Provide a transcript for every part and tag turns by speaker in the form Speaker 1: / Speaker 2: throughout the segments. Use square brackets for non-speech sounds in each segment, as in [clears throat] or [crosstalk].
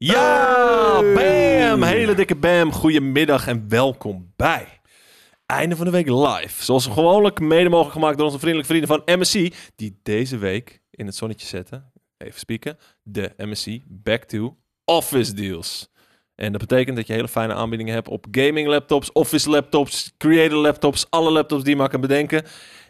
Speaker 1: Ja,
Speaker 2: Hey.
Speaker 1: bam! Hele dikke bam. Goedemiddag en welkom bij Einde van de Week Live. Zoals gewoonlijk mede mogelijk gemaakt door onze vriendelijke vrienden van MSC, die deze week in het zonnetje zetten, even spieken, de MSC Back to Office Deals. En dat betekent dat je hele fijne aanbiedingen hebt op gaming laptops, office laptops, creator laptops, alle laptops die je maar kan bedenken.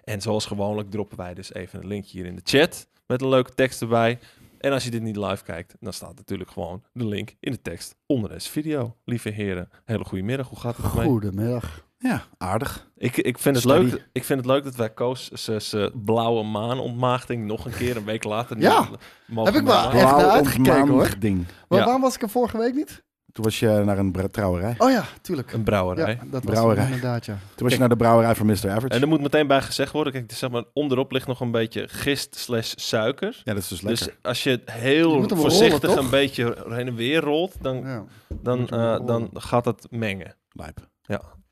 Speaker 1: En zoals gewoonlijk droppen wij dus even een linkje hier in de chat met een leuke tekst erbij. En als je dit niet live kijkt, dan staat natuurlijk gewoon de link in de tekst onder deze video. Lieve heren, hele goede middag. Hoe gaat het ermee?
Speaker 2: Goedemiddag. Ja, aardig.
Speaker 1: Ik, ik, vind het
Speaker 2: Steady.
Speaker 1: leuk, ik vind het leuk dat wij Koos z'n- z'n blauwe maanontmaagding nog een keer een week later
Speaker 3: Ja.
Speaker 1: niet mogen
Speaker 3: Heb ik wel.
Speaker 1: maken.
Speaker 3: Echt naar
Speaker 2: Blauw
Speaker 3: uitgekeken,
Speaker 2: ontmaandig ding.
Speaker 3: Waar,
Speaker 1: Ja.
Speaker 3: Waarom was ik er vorige week niet?
Speaker 2: Toen was je naar een bra- trouwerij.
Speaker 3: Oh ja, tuurlijk.
Speaker 1: Een
Speaker 3: Ja,
Speaker 1: brouwerij.
Speaker 3: dat was
Speaker 2: Brouwerij.
Speaker 3: hem inderdaad, ja.
Speaker 2: Toen was je naar de brouwerij van Mr. Average.
Speaker 1: En er moet meteen bij gezegd worden, kijk, zeg maar, onderop ligt nog een beetje gist slash suiker.
Speaker 2: ja, dat is dus lekker.
Speaker 1: Dus als je
Speaker 3: Je
Speaker 1: heel
Speaker 3: moet hem
Speaker 1: voorzichtig
Speaker 3: rollen, toch?
Speaker 1: een beetje heen en weer rolt, dan,
Speaker 2: [laughs]
Speaker 3: ja.
Speaker 1: dan,
Speaker 3: Moet je hem
Speaker 1: eh, dan
Speaker 3: rollen.
Speaker 1: gaat dat mengen.
Speaker 2: Lijp.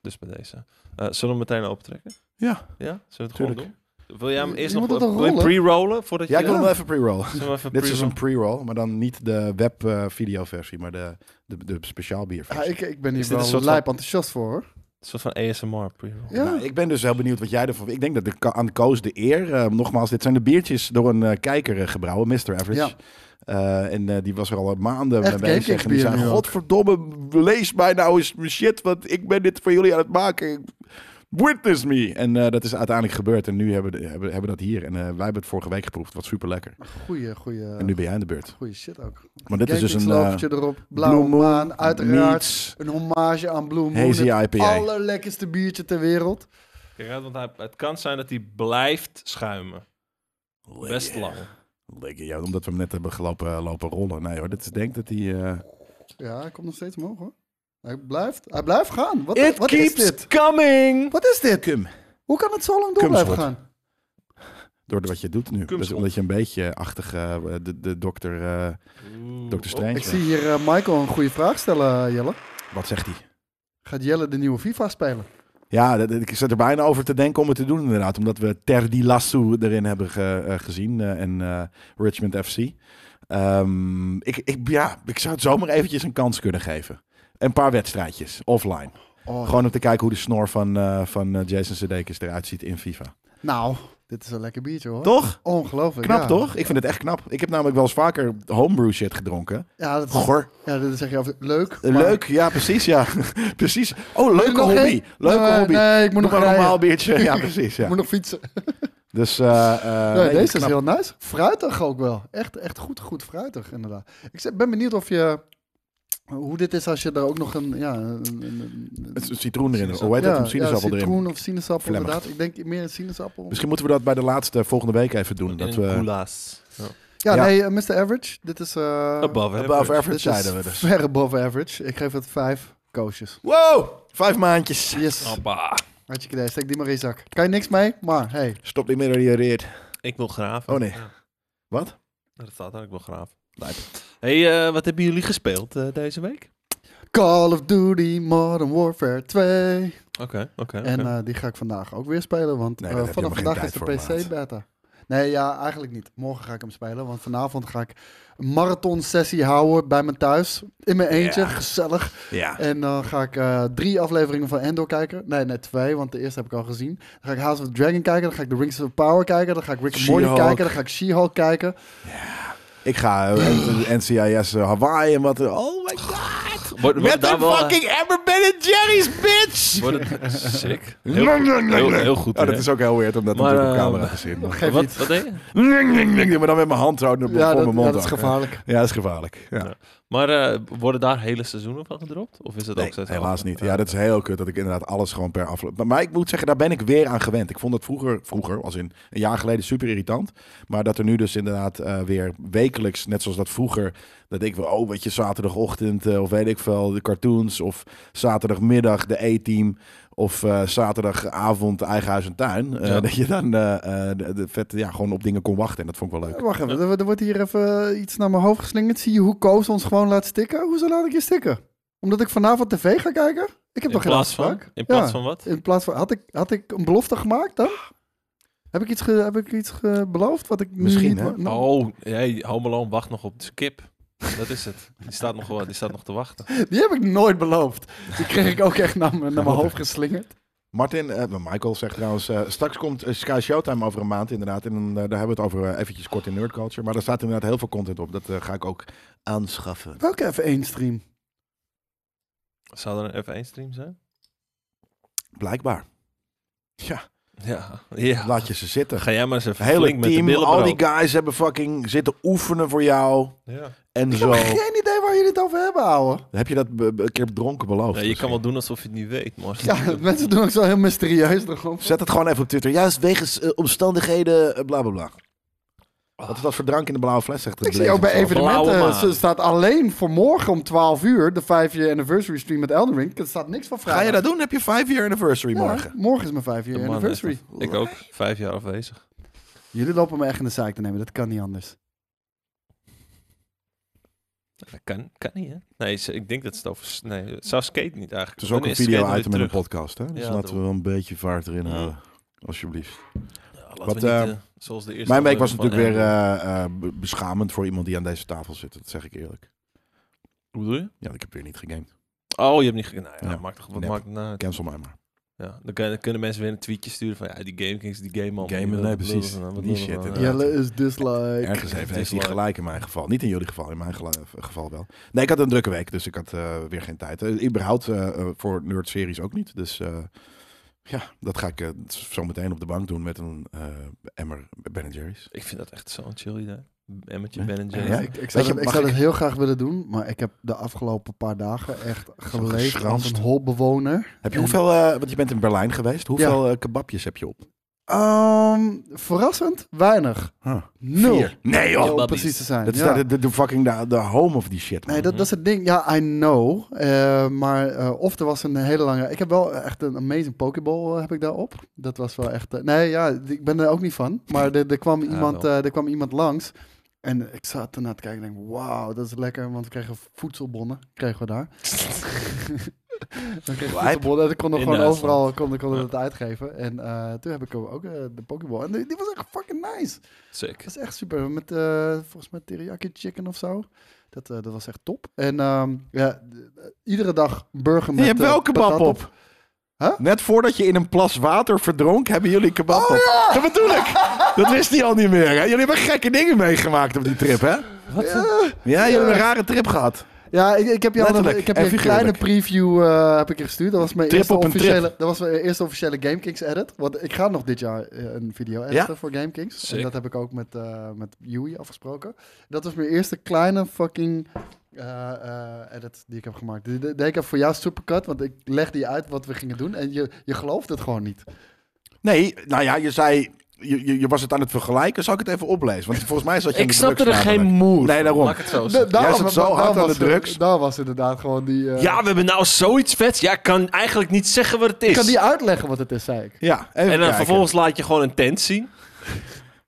Speaker 1: Dus bij deze. Eh, zullen we hem meteen opentrekken?
Speaker 2: Ja.
Speaker 1: Ja, zullen we het gewoon
Speaker 2: Tuurlijk.
Speaker 1: doen? Wil jij hem
Speaker 3: Je-
Speaker 1: eerst
Speaker 3: je
Speaker 1: nog
Speaker 3: moet het
Speaker 1: wil
Speaker 3: toch
Speaker 1: je hem
Speaker 3: rollen?
Speaker 1: pre-rollen? Voordat
Speaker 2: Ja,
Speaker 1: je
Speaker 2: ik wil hem
Speaker 1: Zullen
Speaker 2: even pre-roll.
Speaker 1: we hem even
Speaker 2: Dit is dus
Speaker 1: pre-rollen?
Speaker 2: een pre-roll, maar dan niet de web eh, video versie, maar de, de, de speciaal bier
Speaker 3: Ah, ik, ik
Speaker 1: Is
Speaker 3: ben hier
Speaker 1: dit een
Speaker 3: wel
Speaker 1: soort
Speaker 3: lijp enthousiast voor, hoor.
Speaker 1: Een soort van ASMR pre-roll.
Speaker 3: Ja.
Speaker 2: Nou, ik ben dus heel benieuwd wat jij ervan... Ik denk dat de, ka- aan Koos de eer... eh, nogmaals, dit zijn de biertjes door een eh, kijker eh, gebrouwen, Mr. Average.
Speaker 3: Ja.
Speaker 2: Eh, en eh, die was er al maanden mee
Speaker 3: Echt
Speaker 2: bezig. En die
Speaker 3: Gamekings-bier
Speaker 2: zei,
Speaker 3: nu ook.
Speaker 2: godverdomme, lees mij nou eens mijn shit, want ik ben dit voor jullie aan het maken. Witness me! En eh, dat is uiteindelijk gebeurd. En nu hebben we hebben, hebben dat hier. En eh, wij hebben het vorige week geproefd. Wat super lekker.
Speaker 3: Goeie, goeie,
Speaker 2: En nu ben jij aan de beurt.
Speaker 3: goeie shit ook.
Speaker 2: Maar dit is dus een eh
Speaker 3: logootje erop, blauwe
Speaker 2: Blue Moon
Speaker 3: maan, uiteraard.
Speaker 2: meets
Speaker 3: Een hommage aan Blue Moon.
Speaker 2: Hazy
Speaker 3: het
Speaker 2: IPA.
Speaker 3: allerlekkerste biertje ter wereld.
Speaker 1: Kijk uit, want hij, het kan zijn dat hij blijft schuimen.
Speaker 3: Oh,
Speaker 1: Best lang.
Speaker 2: Lekker, ja, omdat we hem net hebben gelopen eh, lopen rollen. Nee hoor, dit is denk dat hij... eh,
Speaker 3: Ja, hij komt nog steeds omhoog, hoor. Hij blijft, hij blijft gaan. Wat,
Speaker 1: It
Speaker 3: wat is
Speaker 1: keeps
Speaker 3: dit?
Speaker 1: coming!
Speaker 3: Wat is dit?
Speaker 2: Cum.
Speaker 3: Hoe kan het zo lang door
Speaker 2: Cum
Speaker 3: blijven
Speaker 2: schot.
Speaker 3: gaan?
Speaker 2: Door wat je doet nu. Dus
Speaker 1: Kumsel.
Speaker 2: omdat je een beetje achtig eh, de, de dokter, eh, dokter Strange
Speaker 3: Ik zie hier eh, Michael een goede vraag stellen, eh, Jelle.
Speaker 2: bent. Wat zegt hij?
Speaker 3: Gaat Jelle de nieuwe FIFA spelen?
Speaker 2: Ja, dat- dat- ik zat er bijna over te denken om het te doen inderdaad. Omdat we Ter Di Lasso erin hebben ge- eh, gezien eh, en eh, Richmond FC. Ehm, ik, ik, ja, ik zou het zomaar eventjes een kans kunnen geven. Een paar wedstrijdjes, offline.
Speaker 3: Oh,
Speaker 2: Gewoon om te kijken hoe de snor van, eh, van eh, Jason Sudeikis eruit ziet in FIFA.
Speaker 3: Nou, dit is een lekker biertje hoor.
Speaker 2: Toch?
Speaker 3: Ongelooflijk.
Speaker 2: Knap
Speaker 3: ja.
Speaker 2: toch? Ik vind het echt knap. Ik heb namelijk wel eens vaker homebrew shit gedronken.
Speaker 3: Ja, dat, is-
Speaker 2: Goor.
Speaker 3: ja, dat zeg je altijd. Leuk. maar-
Speaker 2: Leuk, ja precies, ja. [laughs] precies. Oh,
Speaker 3: Moet
Speaker 2: leuke
Speaker 3: er nog
Speaker 2: hobby.
Speaker 3: één?
Speaker 2: Leuke
Speaker 3: nee,
Speaker 2: hobby.
Speaker 3: Nee, ik moet nog
Speaker 2: Nog een
Speaker 3: rijden.
Speaker 2: normaal biertje. [laughs] Ja, precies, ja.
Speaker 3: Ik moet nog fietsen.
Speaker 2: Dus, eh, eh,
Speaker 3: Nee,
Speaker 2: nee,
Speaker 3: deze is
Speaker 2: knap.
Speaker 3: heel nice. Fruitig ook wel. Echt, echt goed, goed fruitig inderdaad. Ik zeg- ben benieuwd of je... Hoe dit is als je er ook nog een... Ja, een, een- een-
Speaker 2: Het is citroen erin.
Speaker 1: Sinaasappel.
Speaker 2: Hoe heet dat?
Speaker 3: ja,
Speaker 2: Een sinaasappel
Speaker 3: ja,
Speaker 2: erin. Dus-
Speaker 3: citroen of sinaasappel
Speaker 2: Flemmig.
Speaker 3: inderdaad. Ik denk meer een sinaasappel.
Speaker 2: Misschien moeten we dat bij de laatste volgende week even doen. Dat we
Speaker 1: Goulaas. Ja.
Speaker 3: ja,
Speaker 2: ja.
Speaker 3: nee, eh, Mr. Average. Dit is... eh
Speaker 1: Above,
Speaker 2: above
Speaker 1: average.
Speaker 2: average
Speaker 3: dit is
Speaker 2: zeiden we dus.
Speaker 3: ver above average. Ik geef het vijf koosjes.
Speaker 2: Wow, vijf maandjes.
Speaker 3: Yes.
Speaker 1: Abba.
Speaker 3: Hartje idee. Steek die maar in je zak. Kan je niks mee, maar hey.
Speaker 2: Stop die midden die je reert.
Speaker 1: Ik wil graven.
Speaker 2: Oh, nee.
Speaker 1: Ja.
Speaker 2: Wat?
Speaker 1: Ja, Dat staat daar, ik wil graven.
Speaker 2: Lijp.
Speaker 1: hey, eh, wat hebben jullie gespeeld eh, deze week?
Speaker 3: Call of Duty Modern Warfare 2.
Speaker 1: Oké, oké. oké.
Speaker 3: En eh, die ga ik vandaag ook weer spelen, want
Speaker 2: Nee,
Speaker 3: eh,
Speaker 2: daar heb je
Speaker 3: vanaf
Speaker 2: helemaal
Speaker 3: vandaag
Speaker 2: geen
Speaker 3: is de
Speaker 2: tijd voor,
Speaker 3: PC-beta. Nee, ja, eigenlijk niet. Morgen ga ik hem spelen, want vanavond ga ik een marathon-sessie houden bij mijn thuis. In mijn eentje,
Speaker 2: Ja.
Speaker 3: gezellig.
Speaker 2: Ja.
Speaker 3: En dan ga ik eh, drie afleveringen van Endor kijken. Nee, nee, twee, want de eerste heb ik al gezien. Dan ga ik House of the Dragon kijken, dan ga ik The Rings of Power kijken, dan ga ik Rick and Morty
Speaker 2: She-Hulk.
Speaker 3: kijken, dan ga ik She-Hulk kijken.
Speaker 2: Ik ga eh, NCIS eh, Hawaii en wat. Oh my god.
Speaker 1: eh, Wordt- wordt
Speaker 2: Met
Speaker 1: daar
Speaker 2: een
Speaker 1: wel-
Speaker 2: fucking Aberben Jerry's bitch.
Speaker 1: [laughs] Wordt
Speaker 2: [laughs]
Speaker 1: het sick? Heel,
Speaker 2: Lang, lang, lang,
Speaker 1: heel,
Speaker 2: lang.
Speaker 1: heel goed.
Speaker 2: Oh, dat
Speaker 1: hè?
Speaker 2: is ook heel weird om dat
Speaker 1: Maar,
Speaker 2: natuurlijk op
Speaker 1: eh,
Speaker 2: camera te zien.
Speaker 3: Geef niet.
Speaker 1: Wat, wat deed je?
Speaker 2: Ling, ling, ling, Maar dan met mijn hand zo voor
Speaker 3: Ja, dat,
Speaker 2: mijn
Speaker 3: ja,
Speaker 2: mond.
Speaker 3: dat is
Speaker 2: hangen.
Speaker 3: gevaarlijk.
Speaker 2: Ja, dat is gevaarlijk. Ja.
Speaker 1: Maar eh, worden daar hele seizoenen van gedropt? Of is het
Speaker 2: Nee,
Speaker 1: ook steeds
Speaker 2: helaas
Speaker 1: af-
Speaker 2: niet. Ja, dat is heel kut dat ik inderdaad alles gewoon per afloop. Maar, maar ik moet zeggen, daar ben ik weer aan gewend. Ik vond dat vroeger, vroeger, als in een jaar geleden, super irritant. Maar dat er nu dus inderdaad eh, weer wekelijks, net zoals dat vroeger, dat ik wel, oh, weet je, zaterdagochtend eh, of weet ik veel, de cartoons of zaterdagmiddag de E-team of eh, zaterdagavond eigen huis en tuin. eh,
Speaker 1: Ja.
Speaker 2: [laughs] Dat je dan eh, eh, de, de vet, ja, gewoon op dingen kon wachten. En dat vond ik wel leuk.
Speaker 3: Eh, Wacht even, er, er wordt hier even eh, iets naar mijn hoofd geslingerd. Zie je hoe Koos ons gewoon laat stikken? Hoezo laat ik je stikken? Omdat ik vanavond tv ga kijken? Ik heb
Speaker 1: in
Speaker 3: nog geen
Speaker 1: plaats van?
Speaker 3: afspraak.
Speaker 1: In plaats
Speaker 3: Ja.
Speaker 1: van wat?
Speaker 3: In plaats van, had ik, had ik een belofte gemaakt dan? Heb ik iets, ge- heb ik iets ge- beloofd wat ik nu
Speaker 2: Misschien,
Speaker 3: niet...
Speaker 2: hè?
Speaker 3: wa- nou,
Speaker 1: Oh, hey, Home Alone wacht nog op de skip. Dat is het. Die staat nog, wel- die staat nog te wachten.
Speaker 3: Die heb ik nooit beloofd. Die kreeg ik ook echt naar, mijn- naar mijn hoofd geslingerd.
Speaker 2: Martin, eh, Michael zegt trouwens, eh, straks komt eh, Sky Showtime over een maand inderdaad. En dan, eh, daar hebben we het over eh, eventjes kort in Nerd Culture. Maar daar staat inderdaad heel veel content op. Dat eh, ga ik ook aanschaffen.
Speaker 3: Welke F1 stream?
Speaker 1: Zou er een F1-stream zijn?
Speaker 2: Blijkbaar. Ja,
Speaker 1: Ja. ja.
Speaker 2: laat je ze zitten.
Speaker 1: Ga jij maar eens even
Speaker 2: Het hele
Speaker 1: flink met de
Speaker 2: team,
Speaker 1: billen
Speaker 2: al
Speaker 1: bloot.
Speaker 2: die guys hebben fucking zitten oefenen voor jou.
Speaker 1: Ja.
Speaker 2: En
Speaker 3: Ik
Speaker 2: zo.
Speaker 3: heb geen idee waar jullie het over hebben, ouwe.
Speaker 2: Heb je dat be- be- een keer dronken beloofd?
Speaker 1: Ja, je kan wel doen alsof je het niet weet, maar... [laughs]
Speaker 3: Ja, [laughs] mensen doen ook zo heel mysterieus erom.
Speaker 2: Zet het gewoon even op Twitter. Juist wegens eh, omstandigheden, eh, bla bla bla. Wat is dat voor drank in de blauwe fles? Zegt het
Speaker 3: Ik zie
Speaker 2: lezer
Speaker 3: ook bij
Speaker 2: zelf.
Speaker 1: Blauwe maan.
Speaker 3: evenementen, ze staat alleen voor morgen om 12 uur, de 5-year anniversary stream met Elden Ring. Er staat niks van vrijdag.
Speaker 2: Ga je dat doen? Heb je 5-year anniversary
Speaker 3: Ja,
Speaker 2: morgen?
Speaker 3: morgen is mijn 5
Speaker 1: De
Speaker 3: year
Speaker 1: man,
Speaker 3: anniversary.
Speaker 1: echt. Ik ook. Vijf jaar afwezig.
Speaker 3: Jullie lopen me echt in de zaak te nemen, dat kan niet anders.
Speaker 1: Dat kan, kan niet, hè? Nee, ze- ik denk dat ze het over... s- Nee, het zou skate niet eigenlijk.
Speaker 2: Het is ook
Speaker 1: Dan
Speaker 2: een video
Speaker 1: skate
Speaker 2: item in
Speaker 1: weer
Speaker 2: de podcast, hè? Dus
Speaker 1: Ja,
Speaker 2: laten we
Speaker 1: daarom.
Speaker 2: wel een beetje vaart erin
Speaker 1: Ja.
Speaker 2: houden. Alsjeblieft.
Speaker 1: Ja, laten
Speaker 2: Wat,
Speaker 1: we niet,
Speaker 2: eh,
Speaker 1: eh, zoals de eerste
Speaker 2: Mijn
Speaker 1: aflevering
Speaker 2: week was
Speaker 1: van
Speaker 2: natuurlijk weer
Speaker 1: Amber.
Speaker 2: eh, eh, be- beschamend voor iemand die aan deze tafel zit. Dat zeg ik eerlijk.
Speaker 1: Hoe bedoel je?
Speaker 2: Ja, ik heb weer niet gegamed.
Speaker 1: Oh, je hebt niet... ge- Nou ja,
Speaker 2: Ja,
Speaker 1: maakt toch wat
Speaker 2: nep.
Speaker 1: maakt het nou uit?
Speaker 2: Cancel mij maar.
Speaker 1: Ja, dan kunnen, kunnen mensen weer een tweetje sturen van... Ja, die GameKings, die game man.
Speaker 2: Game,
Speaker 1: Die
Speaker 2: nee,
Speaker 1: lullen
Speaker 2: precies.
Speaker 1: van, wat
Speaker 2: Die
Speaker 1: lullen
Speaker 2: shit,
Speaker 1: van,
Speaker 2: inderdaad.
Speaker 1: ja.
Speaker 2: Jelle
Speaker 3: is dislike.
Speaker 2: Ergens heeft, heeft hij
Speaker 1: dislike.
Speaker 2: gelijk in mijn geval. Niet in jullie geval, in mijn gela- geval wel. Nee, ik had een drukke week, dus ik had eh, weer geen tijd. Eh, überhaupt eh, eh, voor nerd-series ook niet. Dus eh, ja, dat ga ik eh, zo meteen op de bank doen met een eh, emmer Ben Jerry's.
Speaker 1: eh, Ik vind dat echt zo'n chill idee. Emmetje,
Speaker 2: Nee.
Speaker 1: Ben en
Speaker 2: Ja? [laughs]
Speaker 1: Jerry.
Speaker 3: Ik, ik
Speaker 2: Weet
Speaker 3: zou,
Speaker 2: je,
Speaker 3: dat, ik
Speaker 2: mag
Speaker 3: zou
Speaker 2: ik-
Speaker 3: dat heel graag willen doen, maar ik heb de afgelopen paar dagen echt geleefd als
Speaker 2: geschranst.
Speaker 3: een holbewoner.
Speaker 2: Heb je
Speaker 3: En-
Speaker 2: hoeveel, eh, want je bent in Berlijn geweest, hoeveel eh, kebabjes heb je op?
Speaker 3: Ehm, verrassend weinig.
Speaker 2: Huh.
Speaker 3: Nul.
Speaker 2: Vier. Nee joh!
Speaker 1: Oh. Ja,
Speaker 3: Om
Speaker 1: Babbies.
Speaker 3: precies te zijn.
Speaker 2: Dat is
Speaker 3: ja.
Speaker 2: daar de, de, de fucking de, de home of die shit, man.
Speaker 3: Nee, dat, dat is
Speaker 1: Mhm.
Speaker 3: het ding. Ja, I know. Eh, maar eh, of er was een hele lange... Ik heb wel echt een amazing pokeball eh, heb ik daarop. Dat was wel echt... eh, nee, ja, d- ik ben er ook niet van. Maar er, er,
Speaker 1: [laughs]
Speaker 3: kwam,
Speaker 1: Ja,
Speaker 3: iemand,
Speaker 1: wel.
Speaker 3: eh, er kwam iemand langs. En ik zat ernaar te kijken en denk, wauw, dat is lekker. Want we kregen voedselbonnen, kregen we
Speaker 1: [laughs]
Speaker 3: daar. [laughs] we kregen
Speaker 2: Lijp.
Speaker 3: voedselbonnen, dat kon er
Speaker 1: In
Speaker 3: gewoon
Speaker 1: Duitsland.
Speaker 3: overal konden konden
Speaker 1: Ja.
Speaker 3: dat uitgeven. En eh, toen heb ik hem ook eh, de pokeball. En die, die was echt fucking nice.
Speaker 1: Sick.
Speaker 3: Dat is echt super. Met, eh, volgens mij teriyaki chicken of zo. Dat, eh, dat was echt top. En ehm, ja, d- eh, iedere dag burger
Speaker 2: je
Speaker 3: met
Speaker 2: hebt
Speaker 3: eh,
Speaker 2: wel kebab
Speaker 3: patat
Speaker 2: op.
Speaker 3: Huh?
Speaker 2: Net voordat je in een plas water verdronk, hebben jullie kebab op. Dat bedoel ik. Dat wist hij al niet meer. Hè? Jullie hebben gekke dingen meegemaakt op die trip, hè?
Speaker 3: Ja,
Speaker 2: Ja, jullie hebben een rare trip gehad.
Speaker 3: ja ik, ik heb je al een,
Speaker 2: Letterlijk
Speaker 3: ik heb
Speaker 2: en
Speaker 3: je een kleine
Speaker 2: figuurlijk.
Speaker 3: preview eh, heb ik je gestuurd. Dat was mijn,
Speaker 2: Trip
Speaker 3: eerste
Speaker 2: op een trip.
Speaker 3: officiële, dat was mijn eerste officiële GameKings edit. Want ik ga nog dit jaar eh, een video editen voor GameKings.
Speaker 1: Sick.
Speaker 3: En dat heb ik ook met, eh met Yui afgesproken. Dat was mijn eerste kleine fucking eh, eh, edit die ik heb gemaakt. Die, die- die ik heb voor jou supercut, want ik leg die uit wat we gingen doen. En je, je gelooft het gewoon niet.
Speaker 2: Nee, nou ja, je zei... Je, je, je was het aan het vergelijken. Zal ik het even oplezen? Want volgens mij zat je aan
Speaker 1: Ik
Speaker 2: de
Speaker 1: snap er
Speaker 2: drugs
Speaker 1: geen
Speaker 2: namelijk.
Speaker 1: moe.
Speaker 2: Nee, daarom.
Speaker 1: Maak het zo.
Speaker 3: Da- daarom-
Speaker 2: zat zo
Speaker 3: daar
Speaker 2: hard aan de
Speaker 3: was-
Speaker 2: drugs.
Speaker 3: Daar was inderdaad gewoon die... eh,
Speaker 1: Ja, we hebben nou zoiets vets. Ja, ik kan eigenlijk niet zeggen wat het is.
Speaker 3: Ik kan die uitleggen wat het is, zei ik.
Speaker 2: Ja, even
Speaker 1: en dan
Speaker 2: kijken.
Speaker 1: vervolgens laat je gewoon een tent zien.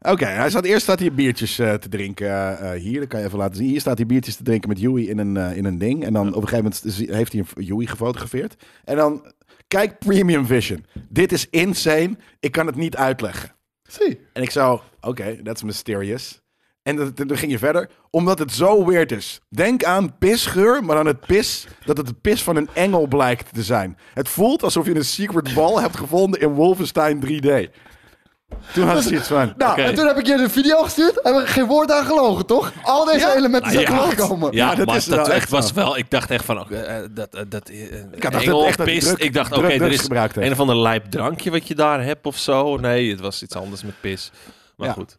Speaker 2: Oké, hij staat, eerst staat hij biertjes eh, te drinken eh, eh, hier. Dat kan je even laten zien. Hier staat hij biertjes te drinken met Joey in een, eh, in een ding. En dan op een gegeven moment zie- heeft hij een Joey gefotografeerd. En dan, kijk Premium Vision. Dit is insane. Ik kan het niet uitleggen.
Speaker 3: Zie.
Speaker 2: En ik zou, oké, dat that's mysterious. En dat- toen ging je verder, omdat het zo weird is. Denk aan pisgeur, maar aan het pis, dat het de pis van een engel blijkt te zijn. Het voelt alsof je een secret ball hebt gevonden in Wolfenstein 3D. Toen had ze iets van.
Speaker 3: Nou,
Speaker 1: Oké.
Speaker 3: en toen heb ik je de video gestuurd. Heb ik geen woord aan gelogen, toch? Al deze elementen zijn
Speaker 1: ja,
Speaker 3: teruggekomen.
Speaker 1: ja,
Speaker 2: dat
Speaker 1: maar
Speaker 2: is
Speaker 1: dat
Speaker 2: wel echt
Speaker 1: echt was wel. Ik dacht echt van, oké, eh, dat, eh, dat, eh,
Speaker 2: dacht dat
Speaker 1: Engel
Speaker 2: echt dat hij
Speaker 1: pist.
Speaker 2: druk-
Speaker 1: ik dacht,
Speaker 2: druk
Speaker 1: oké, er
Speaker 2: drugs
Speaker 1: is
Speaker 2: gebruikt heeft.
Speaker 1: een of ander lijp drankje wat je daar hebt of zo. Nee, het was iets anders met pis. Maar
Speaker 2: Ja.
Speaker 1: goed.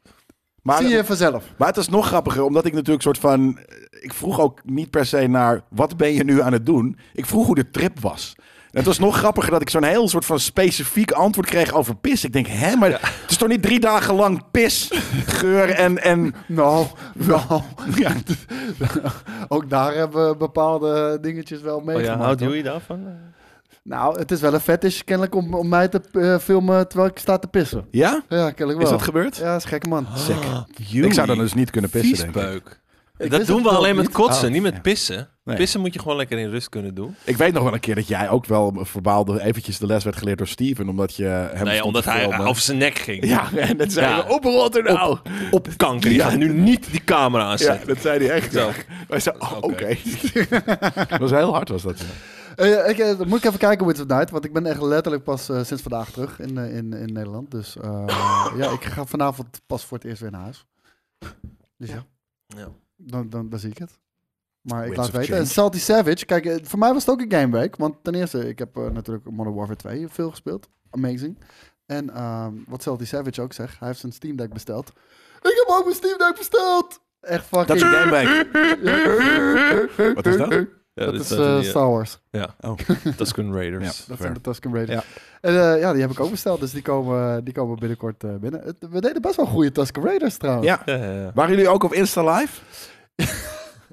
Speaker 2: Maar,
Speaker 3: Zie je vanzelf.
Speaker 2: maar het is nog grappiger, omdat ik natuurlijk soort van... Ik vroeg ook niet per se naar, wat ben je nu aan het doen? Ik vroeg hoe de trip was. En het was nog grappiger dat ik zo'n heel soort van specifiek antwoord kreeg over pis. Ik denk, hè, maar het is toch niet drie dagen lang pis, geur en... en
Speaker 3: Nou, nou. [laughs] Ook daar hebben we bepaalde dingetjes wel
Speaker 1: Oh ja,
Speaker 3: meegemaakt.
Speaker 1: houdt
Speaker 3: hoor.
Speaker 1: jullie daarvan? Eh,
Speaker 3: Nou, het is wel een fetish kennelijk om, om mij te eh, filmen terwijl ik sta te pissen.
Speaker 2: Ja?
Speaker 3: Ja, kennelijk wel.
Speaker 2: Is dat gebeurd?
Speaker 3: Ja, is een gekke man.
Speaker 1: Zeker.
Speaker 2: Ik zou dan dus niet kunnen pissen, denk ik.
Speaker 1: Viespeuk.
Speaker 3: Ik
Speaker 1: Dat
Speaker 3: wist
Speaker 1: doen
Speaker 3: het
Speaker 1: we
Speaker 3: ook
Speaker 1: alleen met
Speaker 3: niet.
Speaker 1: kotsen,
Speaker 3: Oh,
Speaker 1: niet met
Speaker 2: ja.
Speaker 1: pissen.
Speaker 2: Nee.
Speaker 1: Pissen moet je gewoon lekker in rust kunnen doen.
Speaker 2: Ik weet nog wel een keer dat jij ook wel verbaalde eventjes de les werd geleerd door Steven, omdat je hem
Speaker 1: nee,
Speaker 2: stond
Speaker 1: omdat
Speaker 2: te
Speaker 1: hij
Speaker 2: filmen.
Speaker 1: over zijn nek ging.
Speaker 2: Ja, en dat zei
Speaker 1: Ja.
Speaker 2: hij, op Rotterdam!
Speaker 1: Op kanker. Je gaat nu niet die camera
Speaker 2: Ja,
Speaker 1: aanzetten.
Speaker 2: dat zei hij echt.
Speaker 1: Zo.
Speaker 2: Ja. Wij zeiden, oh, oké.
Speaker 1: Oké.
Speaker 2: [laughs] dat was heel hard, was dat. ja.
Speaker 3: Eh, ik, eh, dan moet ik even kijken Wits of Night, want ik ben echt letterlijk pas eh, sinds vandaag terug in, eh, in, in Nederland. Dus
Speaker 2: [laughs]
Speaker 3: eh, ja, ik ga vanavond pas voor het eerst weer naar huis. Dus ja,
Speaker 1: Ja.
Speaker 3: dan, dan, dan zie ik het. Maar ik
Speaker 2: Winds
Speaker 3: laat
Speaker 2: of
Speaker 3: weten.
Speaker 2: change.
Speaker 3: En Salty Savage, kijk, eh, voor mij was het ook een game week. Want ten eerste, ik heb eh, natuurlijk Modern Warfare 2 veel gespeeld. Amazing. En ehm, wat Salty Savage ook zegt, hij heeft zijn Steam Deck besteld. Ik heb ook mijn Steam Deck besteld! Echt fucking...
Speaker 2: Dat is een gameweek. Wat is [laughs] dat?
Speaker 1: Ja,
Speaker 3: Dat
Speaker 1: dit
Speaker 3: is
Speaker 1: staat er
Speaker 3: eh,
Speaker 1: niet in.
Speaker 3: Star Wars.
Speaker 1: Ja.
Speaker 2: Oh.
Speaker 1: Tusken Raiders.
Speaker 2: Ja.
Speaker 3: Dat
Speaker 2: Fair.
Speaker 3: zijn de Tusken Raiders.
Speaker 2: Ja.
Speaker 3: En eh, ja, die heb ik ook besteld. Dus die komen, die komen binnenkort eh, binnen. Het- we deden best wel goede Tusken Raiders
Speaker 2: [laughs]
Speaker 3: trouwens.
Speaker 2: Ja.
Speaker 1: Ja, ja, ja.
Speaker 2: Waren jullie ook op Insta live? [laughs]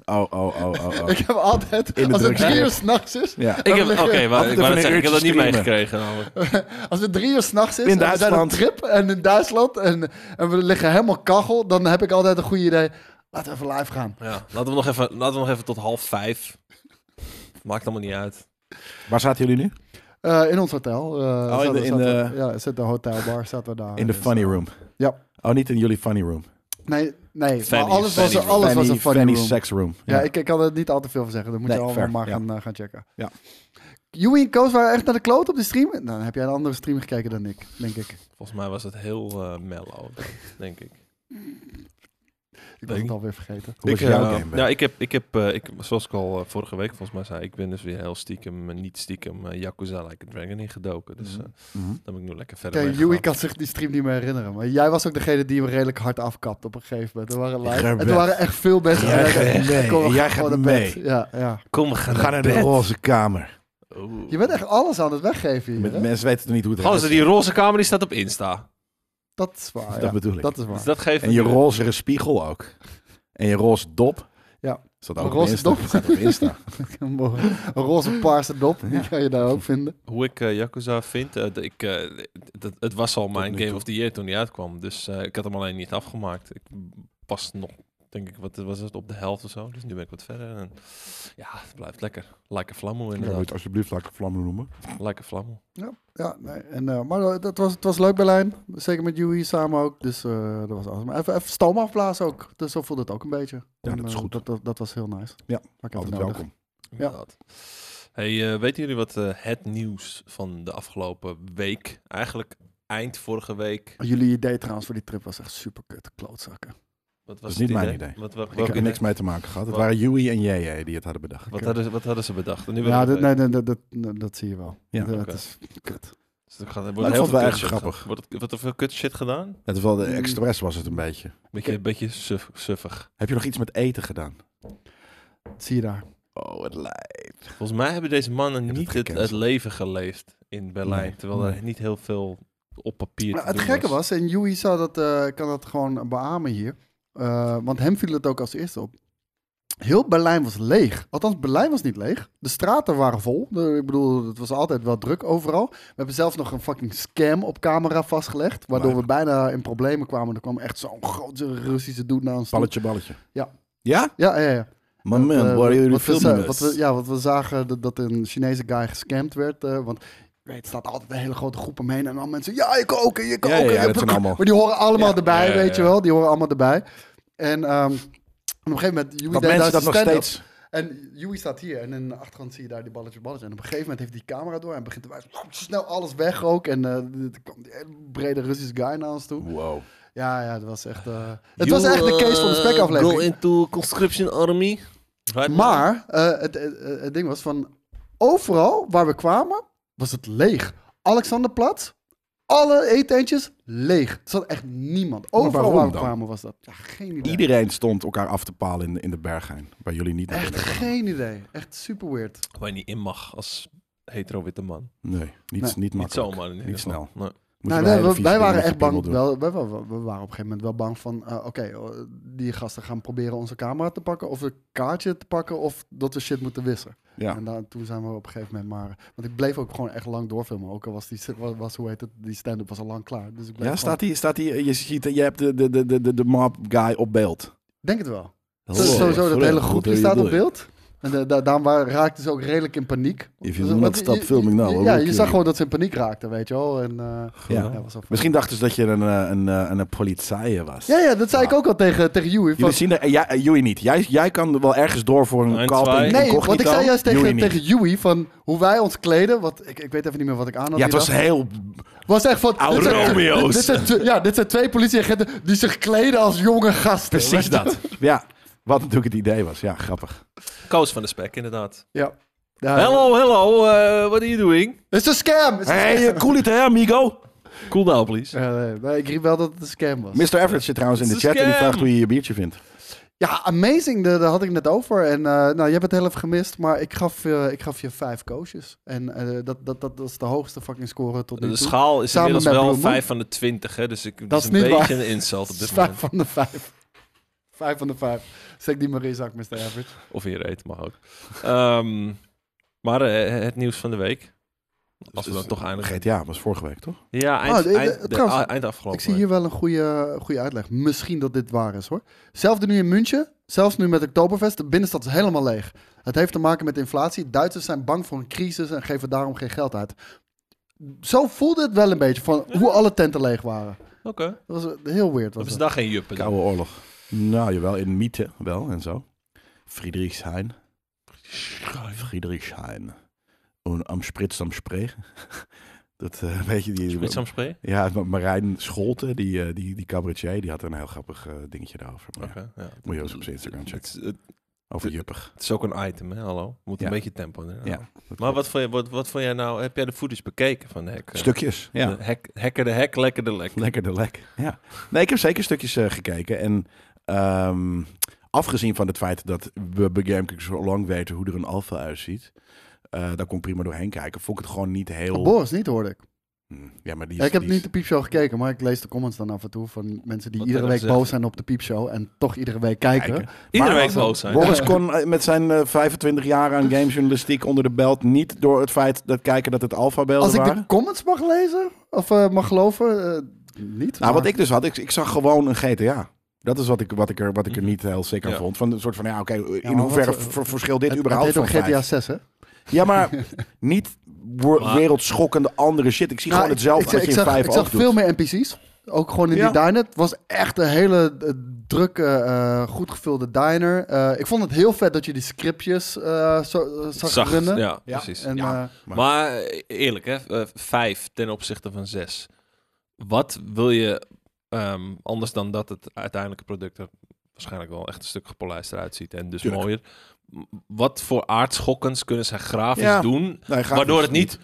Speaker 2: Oh, oh, oh, oh, oh.
Speaker 3: Ik heb altijd,
Speaker 2: In de
Speaker 3: als het
Speaker 2: drugs,
Speaker 3: drie
Speaker 2: ja.
Speaker 3: uur s'nachts is...
Speaker 2: Ja.
Speaker 1: Ik
Speaker 3: Dan
Speaker 1: heb,
Speaker 3: liggen-
Speaker 1: oké,
Speaker 2: Af
Speaker 1: maar
Speaker 2: en
Speaker 1: ik wou
Speaker 2: toe van
Speaker 1: net
Speaker 2: een
Speaker 1: zeggen, ik heb dat niet
Speaker 2: uurtje streamen.
Speaker 1: meegekregen. namelijk.
Speaker 3: Als het drie uur s'nachts is,
Speaker 2: In
Speaker 3: en we zijn op
Speaker 2: Duitsland.
Speaker 3: trip en in Duitsland en, en we liggen helemaal kachel, dan heb ik altijd een goed idee. Laten we even live gaan.
Speaker 1: Ja, laten, we nog even, laten we nog even tot half vijf. Maakt allemaal niet uit.
Speaker 2: Waar zaten jullie nu?
Speaker 3: Eh, in ons hotel. eh,
Speaker 2: Oh, in
Speaker 3: zaten-
Speaker 2: de- in
Speaker 3: zaten- Ja, zit de hotelbar, zaten we daar. dus-
Speaker 2: In de funny room.
Speaker 3: Ja.
Speaker 2: Oh, niet in jullie funny room.
Speaker 3: Nee, nee
Speaker 1: Fanny-
Speaker 3: maar alles, was,
Speaker 1: Fanny-
Speaker 3: alles was een funny room.
Speaker 2: sex room.
Speaker 3: Ja, ik, ik kan er niet al te veel van zeggen. Dan moet
Speaker 2: Nee,
Speaker 3: je allemaal
Speaker 2: fair,
Speaker 3: maar
Speaker 2: ja.
Speaker 3: gaan, eh, gaan checken.
Speaker 2: Ja.
Speaker 3: Joey en Koos waren echt naar de kloot op de stream. Nou, dan heb jij een andere stream gekeken dan ik, denk ik.
Speaker 1: Volgens mij was het heel eh, mellow, dan, denk ik.
Speaker 3: Ik was
Speaker 1: Denk-
Speaker 3: het alweer vergeten.
Speaker 2: Hoe
Speaker 1: ik,
Speaker 2: was jouw
Speaker 1: eh,
Speaker 2: game? Ben?
Speaker 1: Ja, ik heb, ik heb eh, ik, zoals ik al eh, vorige week volgens mij zei, ik ben dus weer heel stiekem, eh, niet stiekem, eh, Yakuza Like a Dragon ingedoken. Dus eh
Speaker 2: Mhm.
Speaker 1: dan ben ik nu lekker verder
Speaker 3: Kijk,
Speaker 1: mee
Speaker 3: Joey
Speaker 1: gegaan.
Speaker 3: kan zich die stream niet meer herinneren. Maar jij was ook degene die hem redelijk hard afkapt op een gegeven moment. Er waren live. En
Speaker 2: Gewet.
Speaker 3: er waren echt veel mensen.
Speaker 2: Jij
Speaker 3: die
Speaker 2: gaat
Speaker 3: zeiden,
Speaker 2: mee.
Speaker 3: "Ik kom, we
Speaker 2: Jij
Speaker 3: gaan
Speaker 2: gaat
Speaker 3: gewoon naar bed."
Speaker 2: mee.
Speaker 3: Ja, ja.
Speaker 1: Kom, we gaan,
Speaker 2: We gaan naar de roze kamer.
Speaker 1: Oeh.
Speaker 3: Je bent echt alles aan het weggeven hier.
Speaker 2: Met
Speaker 3: hè?
Speaker 2: mensen weten toch niet hoe het
Speaker 1: Gozer, die roze kamer die staat op Insta.
Speaker 3: Dat is waar.
Speaker 2: Dat
Speaker 3: ja.
Speaker 2: bedoel ik.
Speaker 3: Dat is
Speaker 1: Dus
Speaker 3: waar.
Speaker 1: dat geeft
Speaker 2: En je
Speaker 1: natuurlijk-
Speaker 2: rozere spiegel ook. En je roze dop.
Speaker 3: Ja.
Speaker 2: Staat ook op
Speaker 3: Roze
Speaker 2: Insta.
Speaker 3: dop.
Speaker 2: Staat op [laughs] Insta.
Speaker 3: [laughs] Een roze paarse dop, die ga je daar ook vinden.
Speaker 1: hoe ik eh, Yakuza vind. eh, dat ik, eh, dat, het was al mijn
Speaker 2: nu
Speaker 1: Game
Speaker 2: toe.
Speaker 1: of the Year toen die uitkwam. Dus eh, ik had hem alleen niet afgemaakt. Ik pas nog, denk ik, wat was het, op de helft of zo. Dus nu ben ik wat verder. En, ja, het blijft lekker. Like a flammel
Speaker 2: Ja, moet je
Speaker 1: inderdaad.
Speaker 2: het alsjeblieft lekker vlammen noemen.
Speaker 1: Like a flammel.
Speaker 3: Ja, nee. En, eh, maar dat was, het was leuk Berlijn. Zeker met Joey samen ook. Dus eh, dat was awesome. Even, even stoom afblazen ook. Dus zo voelde het ook een beetje.
Speaker 2: Ja,
Speaker 3: En,
Speaker 2: dat is
Speaker 3: eh,
Speaker 2: goed.
Speaker 3: Dat, dat, dat was heel nice.
Speaker 2: Ja,
Speaker 3: Maar ik heb het
Speaker 2: Altijd
Speaker 3: nodig.
Speaker 2: welkom.
Speaker 1: Inderdaad. Hey, eh, weten jullie wat eh, het nieuws van de afgelopen week, eigenlijk eind vorige week,
Speaker 3: Jullie idee trouwens voor die trip was echt super kut. Klootzakken.
Speaker 1: wat was
Speaker 2: is
Speaker 1: het
Speaker 2: niet mijn idee.
Speaker 1: Wat, wat,
Speaker 2: Ik
Speaker 1: welk
Speaker 2: heb er niks
Speaker 1: idee?
Speaker 2: mee te maken gehad. Het
Speaker 1: Wat?
Speaker 2: waren Yui en JJ die het hadden bedacht.
Speaker 1: Wat hadden, ze, wat hadden ze bedacht? En nu wil
Speaker 3: Ja, dat,
Speaker 1: ik
Speaker 3: nee, nee, dat, dat, dat- dat zie je wel.
Speaker 2: eh, Ja.
Speaker 3: dat
Speaker 1: Oké.
Speaker 3: is kut.
Speaker 1: Dus er gaat- er wordt
Speaker 2: ik
Speaker 1: heel veel
Speaker 2: vond Nou, het wel
Speaker 1: kut
Speaker 2: erg
Speaker 1: shit
Speaker 2: grappig.
Speaker 1: ge- Wordt, wordt er veel kut shit gedaan?
Speaker 2: Het is wel de express was het een beetje.
Speaker 1: Beetje, beetje suf, suffig.
Speaker 2: Heb je nog iets met eten gedaan?
Speaker 3: Dat zie je daar.
Speaker 2: Oh, het lijkt.
Speaker 1: Volgens mij hebben deze mannen
Speaker 2: hebt het
Speaker 1: niet het, het
Speaker 2: gecanceld.
Speaker 1: leven geleefd in Berlijn.
Speaker 2: Nee,
Speaker 1: terwijl
Speaker 2: nee.
Speaker 1: er niet heel veel op papier
Speaker 3: Maar
Speaker 1: te
Speaker 3: het
Speaker 1: doen
Speaker 3: gekke was, en Joey zou dat, eh, kan dat gewoon beamen hier. eh, want hem viel het ook als eerste op. Heel Berlijn was leeg. Althans, Berlijn was niet leeg. De straten waren vol. De- ik bedoel, het was altijd wel druk overal. We hebben zelfs nog een fucking scam op camera vastgelegd. Waardoor we bijna in problemen kwamen. Er kwam echt zo'n grote Russische doet naar ons toe.
Speaker 2: Balletje, balletje.
Speaker 3: Ja.
Speaker 2: Ja?
Speaker 3: Ja, ja, ja.
Speaker 2: Man, man,
Speaker 3: Eh,
Speaker 2: waar jullie
Speaker 3: wat we
Speaker 2: filmen
Speaker 3: za- wat we, Ja, wat we zagen dat, dat een Chinese guy gescamd werd. eh, want je weet, er staat altijd een hele grote groep omheen. En dan mensen, ja, je koken, je
Speaker 2: Ja,
Speaker 3: koken.
Speaker 2: ja, ja,
Speaker 3: je-
Speaker 2: dat zijn allemaal.
Speaker 3: Maar die horen allemaal
Speaker 1: Ja.
Speaker 3: erbij,
Speaker 1: Ja, ja,
Speaker 3: weet je
Speaker 1: ja.
Speaker 3: wel. Die horen allemaal erbij. En ehm, op een gegeven moment... Joey
Speaker 2: Dat
Speaker 3: deed
Speaker 2: mensen
Speaker 3: daar
Speaker 2: dat nog
Speaker 3: zijn stand-up.
Speaker 2: steeds.
Speaker 3: En Joey staat hier. En in de achtergrond zie je daar die balletje balletje. En op een gegeven moment heeft die camera door. En begint te wijzen, "Lap, snel alles weg ook. En eh, er kwam die hele brede Russische guy naar ons toe.
Speaker 2: Wow.
Speaker 3: Ja, ja, dat was echt... eh, het was echt de case
Speaker 2: eh,
Speaker 3: van de spekaflevering.
Speaker 1: into conscription army.
Speaker 3: Maar eh, het, het, het ding was van overal waar we kwamen was het leeg. Alexanderplatz, alle eetentjes leeg. Er zat echt niemand. Overal
Speaker 2: waarom
Speaker 3: waar we
Speaker 2: dan?
Speaker 3: kwamen was dat. Ja, geen idee.
Speaker 2: Iedereen stond elkaar af te palen in, de- in de berghein. Waar jullie niet naar
Speaker 3: Echt
Speaker 2: binnen kwamen.
Speaker 3: geen idee. Echt super weird.
Speaker 1: Waar je niet in mag als hetero witte man.
Speaker 2: Nee, niet,
Speaker 3: Nee.
Speaker 2: niet
Speaker 1: Niet
Speaker 2: makkelijk.
Speaker 1: zomaar. In ieder
Speaker 2: Niet
Speaker 1: geval.
Speaker 2: snel.
Speaker 1: Nee.
Speaker 2: Moeten wij
Speaker 3: Nou, nee,
Speaker 2: hele
Speaker 3: we-
Speaker 2: vieze
Speaker 3: wij
Speaker 2: dingen
Speaker 3: waren
Speaker 2: met
Speaker 3: echt
Speaker 2: je piemel
Speaker 3: bang.
Speaker 2: doen.
Speaker 3: Wel, we, we- we- we waren op een gegeven moment wel bang van... eh, Oké, eh, die gasten gaan proberen onze camera te pakken... of een kaartje te pakken of dat we shit moeten wissen.
Speaker 2: Ja.
Speaker 3: En daar, toen zijn we op een gegeven moment maar... Want ik bleef ook gewoon echt lang doorfilmen. Ook al was die, was, was- hoe heet het, die stand-up was al lang klaar. Dus ik bleef
Speaker 2: Ja,
Speaker 3: gewoon-
Speaker 2: staat hier, staat hier, je, ziet, je hebt de, de, de, de, de mob guy op beeld.
Speaker 3: Denk het wel.
Speaker 2: Dat
Speaker 3: Sowieso dat hele groepje staat op beeld. En eh, da- daarom wa- raakten ze ook redelijk in paniek.
Speaker 2: If you
Speaker 3: Dus,
Speaker 2: will not
Speaker 3: want
Speaker 2: stop
Speaker 3: je-
Speaker 2: filming now, I
Speaker 3: je-
Speaker 2: will
Speaker 3: Ja, je
Speaker 2: kill
Speaker 3: zag
Speaker 2: you.
Speaker 3: gewoon dat ze in paniek raakten, weet je wel. En, eh,
Speaker 1: Ja.
Speaker 3: ja, was al-
Speaker 2: Misschien dachten ze dat je een, eh, een, eh, een politie was.
Speaker 3: ja, ja, dat zei ik ook al tegen, tegen Joey. van-
Speaker 2: Jullie zien er, eh, jij, eh, Joey niet. Jij, jij kan wel ergens door voor een
Speaker 1: Eén,
Speaker 2: kalf
Speaker 1: twee.
Speaker 2: in
Speaker 1: Nee,
Speaker 3: Nee,
Speaker 2: Eh, incognito.
Speaker 3: want ik zei juist
Speaker 2: Joey
Speaker 3: tegen,
Speaker 2: niet.
Speaker 3: tegen Joey van hoe wij ons kleden. Wat, ik, ik weet even niet meer wat ik aan had.
Speaker 2: Ja, het
Speaker 3: die
Speaker 2: was
Speaker 3: dag.
Speaker 2: heel...
Speaker 3: was echt van...
Speaker 2: Oude
Speaker 3: dit zijn-
Speaker 1: Romeo's.
Speaker 3: dit- dit zijn tw- ja, dit zijn twee politieagenten die zich kleden als jonge gasten. Weet
Speaker 2: Precies
Speaker 3: je?
Speaker 2: dat. Ja, wat natuurlijk het idee was. Ja, grappig.
Speaker 1: Koos van de spek, inderdaad.
Speaker 3: Ja. Ja.
Speaker 1: Hello, hello, eh, what are you doing?
Speaker 3: Het is een scam! Het is een
Speaker 2: Hey, eh, cool it, hè, amigo?
Speaker 1: Cool down, please.
Speaker 3: Ja, nee, nee, ik riep wel dat het een scam was.
Speaker 2: Mr. Everett zit trouwens in de
Speaker 1: Het is
Speaker 2: chat en die
Speaker 1: scam.
Speaker 2: vraagt hoe je je biertje vindt.
Speaker 3: Ja, amazing, daar daar had ik net over. En eh, nou, je hebt het heel even gemist, maar ik gaf, eh, ik gaf je vijf coaches. En eh, dat, dat, dat, dat is de hoogste fucking score tot nu
Speaker 1: De
Speaker 3: toe.
Speaker 1: schaal is
Speaker 3: Samen
Speaker 1: inmiddels
Speaker 3: met
Speaker 1: wel
Speaker 3: Blue Moon.
Speaker 1: 5 van de 20, hè, dus ik, dat,
Speaker 3: Dat
Speaker 1: is
Speaker 3: is
Speaker 1: een
Speaker 3: niet
Speaker 1: beetje
Speaker 3: waar.
Speaker 1: een insult op dit
Speaker 3: Vijf
Speaker 1: moment.
Speaker 3: van de vijf. Vijf van de vijf. Steek die maar in je zak, Mr. Average.
Speaker 1: Of in je reet, mag ook. Ehm, maar eh, het nieuws van de week. Als we
Speaker 2: Dus-
Speaker 1: dan toch eindigen.
Speaker 2: GTA was vorige week, toch?
Speaker 1: Ja, eind,
Speaker 3: Oh, de- de-
Speaker 1: eind, de-
Speaker 3: trouwens,
Speaker 1: a- eind afgelopen
Speaker 3: Ik zie hier wel een goede, goede uitleg. Misschien dat dit waar is hoor. Zelfde nu in München, zelfs nu met Oktoberfest, de binnenstad is helemaal leeg. Het heeft te maken met inflatie. Duitsers zijn bang voor een crisis en geven daarom geen geld uit. Zo voelde het wel een beetje van hoe alle tenten leeg waren.
Speaker 1: week. Oké. Dan
Speaker 3: Dat was heel weird.
Speaker 1: hebben
Speaker 3: Was
Speaker 1: ze
Speaker 3: dat.
Speaker 1: daar geen juppen. dan.
Speaker 2: Koude oorlog. Nou, jawel, in Miete wel en zo. Friedrichshain. Friedrichshain. En am Spritz am Spree. [laughs] Dat eh, weet je die...
Speaker 1: Spits aan spree?
Speaker 2: Ja, maar Marijn Scholte, die, eh, die, die cabaretier, die had een heel grappig eh, dingetje daarover. Maar
Speaker 1: Oké, ja.
Speaker 2: Moet je eens op zijn Instagram
Speaker 1: Het
Speaker 2: checken.
Speaker 1: is, het,
Speaker 2: Over juppig.
Speaker 1: het is ook een item, hè? Hallo. Moet
Speaker 2: Ja.
Speaker 1: een beetje tempo. in, hallo.
Speaker 2: Ja, dat
Speaker 1: Maar
Speaker 2: klopt.
Speaker 1: wat vond, je, wat, wat vond jij nou? Heb jij de footage bekeken van de hek? eh?
Speaker 2: Stukjes, ja.
Speaker 1: De hek, hekker de hek, lekker de lek.
Speaker 2: Lekker de lek. Ja. Nee, ik heb zeker stukjes eh, gekeken. En ehm, afgezien van het feit dat we bij Gamecock zo lang weten hoe er een alfa uitziet. eh daar kon ik prima doorheen kijken. Vond ik het gewoon niet heel...
Speaker 3: Boris niet hoorde ik.
Speaker 2: Hm, Ja, maar die
Speaker 3: Oh, Ja,
Speaker 2: is-
Speaker 3: ik heb
Speaker 2: die is-
Speaker 3: niet de piepshow gekeken, maar ik lees de comments dan af en toe van mensen die
Speaker 1: Wat
Speaker 3: iedere
Speaker 1: hebben
Speaker 3: week
Speaker 1: ze
Speaker 3: boos
Speaker 1: gezegd?
Speaker 3: zijn op de piepshow en toch iedere week kijken.
Speaker 2: Kijken.
Speaker 1: Iedere
Speaker 2: Maar
Speaker 1: week
Speaker 2: als het-
Speaker 1: boos zijn.
Speaker 2: Boris kon eh, met zijn eh, 25 jaar aan gamejournalistiek onder de belt niet door het feit dat kijken dat het alfa-beelden
Speaker 3: Als ik
Speaker 2: waren.
Speaker 3: de comments mag lezen of eh, mag geloven, eh, niet.
Speaker 2: Nou,
Speaker 3: maar-
Speaker 2: wat ik dus had, ik, ik zag gewoon een GTA. Dat is wat ik, wat ik, er, wat ik er niet heel sick aan
Speaker 1: Ja.
Speaker 2: vond. Van een soort van, ja, oké, in
Speaker 3: Mhm. maar
Speaker 2: hoeverre
Speaker 3: wat- eh,
Speaker 2: ver- verschilt dit
Speaker 3: Het-
Speaker 2: überhaupt
Speaker 3: het heet
Speaker 2: van
Speaker 3: ook
Speaker 2: GTA
Speaker 3: GTA 6, hè?
Speaker 2: Ja, maar
Speaker 3: [laughs]
Speaker 2: niet wo-
Speaker 1: Maar-
Speaker 2: wereldschokkende andere shit. Ik zie
Speaker 3: Nou,
Speaker 2: gewoon hetzelfde
Speaker 3: ik,
Speaker 2: wat je
Speaker 3: ik
Speaker 2: in
Speaker 3: zag,
Speaker 2: vijf
Speaker 3: ik zag
Speaker 2: ook doet.
Speaker 3: veel meer NPC's. Ook gewoon in
Speaker 2: Ja.
Speaker 3: die diner. Het was echt een hele eh, drukke, eh, goed gevulde diner. Eh, ik vond het heel vet dat je die scriptjes eh, zo, eh, zag
Speaker 1: Zacht,
Speaker 3: runnen.
Speaker 1: Ja,
Speaker 2: Ja.
Speaker 1: precies.
Speaker 3: En,
Speaker 2: Ja.
Speaker 3: eh,
Speaker 1: maar, eh, eerlijk, hè? eh, vijf ten opzichte van zes. Wat wil je ehm, anders dan dat het uiteindelijke product er waarschijnlijk wel echt een stuk gepolijster uitziet en dus
Speaker 2: Tuurlijk.
Speaker 1: mooier. M- Wat voor aardschokkens kunnen zij grafisch
Speaker 2: Ja.
Speaker 1: doen,
Speaker 2: Nee, graag
Speaker 1: waardoor het niet...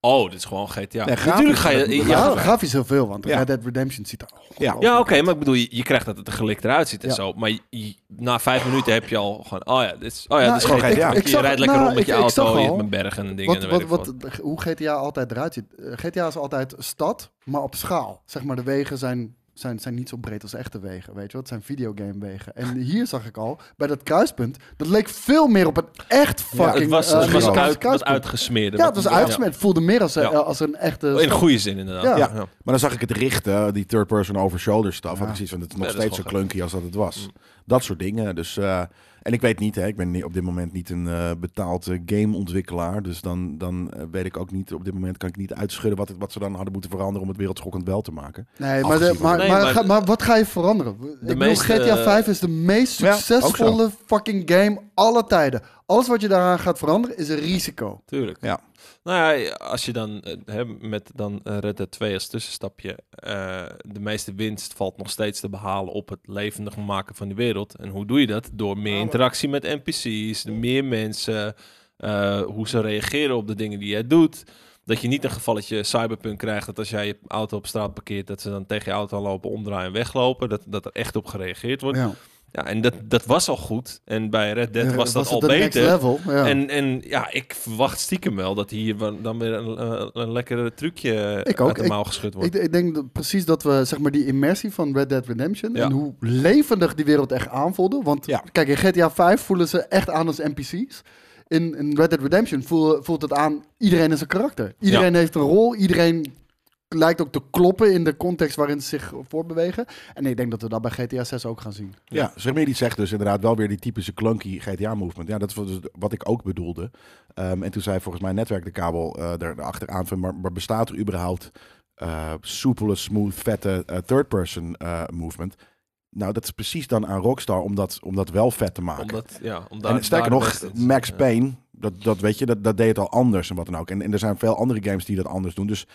Speaker 1: Oh, dit is gewoon GTA.
Speaker 2: Nee, grafisch
Speaker 1: Natuurlijk ga
Speaker 2: gaat
Speaker 1: je...
Speaker 2: het
Speaker 1: ja,
Speaker 2: moeten
Speaker 3: ja,
Speaker 2: zijn.
Speaker 3: grafisch heel veel, want
Speaker 2: Ja.
Speaker 3: Red Dead Redemption ziet er...
Speaker 2: Ja.
Speaker 1: Ja, oké, maar ik bedoel, je, je krijgt dat het er gelikt eruit ziet en
Speaker 3: Ja.
Speaker 1: zo. Maar je- je- na vijf minuten heb je al gewoon, oh ja, dit is, oh ja,
Speaker 3: Nou,
Speaker 1: dit is gewoon
Speaker 2: ik-
Speaker 1: GTA.
Speaker 2: ik-
Speaker 3: ik
Speaker 1: je
Speaker 3: zag-
Speaker 1: rijdt lekker
Speaker 3: nou,
Speaker 1: rond met je
Speaker 3: ik- ik zag
Speaker 1: auto, je
Speaker 3: al
Speaker 1: hebt een berg en een ding en
Speaker 3: Wat,
Speaker 1: dan
Speaker 3: wat,
Speaker 1: weet ik
Speaker 3: wat, hoe GTA altijd eruit ziet. Eh, GTA is altijd stad, maar op schaal. Zeg maar, de wegen zijn, zijn, zijn niet zo breed als echte wegen, weet je wel. Het zijn videogamewegen. En hier zag ik al, bij dat kruispunt, dat leek veel meer op een echt
Speaker 2: Ja,
Speaker 3: fucking...
Speaker 1: Het was,
Speaker 3: eh,
Speaker 1: het was
Speaker 2: een
Speaker 3: Amerikaans
Speaker 1: uit, wat
Speaker 3: kruispunt.
Speaker 1: uitgesmeerd.
Speaker 3: Ja, het was uitgesmeerd. Het voelde meer als, eh,
Speaker 1: Ja.
Speaker 3: als een echte...
Speaker 1: Ja. In goede zin inderdaad.
Speaker 3: Ja.
Speaker 2: Ja. Maar dan zag ik het richten, die third-person over-shoulder stuff.
Speaker 3: Ja.
Speaker 2: Had ik zoiets van, het is nog
Speaker 1: Ja, dat is
Speaker 2: steeds zo
Speaker 1: gewoon Mm.
Speaker 2: clunky als dat het was. Dat soort dingen. Dus, eh, en ik weet niet, hè, ik ben ni- op dit moment niet een eh, betaald eh, gameontwikkelaar. Dus dan, dan eh, weet ik ook niet, op dit moment kan ik niet uitschudden... wat, het, wat ze dan hadden moeten veranderen om het wereldschokkend wel te maken.
Speaker 3: Nee, maar, de-
Speaker 2: Afgezien van-
Speaker 3: maar,
Speaker 1: Nee,
Speaker 3: maar,
Speaker 1: maar-
Speaker 3: ga- maar wat ga je veranderen? ik bedoel,
Speaker 1: meeste,
Speaker 3: GTA
Speaker 1: eh,
Speaker 3: 5 is de meest
Speaker 2: Ja, ook
Speaker 3: succesvolle fucking game alle tijden. Alles wat je daaraan gaat veranderen is een risico.
Speaker 1: Tuurlijk.
Speaker 2: Ja.
Speaker 1: Nou ja, als je dan eh, hè, met dan eh, Red Dead 2 als tussenstapje, eh, de meeste winst valt nog steeds te behalen op het levendig maken van de wereld. En hoe doe je dat? Door meer interactie met NPC's, meer mensen, eh, hoe ze reageren op de dingen die jij doet. Dat je niet een gevalletje cyberpunk krijgt dat als jij je auto op straat parkeert, dat ze dan tegen je auto lopen, omdraaien en weglopen. Dat, dat er echt op gereageerd wordt. Ja,
Speaker 3: Ja.
Speaker 1: en dat, dat was al goed. En bij Red Dead
Speaker 3: Eh,
Speaker 1: was dat al
Speaker 3: het de
Speaker 1: beter.
Speaker 3: Next level? Ja.
Speaker 1: En, en ja, ik verwacht stiekem wel dat hier wa- dan weer een, eh, een lekker trucje
Speaker 3: Ik ook.
Speaker 1: uit de
Speaker 3: Ik-
Speaker 1: mouw geschud wordt.
Speaker 3: ik, ik denk dat precies dat we zeg maar die immersie van Red Dead Redemption
Speaker 1: Ja.
Speaker 3: en hoe levendig die wereld echt aanvoelde. Want
Speaker 2: Ja.
Speaker 3: kijk, in GTA 5 voelen ze echt aan als NPC's. In, in Red Dead Redemption voel- voelt het aan iedereen is een karakter. Iedereen heeft een rol, iedereen lijkt ook te kloppen in de context waarin ze zich voortbewegen. En ik denk dat we dat bij GTA 6 ook gaan zien.
Speaker 2: Ja, zeg maar, die zegt dus inderdaad wel weer die typische clunky GTA-movement. Ja, dat is dus wat ik ook bedoelde. Ehm, en toen zei volgens mij netwerk de kabel eh er- erachteraan van, maar, maar bestaat er überhaupt eh, soepele, smooth, vette eh, third-person eh, movement? Nou, dat is precies dan aan Rockstar om dat, om dat wel vet te maken.
Speaker 1: Omdat, ja, omdat
Speaker 2: en sterker nog, Max Payne, dat, dat weet je, dat, dat deed het al anders en wat dan ook. En, en er zijn veel andere games die dat anders doen. Dus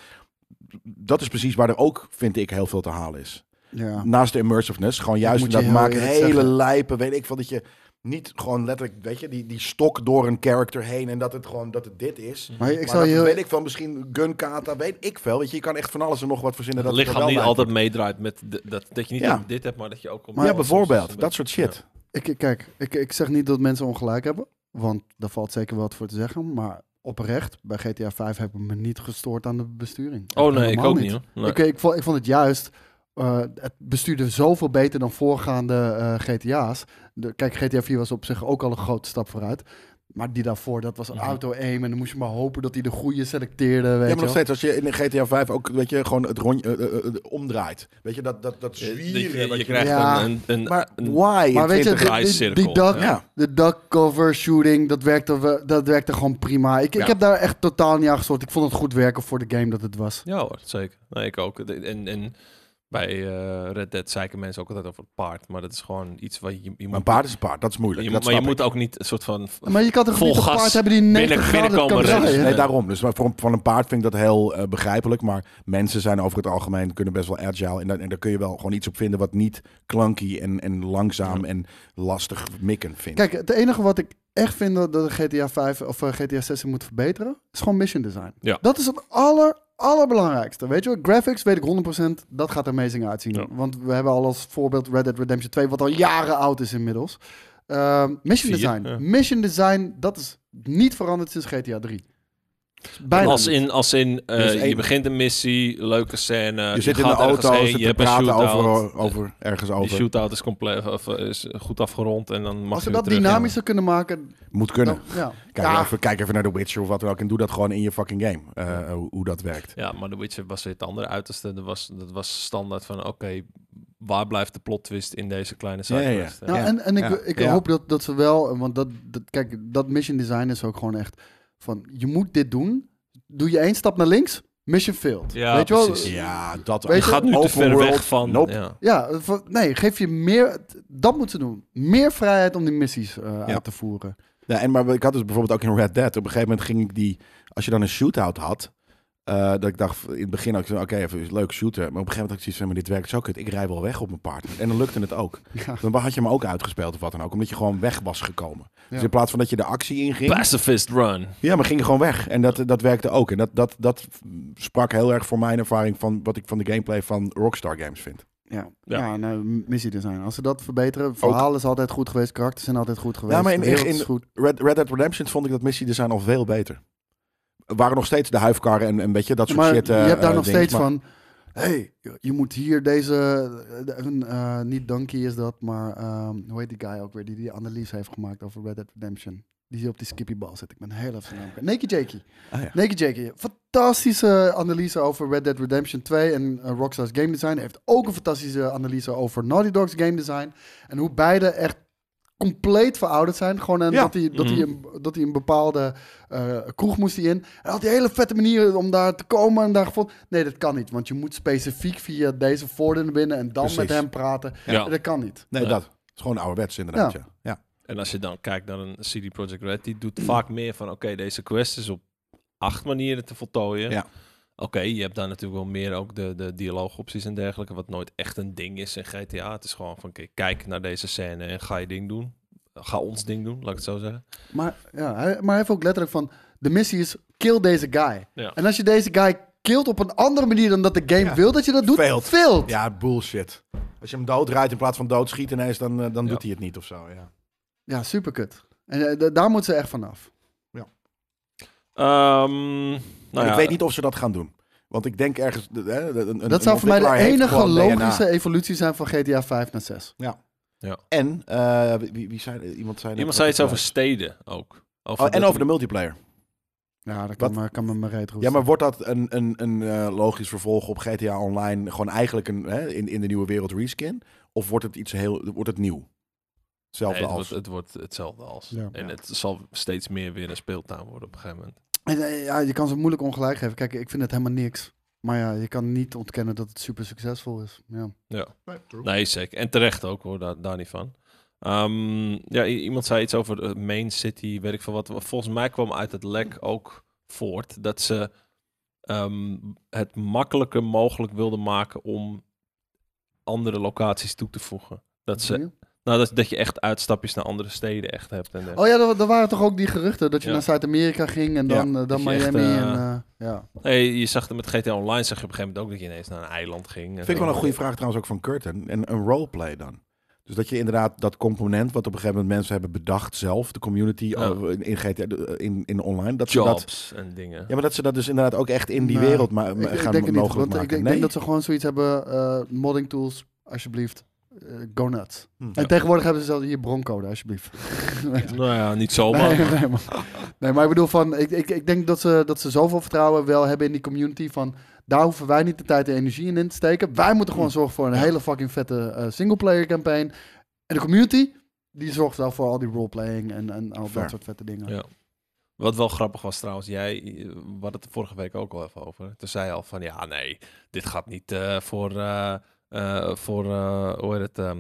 Speaker 2: dat is precies waar er ook, vind ik, heel veel te halen is
Speaker 3: Ja.
Speaker 2: naast de immersiveness, gewoon
Speaker 3: moet
Speaker 2: juist
Speaker 3: je
Speaker 2: dat
Speaker 3: heel
Speaker 2: maken
Speaker 3: eerlijk
Speaker 2: hele
Speaker 3: zeggen.
Speaker 2: lijpen, weet ik van dat je niet gewoon letterlijk, weet je, die, die stok door een character heen en dat het gewoon dat het dit is.
Speaker 3: Maar ik
Speaker 2: maar
Speaker 3: zal
Speaker 2: dat
Speaker 3: je
Speaker 2: weet ik van misschien gunkata, weet ik veel. Weet je, je kan echt van alles en nog wat verzinnen.
Speaker 1: Het
Speaker 2: Dat
Speaker 1: lichaam
Speaker 2: wel
Speaker 1: niet
Speaker 2: bij-
Speaker 1: altijd meedraait met de- dat, dat je niet
Speaker 2: Ja.
Speaker 1: alleen dit hebt, maar dat je ook... om-
Speaker 2: Maar ja,
Speaker 1: soms
Speaker 2: bijvoorbeeld,
Speaker 1: een
Speaker 2: dat
Speaker 1: beetje-
Speaker 2: soort shit.
Speaker 3: Ik, ik- kijk, ik, ik zeg niet dat mensen ongelijk hebben, want daar valt zeker wel wat voor te zeggen. Maar oprecht, bij GTA 5 heb ik me niet gestoord aan de besturing.
Speaker 1: Ja. Oh nee, ik
Speaker 3: Helemaal
Speaker 1: ook niet hoor. Nee.
Speaker 3: Ik, ik, vond, ik vond het juist, eh, het bestuurde zoveel beter dan voorgaande eh, GTA's. De, kijk, GTA 4 was op zich ook al een grote stap vooruit. Maar die daarvoor, dat was een
Speaker 1: Mhm.
Speaker 3: auto-aim en dan moest je maar hopen dat hij de goede selecteerde, weet
Speaker 2: Ja,
Speaker 3: je
Speaker 2: maar
Speaker 3: wel.
Speaker 2: nog steeds, als je in een GTA 5 ook, weet je, gewoon het rondje eh, eh, eh, omdraait. Weet je, dat, dat, dat
Speaker 1: Eh, Je,
Speaker 2: zwieren.
Speaker 1: je, je
Speaker 2: wat je-
Speaker 1: krijgt
Speaker 3: Ja.
Speaker 1: een... een, een
Speaker 2: maar
Speaker 1: een-
Speaker 2: why?
Speaker 3: Maar weet je,
Speaker 1: twintig
Speaker 3: die- die,
Speaker 1: rijcirkel,
Speaker 3: die duck,
Speaker 2: ja.
Speaker 3: de duck cover shooting, dat werkte, we- dat werkte gewoon prima. Ik,
Speaker 1: Ja.
Speaker 3: ik heb daar echt totaal niet aan gestoord. Ik vond het goed werken voor de game dat het was.
Speaker 1: Ja hoor, zeker. Nee, ik ook. De- En, en bij eh, Red Dead zeiken mensen ook altijd over het paard, maar dat is gewoon iets wat je, je moet...
Speaker 2: Maar een paard is een paard, dat is
Speaker 1: je
Speaker 2: moeilijk.
Speaker 1: moet-
Speaker 2: dat
Speaker 1: maar je
Speaker 2: snap ik.
Speaker 1: moet ook niet een soort van...
Speaker 3: Maar je kan toch
Speaker 1: Vol
Speaker 3: niet een
Speaker 1: gas
Speaker 3: paard hebben die 90
Speaker 1: binnen-
Speaker 3: graden kan
Speaker 1: binnenkomen
Speaker 2: Ja,
Speaker 1: rennen.
Speaker 2: dus-
Speaker 1: Ja,
Speaker 3: draaien?
Speaker 1: ja.
Speaker 2: nee, daarom. Dus maar voor, van een paard vind ik dat heel eh, begrijpelijk. Maar mensen zijn over het algemeen kunnen best wel agile. En, dan- en daar kun je wel gewoon iets op vinden wat niet clunky en, en langzaam en lastig mikken vindt.
Speaker 3: Kijk, het enige wat ik echt vind dat dat GTA 5 of eh, GTA 6 moet verbeteren, is gewoon mission design.
Speaker 1: Ja.
Speaker 3: Dat is het aller, allerbelangrijkste. Weet je wel, graphics weet ik 100%, dat gaat er amazing uitzien.
Speaker 1: Ja.
Speaker 3: Want we hebben al als voorbeeld Red Dead Redemption 2, wat al jaren oud is inmiddels. Ehm, mission
Speaker 1: Vier,
Speaker 3: design.
Speaker 1: ja.
Speaker 3: Mission design, dat is niet veranderd sinds GTA 3. Bijna
Speaker 1: Als
Speaker 3: niet.
Speaker 1: in, als in eh,
Speaker 2: Dus
Speaker 1: je
Speaker 2: één-
Speaker 1: begint een missie, leuke scène,
Speaker 2: je,
Speaker 1: je
Speaker 2: zit in de
Speaker 1: gaat ergens
Speaker 2: auto,
Speaker 1: heen,
Speaker 2: zit
Speaker 1: je
Speaker 2: te
Speaker 1: hebt een
Speaker 2: praten
Speaker 1: shootout.
Speaker 2: over, over ergens
Speaker 1: Die
Speaker 2: over.
Speaker 1: shootout is, compleet, of, eh, is goed afgerond en dan mag
Speaker 3: Als
Speaker 1: je
Speaker 3: we
Speaker 1: weer
Speaker 3: dat
Speaker 1: terug.
Speaker 3: dynamischer kunnen maken,
Speaker 2: Moet kunnen.
Speaker 3: dan, ja.
Speaker 2: Kijk,
Speaker 3: Ja.
Speaker 2: even, kijk even naar The Witcher of wat dan ook. En doe dat gewoon in je fucking game. eh, hoe, hoe dat werkt.
Speaker 1: Ja, maar The Witcher was weer het andere uiterste. Dat was, dat was standaard van, oké, waar blijft de plot twist in deze kleine
Speaker 2: Ja, ja, ja.
Speaker 1: sidequest? Ja,
Speaker 3: Nou, en, en ik,
Speaker 2: Ja.
Speaker 3: ik
Speaker 2: Ja.
Speaker 3: hoop dat, dat ze wel, want dat, dat, kijk, dat mission design is ook gewoon echt van, je moet dit doen, doe je één stap naar links, mission failed.
Speaker 1: Ja,
Speaker 3: Weet je wel?
Speaker 1: precies.
Speaker 2: Ja, dat
Speaker 3: Weet
Speaker 1: Je
Speaker 3: je,
Speaker 1: gaat nu te
Speaker 2: open
Speaker 1: ver
Speaker 2: world,
Speaker 1: weg van...
Speaker 2: nope.
Speaker 1: Ja.
Speaker 3: Ja, van- nee, geef je meer, dat moeten ze doen. Meer vrijheid om die missies eh, uit te voeren.
Speaker 2: Ja, en maar ik had dus bijvoorbeeld ook in Red Dead. Op een gegeven moment ging ik die. Als je dan een shootout had. eh, dat ik dacht in het begin ook zo, oké, even een leuk shooter. Maar op een gegeven moment had ik zoiets van, maar dit werkt zo kut. Ik rij wel weg op mijn paard. En dan lukte het ook.
Speaker 3: Ja.
Speaker 2: Dan had je hem ook uitgespeeld of wat dan ook. Omdat je gewoon weg was gekomen.
Speaker 3: Ja.
Speaker 2: Dus in plaats van dat je de actie inging.
Speaker 1: Pacifist run.
Speaker 2: Ja, maar ging je gewoon weg. En dat, dat werkte ook. En dat, dat, dat sprak heel erg voor mijn ervaring van wat ik van de gameplay van Rockstar Games vind.
Speaker 3: Ja,
Speaker 1: Ja.
Speaker 3: ja. nou, missie design. Als ze dat verbeteren, verhaal is altijd goed geweest, karakters zijn altijd goed geweest.
Speaker 2: maar in-
Speaker 3: de wereld
Speaker 2: in-
Speaker 3: is goed.
Speaker 2: Red, Red Dead Redemption vond ik dat missiedesign al veel beter. Er waren nog steeds de huifkarren en, en weet je, dat soort
Speaker 3: maar
Speaker 2: shit. eh,
Speaker 3: je hebt daar
Speaker 2: eh,
Speaker 3: nog
Speaker 2: dingen.
Speaker 3: steeds
Speaker 2: Maar-
Speaker 3: van. hey, je- je moet hier deze. eh, een, eh, niet Donkey is dat, maar ehm, hoe heet die guy ook weer? Die die analyse heeft gemaakt over Red Dead Redemption. Die hier op die skippybal zit. Ik ben heel even zijn naam kwijt. Nakey Jakey.
Speaker 2: Ah, ja.
Speaker 3: Nakey Jakey. Fantastische analyse over Red Dead Redemption 2 en eh, Rockstar's game design. Heeft ook een fantastische analyse over Naughty Dog's game design. En hoe beide echt compleet verouderd zijn. Gewoon en
Speaker 2: Ja. Mhm.
Speaker 3: dat hij dat hij een, dat hij een bepaalde eh, kroeg moest hij in. En hij had die hele vette manieren om daar te komen en daar gevonden. Nee, dat kan niet, want je moet specifiek via deze voordeur naar binnen en dan
Speaker 2: Precies.
Speaker 3: met hem praten.
Speaker 1: Ja.
Speaker 3: Dat kan niet.
Speaker 2: Nee,
Speaker 1: Ja.
Speaker 2: dat. Het is gewoon ouderwets inderdaad, ja. ja.
Speaker 1: En als je dan kijkt naar een CD Projekt Red, die doet vaak meer van, oké, deze quest is op acht manieren te voltooien.
Speaker 2: Ja.
Speaker 1: Oké, je hebt daar natuurlijk wel meer ook de, de dialoogopties en dergelijke, wat nooit echt een ding is in GTA. Het is gewoon van, oké, kijk naar deze scène en ga je ding doen. Ga ons ding doen, laat ik het zo zeggen.
Speaker 3: Maar, ja, hij, maar hij heeft ook letterlijk van, de missie is kill deze guy.
Speaker 1: Ja.
Speaker 3: En als je deze guy killt op een andere manier dan dat de game
Speaker 2: Ja.
Speaker 3: wil dat je dat doet,
Speaker 2: Failed.
Speaker 3: failed.
Speaker 2: Ja, bullshit. Als je hem doodrijdt in plaats van doodschiet ineens, dan, eh, dan
Speaker 1: Ja.
Speaker 2: doet hij het niet of zo. Ja.
Speaker 3: Ja, super kut. En eh, da- daar moeten ze echt vanaf.
Speaker 1: Ehm, nou
Speaker 2: En
Speaker 1: ja,
Speaker 2: ik weet niet of ze dat gaan doen. Want ik denk ergens... eh, een- een, een
Speaker 3: dat zou voor mij
Speaker 2: ontwikkelaar
Speaker 3: de
Speaker 2: heeft
Speaker 3: enige
Speaker 2: gewoon DNA.
Speaker 3: logische evolutie zijn van GTA 5 naar 6.
Speaker 2: En, eh, wie, wie zei, iemand zei... net-
Speaker 1: iemand zei iets over steden ook. Over
Speaker 2: Oh, en
Speaker 1: dat-
Speaker 2: over de multiplayer.
Speaker 3: Ja, dat kan,
Speaker 2: Wat?
Speaker 3: me, kan me mijn reet goed.
Speaker 2: Ja, maar wordt dat een, een, een eh, logisch vervolg op GTA Online? Gewoon eigenlijk een, hè, in, in de nieuwe wereld reskin? Of wordt het iets heel, wordt het nieuw? Hetzelfde
Speaker 1: Nee, het,
Speaker 2: als.
Speaker 1: wordt, het wordt hetzelfde als.
Speaker 3: Ja.
Speaker 1: en
Speaker 2: Ja.
Speaker 1: het zal steeds meer weer een speeltuin worden op een gegeven moment.
Speaker 3: En, eh, ja, je kan ze moeilijk ongelijk geven. Kijk, ik vind het helemaal niks. Maar ja, je kan niet ontkennen dat het super succesvol is. Ja.
Speaker 1: Nee, zeker. En terecht ook hoor, daar, daar niet van. Ehm, ja, i- iemand zei iets over eh, Main City, weet ik veel wat. Volgens mij kwam uit het lek ook voort dat ze ehm, het makkelijker mogelijk wilden maken om andere locaties toe te voegen. Dat, ze,
Speaker 2: Mhm.
Speaker 1: nou, dat, dat je echt uitstapjes naar andere steden echt hebt. En dergelijke.
Speaker 3: Oh ja, er, er waren toch ook die geruchten dat je
Speaker 1: Ja.
Speaker 3: naar Zuid-Amerika ging en dan, eh,
Speaker 1: dat
Speaker 3: dan
Speaker 1: je
Speaker 3: Miami.
Speaker 1: echt, eh,
Speaker 3: en, eh, ja.
Speaker 2: Oh.
Speaker 1: Nee, je zag het met GTA Online, zag je op een gegeven moment ook dat je ineens naar een eiland ging.
Speaker 2: Vind ik wel een goede vraag trouwens ook van Curtin. En een roleplay dan. Dus dat je inderdaad dat component wat op een gegeven moment mensen hebben bedacht zelf, de community
Speaker 1: Ja.
Speaker 2: oh, in, in GTA, de- in, in online, dat ze dat,
Speaker 1: Jobs en dingen.
Speaker 2: ja, maar dat ze dat dus inderdaad ook echt in die
Speaker 3: Nee,
Speaker 2: wereld ma-
Speaker 3: Nou, Ik, ik
Speaker 2: gaan
Speaker 3: denk het niet,
Speaker 2: mogelijk
Speaker 3: want ik,
Speaker 2: maken.
Speaker 3: denk- ik
Speaker 2: nee?
Speaker 3: denk dat ze gewoon zoiets hebben. eh, modding tools, alsjeblieft. eh, go nuts.
Speaker 2: Hm.
Speaker 3: En tegenwoordig hebben ze zelf hier broncode, alsjeblieft.
Speaker 1: Nou ja, niet
Speaker 2: Oh,
Speaker 1: zomaar.
Speaker 3: [laughs]
Speaker 2: [laughs]
Speaker 3: Nee, nee, maar, nee, maar ik bedoel van, ik, ik, ik denk dat ze, dat ze zoveel vertrouwen wel hebben in die community van, daar hoeven wij niet de tijd en energie in, in te steken. Wij moeten
Speaker 2: Hm.
Speaker 3: gewoon zorgen voor een hele fucking vette eh, singleplayer campaign. En de community, die zorgt wel voor al die roleplaying en, en al
Speaker 2: Fair.
Speaker 3: dat soort vette dingen.
Speaker 1: Ja. Wat wel grappig was trouwens, jij eh, we hadden het er vorige week ook al even over. Toen zei je al van, ja nee, dit gaat niet eh, voor, eh, eh, voor eh, hoe heet het, ehm,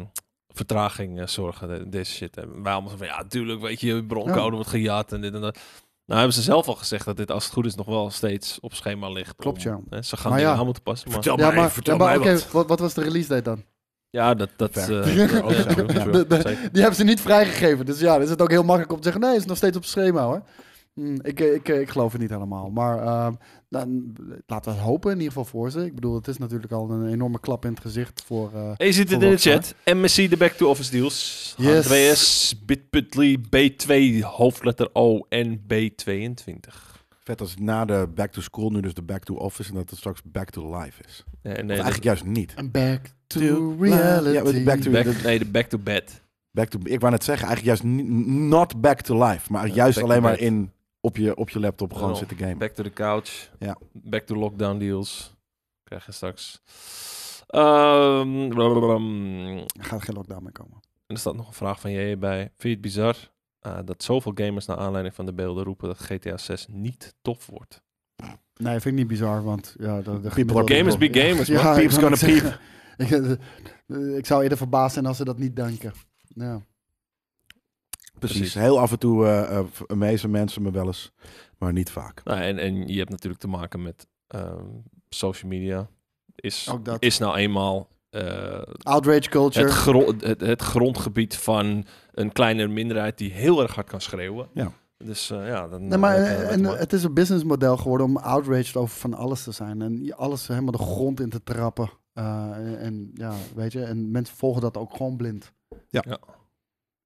Speaker 1: vertraging eh, zorgen, de- deze shit. En wij allemaal zo van, ja tuurlijk, weet je, broncode
Speaker 3: Ja.
Speaker 1: wordt gejat en dit en dat. Nou hebben ze zelf al gezegd dat dit als het goed is nog wel steeds op schema ligt.
Speaker 3: Klopt,
Speaker 1: om-
Speaker 3: ja.
Speaker 1: hè, ze gaan
Speaker 3: Maar
Speaker 1: dingen
Speaker 3: ja.
Speaker 1: aan moeten passen. Maar,
Speaker 2: Vertel
Speaker 3: Ja,
Speaker 2: mij,
Speaker 3: maar,
Speaker 2: Oh, vertel
Speaker 3: ja, maar
Speaker 2: mij
Speaker 3: oké,
Speaker 2: wat.
Speaker 3: wat, wat was de release date dan?
Speaker 1: ja, dat, dat
Speaker 2: Fair.
Speaker 3: [laughs]
Speaker 1: eh,
Speaker 2: Ja,
Speaker 1: ja,
Speaker 2: ook zo.
Speaker 1: true,
Speaker 2: Ja.
Speaker 1: true,
Speaker 3: De- de-
Speaker 1: zeker.
Speaker 3: Die hebben ze niet vrijgegeven, dus ja, dan is het ook heel makkelijk om te zeggen, nee, is nog steeds op schema hoor. Hm, ik, ik, ik geloof het niet helemaal, maar ehm, dan, laten we het hopen in ieder geval voor ze. Ik bedoel, het is natuurlijk al een enorme klap in het gezicht voor... eh,
Speaker 1: Hey, je ziet het in de chat. MSC, de back to office deals.
Speaker 3: Yes.
Speaker 1: H2S, bit.ly, B2, hoofdletter O en B22.
Speaker 2: Vet als na de back to school nu dus de back to office en dat het straks back to life is. Of
Speaker 1: Ja, Eh, Nee, de-
Speaker 2: eigenlijk juist niet.
Speaker 3: En back to,
Speaker 2: To
Speaker 3: reality.
Speaker 2: life. Ja, maar back
Speaker 1: de
Speaker 2: to-
Speaker 1: back, nee, de back to bed.
Speaker 2: Back to, ik wou net zeggen, eigenlijk juist niet, not back to life, maar
Speaker 1: Ja,
Speaker 2: juist
Speaker 1: back
Speaker 2: alleen
Speaker 1: to
Speaker 2: maar
Speaker 1: bed.
Speaker 2: in, op, je, op je laptop gewoon
Speaker 1: Daarom.
Speaker 2: zitten gamen.
Speaker 1: Back to the couch.
Speaker 2: Ja.
Speaker 1: Back to lockdown deals. Krijg je straks. Ehm, blablablam. en
Speaker 3: Er gaat geen lockdown meer komen.
Speaker 1: er staat nog een vraag van jij bij. Vind je het bizar eh, dat zoveel gamers naar aanleiding van de beelden roepen dat GTA 6 niet tof wordt?
Speaker 3: Nee, vind ik niet bizar, want... Ja, de, de
Speaker 2: are gamers
Speaker 1: be gamers,
Speaker 3: Ja,
Speaker 2: man.
Speaker 3: ik
Speaker 2: Peeps
Speaker 3: wou
Speaker 2: gonna
Speaker 3: net zeggen. ik, eh, [laughs] ik zou eerder verbaasd zijn als ze dat niet denken. Ja.
Speaker 2: Precies.
Speaker 1: Precies.
Speaker 2: Heel af en toe eh eh, amazen mensen me wel eens, maar niet vaak.
Speaker 1: Nou, en, en je hebt natuurlijk te maken met ehm, social media. Is,
Speaker 3: Ook dat.
Speaker 1: is nou eenmaal eh,
Speaker 3: Outrage culture.
Speaker 1: het, gro- het, het grondgebied van een kleine minderheid die heel erg hard kan schreeuwen.
Speaker 2: Ja.
Speaker 1: Dus eh, ja, dan.
Speaker 3: Nee, maar
Speaker 1: dan heb je
Speaker 3: eh,
Speaker 1: dat
Speaker 3: en,
Speaker 1: te maken.
Speaker 3: het is een businessmodel geworden om outraged over van alles te zijn. En je alles helemaal de grond in te trappen. Eh, en, en ja, weet je, en mensen volgen dat ook gewoon blind.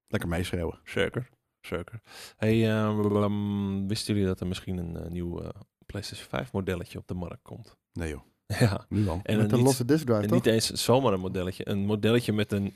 Speaker 2: Lekker meeschreeuwen.
Speaker 1: Zeker, zeker. Hey, eh, blablablam, wisten jullie dat er misschien een eh, nieuw eh, PlayStation 5 modelletje op de markt komt? [laughs]
Speaker 2: Nee joh,
Speaker 1: ja.
Speaker 2: nu dan.
Speaker 1: En
Speaker 3: met
Speaker 1: dan
Speaker 3: een
Speaker 1: niet,
Speaker 3: losse disk drive,
Speaker 1: en
Speaker 3: toch?
Speaker 1: niet eens zomaar een modelletje. Een modelletje met een,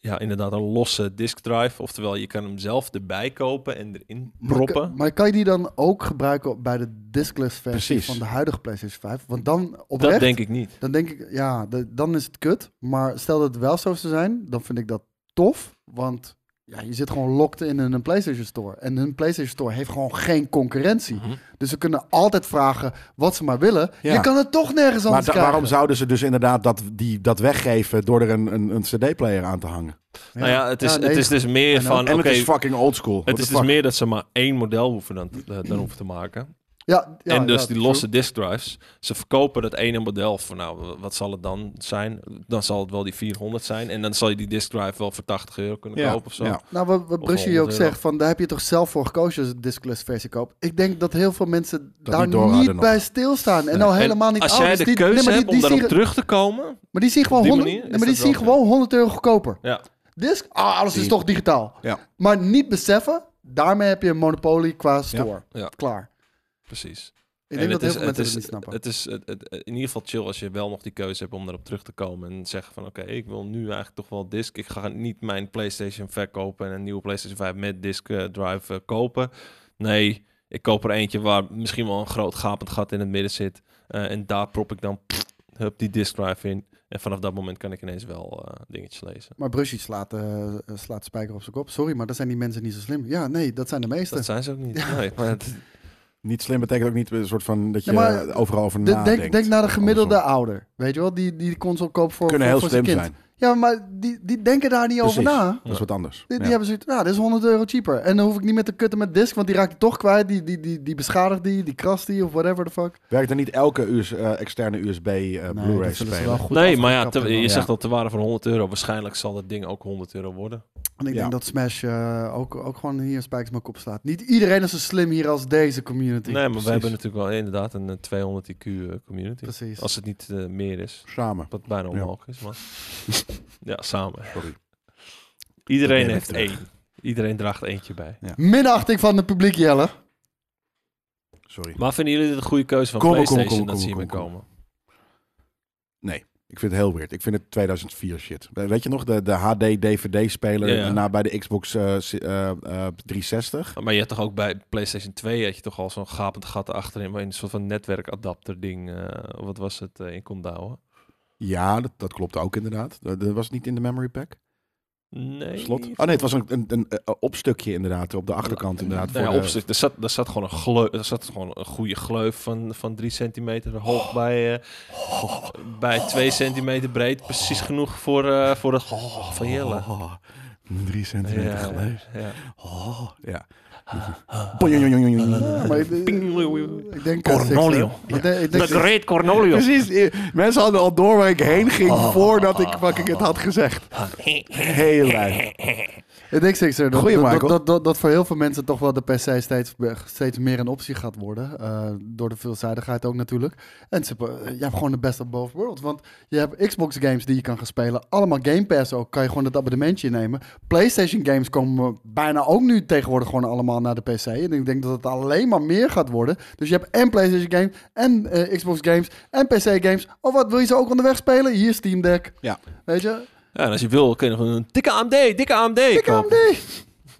Speaker 1: ja, inderdaad een losse disk drive. Oftewel, je kan hem zelf erbij kopen en erin
Speaker 3: Maar
Speaker 1: proppen.
Speaker 3: kan- Maar kan je die dan ook gebruiken op- bij de diskless versie
Speaker 2: Precies.
Speaker 3: van de huidige PlayStation 5? Want dan
Speaker 1: Dat
Speaker 3: oprecht,
Speaker 1: denk ik niet.
Speaker 3: dan denk ik, ja, de- dan is het kut. Maar stel dat het wel zo zou zijn, dan vind ik dat tof. Want ja, je zit gewoon locked in in een PlayStation Store. En hun PlayStation Store heeft gewoon geen concurrentie.
Speaker 1: Mhm.
Speaker 3: Dus ze kunnen altijd vragen wat ze maar willen.
Speaker 2: Ja.
Speaker 3: Je kan het toch nergens
Speaker 2: Maar
Speaker 3: anders
Speaker 2: da-
Speaker 3: krijgen.
Speaker 2: waarom zouden ze dus inderdaad dat, die, dat weggeven door er een, een, een cd-player aan te hangen?
Speaker 1: Nou ja, het is,
Speaker 3: nee,
Speaker 1: het is dus meer
Speaker 3: En ook-
Speaker 1: van.
Speaker 2: en
Speaker 1: oké,
Speaker 2: het is fucking oldschool.
Speaker 1: het is dus meer dat ze maar één model hoeven dan, te- eh, dan hoeven te maken.
Speaker 3: ja, ja,
Speaker 1: en dus die
Speaker 3: ja, true.
Speaker 1: losse disk drives. Ze verkopen dat ene model voor, nou, wat zal het dan zijn? Dan zal het wel die 400 zijn. En dan zal je die disk drive wel voor 80 euro kunnen kopen of zo.
Speaker 2: Ja.
Speaker 3: Nou, wat, wat
Speaker 1: Of
Speaker 3: Brusje hier
Speaker 1: 100
Speaker 3: ook
Speaker 1: euro.
Speaker 3: zegt, van, daar heb je toch zelf voor gekozen als je de discless versie koopt. Ik denk dat heel veel mensen
Speaker 2: Dat
Speaker 3: daar
Speaker 2: niet door
Speaker 3: niet
Speaker 2: hadden
Speaker 3: bij stilstaan. En nou
Speaker 1: En
Speaker 3: helemaal niet
Speaker 1: als jij
Speaker 3: ouders.
Speaker 1: de
Speaker 3: Die- nee,
Speaker 1: keuze
Speaker 3: maar die-
Speaker 1: hebt om
Speaker 3: die
Speaker 1: daarop
Speaker 3: zien-
Speaker 1: terug te komen.
Speaker 3: Maar die zie je gewoon,
Speaker 1: die
Speaker 3: 100,
Speaker 1: manier
Speaker 3: nee,
Speaker 1: is
Speaker 3: maar die
Speaker 1: dat
Speaker 3: zie je
Speaker 1: wel
Speaker 3: gewoon 100 euro goedkoper.
Speaker 1: Ja,
Speaker 3: Disc, ah, alles is
Speaker 2: Die-
Speaker 3: toch digitaal.
Speaker 2: Ja.
Speaker 3: Maar niet beseffen, daarmee heb je een monopolie qua store.
Speaker 1: Ja.
Speaker 3: Klaar.
Speaker 1: precies.
Speaker 3: Ik
Speaker 1: En
Speaker 3: denk dat heel
Speaker 1: het
Speaker 3: veel
Speaker 1: is- het
Speaker 3: mensen
Speaker 1: is-
Speaker 3: dat niet snappen.
Speaker 1: Het is het- het- in ieder geval chill als je wel nog die keuze hebt om erop terug te komen. En zeggen van oké, ik wil nu eigenlijk toch wel disk. Ik ga niet mijn PlayStation verkopen en een nieuwe PlayStation 5 met disk eh, drive eh, kopen. Nee, Ik koop er eentje waar misschien wel een groot gapend gat in het midden zit. Eh, en daar prop ik dan pff, hup, die disk drive in. En vanaf dat moment kan ik ineens wel eh, dingetjes lezen.
Speaker 3: Maar Brushy slaat, eh, slaat de spijker op zijn kop. Sorry, maar dan zijn die mensen niet zo slim. Ja, nee, dat zijn de meesten.
Speaker 1: Dat zijn ze ook
Speaker 3: [laughs]
Speaker 1: niet. Nee, maar het-
Speaker 2: Niet slim betekent ook niet een soort van dat je
Speaker 3: Nee, maar
Speaker 2: eh, overal over
Speaker 3: De-
Speaker 2: nadenkt.
Speaker 3: denk, denk naar de gemiddelde
Speaker 2: Andersom.
Speaker 3: ouder. Weet je wel, die die de console koopt voor,
Speaker 2: kunnen
Speaker 3: voor,
Speaker 2: heel
Speaker 3: voor
Speaker 2: slim
Speaker 3: zijn kind.
Speaker 2: zijn.
Speaker 3: Ja, maar die, die denken daar niet over
Speaker 2: Precies.
Speaker 3: na.
Speaker 2: Dat is wat anders.
Speaker 3: Die, die
Speaker 2: Ja.
Speaker 3: hebben zoiets, nou, dit is 100 euro cheaper. En dan hoef ik niet met te kutten met disk, want die raakt toch kwijt. Die, die, die, die beschadigt die, die krast die of whatever the fuck.
Speaker 2: Werkt er niet elke US, eh, externe USB eh, Blu-ray
Speaker 3: dat zullen ze
Speaker 2: speler?
Speaker 3: wel goed
Speaker 1: nee, maar ja,
Speaker 3: afgekapt
Speaker 1: te-
Speaker 3: hebben.
Speaker 1: je
Speaker 2: Ja.
Speaker 1: zegt dat te waarde van 100 euro. Waarschijnlijk zal dat ding ook 100 euro worden.
Speaker 3: En ik
Speaker 2: Ja.
Speaker 3: denk dat Smash eh, ook, ook gewoon hier een spijkersmak op slaat. Niet iedereen is zo slim hier als deze community.
Speaker 1: Nee, maar
Speaker 2: precies.
Speaker 1: we hebben natuurlijk wel inderdaad een eh, 200 IQ eh, community.
Speaker 3: Precies.
Speaker 1: Als het niet eh, meer is.
Speaker 2: Samen.
Speaker 1: Wat bijna
Speaker 2: Ja.
Speaker 1: onmogelijk is, maar... ja, samen.
Speaker 2: Sorry.
Speaker 1: Iedereen
Speaker 2: ben ik
Speaker 1: heeft
Speaker 2: terug.
Speaker 1: één. Iedereen draagt eentje bij.
Speaker 3: Minachting van het publiek, Jelle.
Speaker 2: Sorry.
Speaker 1: Maar vinden jullie dit een goede keuze van
Speaker 2: Kom, kom,
Speaker 1: PlayStation?
Speaker 2: kom,
Speaker 1: dat
Speaker 2: kom,
Speaker 1: zien we
Speaker 2: kom, kom.
Speaker 1: komen.
Speaker 2: Ik vind het heel weird. Ik vind het 2004 shit. We- Weet je nog, de, de HD-DVD-speler
Speaker 1: Ja, ja.
Speaker 2: na bij de Xbox eh, si- eh, eh, 360?
Speaker 1: Maar je hebt toch ook bij PlayStation 2 had je toch al zo'n gapend gat achterin, waarin een soort van netwerkadapter ding, eh, wat was het, eh, in kon douwen?
Speaker 2: Ja, dat, dat klopt ook inderdaad. Dat, dat was niet in de memory pack?
Speaker 1: Nee.
Speaker 2: Slot? Oh nee, het was een, een, een eh, opstukje inderdaad, op de achterkant inderdaad.
Speaker 1: Nou ja,
Speaker 2: voor de-
Speaker 1: op zich, er, zat, er, zat gewoon een gleu, er zat gewoon een goede gleuf van, van 3 centimeter hoog
Speaker 2: Oh.
Speaker 1: bij, eh bij 2 centimeter breed. Precies genoeg voor, eh, voor het van Jelle.
Speaker 2: Oh, drie centimeter
Speaker 1: Ja,
Speaker 2: geleden.
Speaker 1: ja.
Speaker 2: Oh, ja.
Speaker 3: Ja, maar ik, ik denk... eh,
Speaker 1: Cornolio.
Speaker 3: Sixer. Ik
Speaker 1: The
Speaker 3: denk- ik denk Sixer.
Speaker 1: Great Cornolio.
Speaker 2: [laughs] Precies, eh, mensen hadden al door waar ik heen ging voordat ik, fucking het had gezegd. Heel leuk.
Speaker 3: Ik denk zeker eh, dat,
Speaker 2: Goeie,
Speaker 3: dat,
Speaker 2: Michael.
Speaker 3: dat, dat, dat, dat voor heel veel mensen toch wel de PC steeds, eh, steeds meer een optie gaat worden. Eh, door de veelzijdigheid ook natuurlijk. En ze, hebben- eh, je hebt gewoon de best of both worlds. Want je hebt Xbox games die je kan gaan spelen. Allemaal Game Pass ook. Kan je gewoon het abonnementje nemen. PlayStation games komen bijna ook nu tegenwoordig gewoon allemaal naar de PC. En ik denk dat het alleen maar meer gaat worden. Dus je hebt en PlayStation games en eh, Xbox games en PC games. Of wat, wil je ze ook onderweg spelen? Hier Steam Deck.
Speaker 2: Ja.
Speaker 3: Weet je?
Speaker 1: Ja, en als je wil, kun je nog een dikke AMD, dikke AMD
Speaker 3: Ik
Speaker 1: kopen.
Speaker 3: kan die.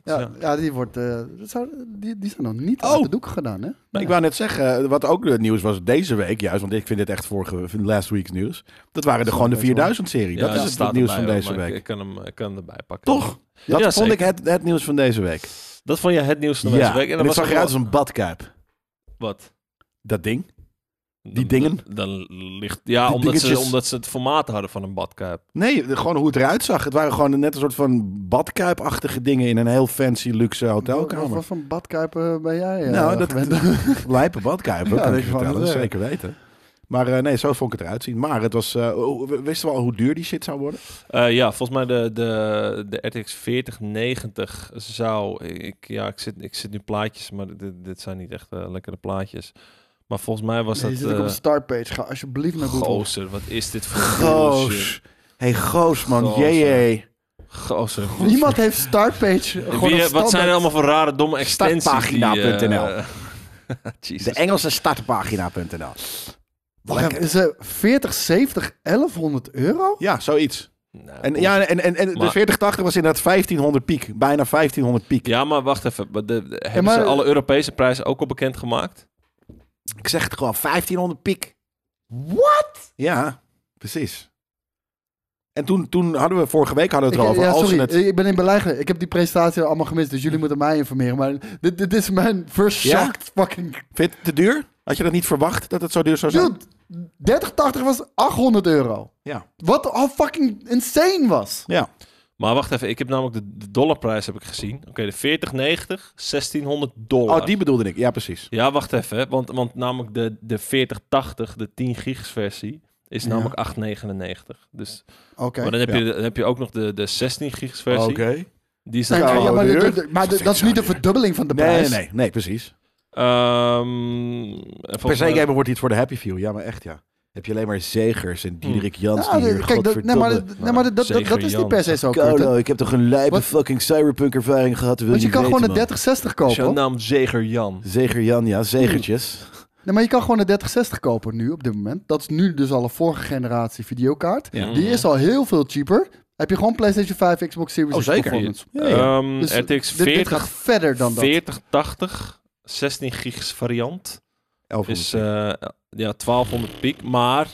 Speaker 3: Ja,
Speaker 1: Ja.
Speaker 3: ja, die wordt. eh, dat zou- die, die zijn nog niet
Speaker 2: Oh.
Speaker 3: uit de doek gedaan, hè?
Speaker 2: Ik wou net zeggen, eh, wat ook het nieuws was deze week juist, want ik vind dit echt vorige, last week's nieuws. Dat waren de, gewoon de 4000-serie.
Speaker 1: Ja,
Speaker 2: dat is
Speaker 1: die
Speaker 2: het,
Speaker 1: staat
Speaker 2: nieuws
Speaker 1: erbij
Speaker 2: van
Speaker 1: hoor,
Speaker 2: deze
Speaker 1: maar ik-
Speaker 2: week.
Speaker 1: Ik kan hem, ik kan hem erbij pakken.
Speaker 2: Toch?
Speaker 1: Ja,
Speaker 2: Dat vond ik
Speaker 1: zeker.
Speaker 2: het, het nieuws van deze week.
Speaker 1: Dat vond je het nieuws van deze
Speaker 2: ja,
Speaker 1: week.
Speaker 2: en
Speaker 1: dat
Speaker 2: het zag
Speaker 1: ook
Speaker 2: eruit als
Speaker 1: wel-
Speaker 2: een badkuip.
Speaker 1: Wat?
Speaker 2: Dat ding.
Speaker 1: Dan-
Speaker 2: dingen?
Speaker 1: Dan, dan ligt... Ja,
Speaker 2: Die
Speaker 1: omdat ze,
Speaker 2: dingetjes.
Speaker 1: omdat ze het formaat hadden van een badkuip.
Speaker 2: Nee, de- gewoon hoe het eruit zag. Het waren gewoon net een soort van badkuipachtige dingen in een heel fancy luxe
Speaker 3: Wat,
Speaker 2: hotelkamer.
Speaker 3: wat voor een badkuip eh, ben jij? eh,
Speaker 2: nou,
Speaker 1: [laughs]
Speaker 2: dat
Speaker 3: gewend?
Speaker 2: lijpe badkuip, dat
Speaker 3: Ja,
Speaker 2: kan
Speaker 3: dat
Speaker 2: ik je
Speaker 3: is wel
Speaker 2: vertellen.
Speaker 3: wat, eh.
Speaker 2: Zeker weten. Maar eh, nee, zo vond ik het eruit zien. Maar het was, eh, hoe- w- wisten we al hoe duur die shit zou worden?
Speaker 1: Eh, ja, volgens mij de, de, de RTX 4090 zou... Ik, ja, ik zit, ik zit nu plaatjes, maar dit, dit zijn niet echt eh, lekkere plaatjes. Maar volgens mij was
Speaker 3: Nee, die
Speaker 1: dat...
Speaker 3: zit ook op
Speaker 1: eh,
Speaker 3: de startpage. Ga alsjeblieft naar Google.
Speaker 1: gozer, wat is dit voor bullshit.
Speaker 2: Goos. Hey, Oh, goos man.
Speaker 1: Goos,
Speaker 2: Jee,
Speaker 1: ja.
Speaker 2: jee.
Speaker 3: [laughs]
Speaker 1: Gozer.
Speaker 3: Iemand heeft startpage.
Speaker 1: Wie- wat
Speaker 3: gewoon als
Speaker 1: zijn er
Speaker 3: standaard.
Speaker 1: allemaal voor rare, domme extensies? [laughs]
Speaker 2: Startpagina.nl.
Speaker 1: eh, Jezus.
Speaker 2: De Engelse startpagina.nl.
Speaker 3: Wacht even, Is eh, 40, 70, 1100 euro?
Speaker 2: Ja, zoiets.
Speaker 3: e-
Speaker 1: Nou,
Speaker 2: En, ja, en, en, en de
Speaker 1: Maar-
Speaker 2: 4080 was inderdaad 1500 piek. Bijna 1500 piek.
Speaker 1: Ja, maar wacht even. Maar de, de- hebben
Speaker 3: maar-
Speaker 1: ze alle Europese prijzen ook al bekend gemaakt?
Speaker 2: Ik zeg het gewoon, 1500 piek. Wat? Ja, precies. En toen, toen hadden we vorige week hadden we
Speaker 3: Ik,
Speaker 2: het
Speaker 3: eh,
Speaker 2: erover.
Speaker 3: ja,
Speaker 2: als
Speaker 3: sorry,
Speaker 2: we het,
Speaker 3: ik ben in beleggen. Ik heb die presentatie allemaal gemist, dus jullie moeten mij informeren. Maar dit, dit is mijn vershocked fucking...
Speaker 2: vind je het te duur? Had je dat niet verwacht dat het zo duur zou zijn?
Speaker 3: Dude, 3080 was 800 euro.
Speaker 2: Ja.
Speaker 3: Wat al fucking insane was.
Speaker 2: Ja.
Speaker 1: Maar wacht even, ik heb namelijk de, de dollarprijs heb ik gezien. Oké, de 4090, 1600 dollar.
Speaker 2: Oh, die bedoelde ik. Ja, precies.
Speaker 1: Ja, wacht even. hè, Want, want namelijk de, de 4080, de 10 gigs versie, is
Speaker 3: Ja.
Speaker 1: namelijk 899. Dus,
Speaker 3: Oké.
Speaker 1: maar dan heb,
Speaker 2: ja. Oh,
Speaker 1: je, de- dan heb je ook nog de, de 16 gigs versie. Die is dan
Speaker 3: Nee,
Speaker 2: Ja,
Speaker 3: maar- ja, maar
Speaker 2: duur.
Speaker 3: de- de- maar de- dat is niet de verdubbeling van de
Speaker 2: Nee,
Speaker 3: prijs.
Speaker 2: nee, nee, nee, precies.
Speaker 1: Ehm, en volgens
Speaker 2: Per se
Speaker 1: mij-
Speaker 2: gamer wordt iets voor de happy view. Ja, maar echt ja. Heb je alleen maar zegers en Diederik Jans
Speaker 3: Hm. Ja,
Speaker 2: die hier,
Speaker 3: de- kijk, dat, nee, maar,
Speaker 2: godverdomme.
Speaker 3: dat- nee, maar dat, dat, dat,
Speaker 1: Zeker
Speaker 3: is niet
Speaker 1: Jan,
Speaker 3: per se zo. Kurt, hè?
Speaker 2: Kolo, ik heb toch een lijpe
Speaker 3: Wat?
Speaker 2: fucking cyberpunk ervaring gehad. Wil
Speaker 3: Want je kan
Speaker 2: niet
Speaker 3: gewoon een
Speaker 2: weten,
Speaker 3: 3060
Speaker 1: is jouw
Speaker 3: kopen.
Speaker 1: naam Zeger Jan.
Speaker 2: man. Zeger Jan, ja, zegertjes.
Speaker 3: Nee, maar je kan gewoon een 3060 kopen nu op dit moment. Dat is nu dus al een vorige generatie videokaart.
Speaker 2: Ja.
Speaker 3: Die is al heel veel cheaper. Heb je gewoon PlayStation 5, Xbox Series
Speaker 2: Oh,
Speaker 3: X
Speaker 2: zeker.
Speaker 3: performance.
Speaker 2: Ja, ja.
Speaker 1: Ehm,
Speaker 3: Dus
Speaker 1: RTX
Speaker 3: Dit, dit
Speaker 1: 40,
Speaker 3: gaat verder dan dat.
Speaker 1: 4080 16 gigs variant.
Speaker 2: 1100
Speaker 1: Is eh, ja, 1200 piek. Maar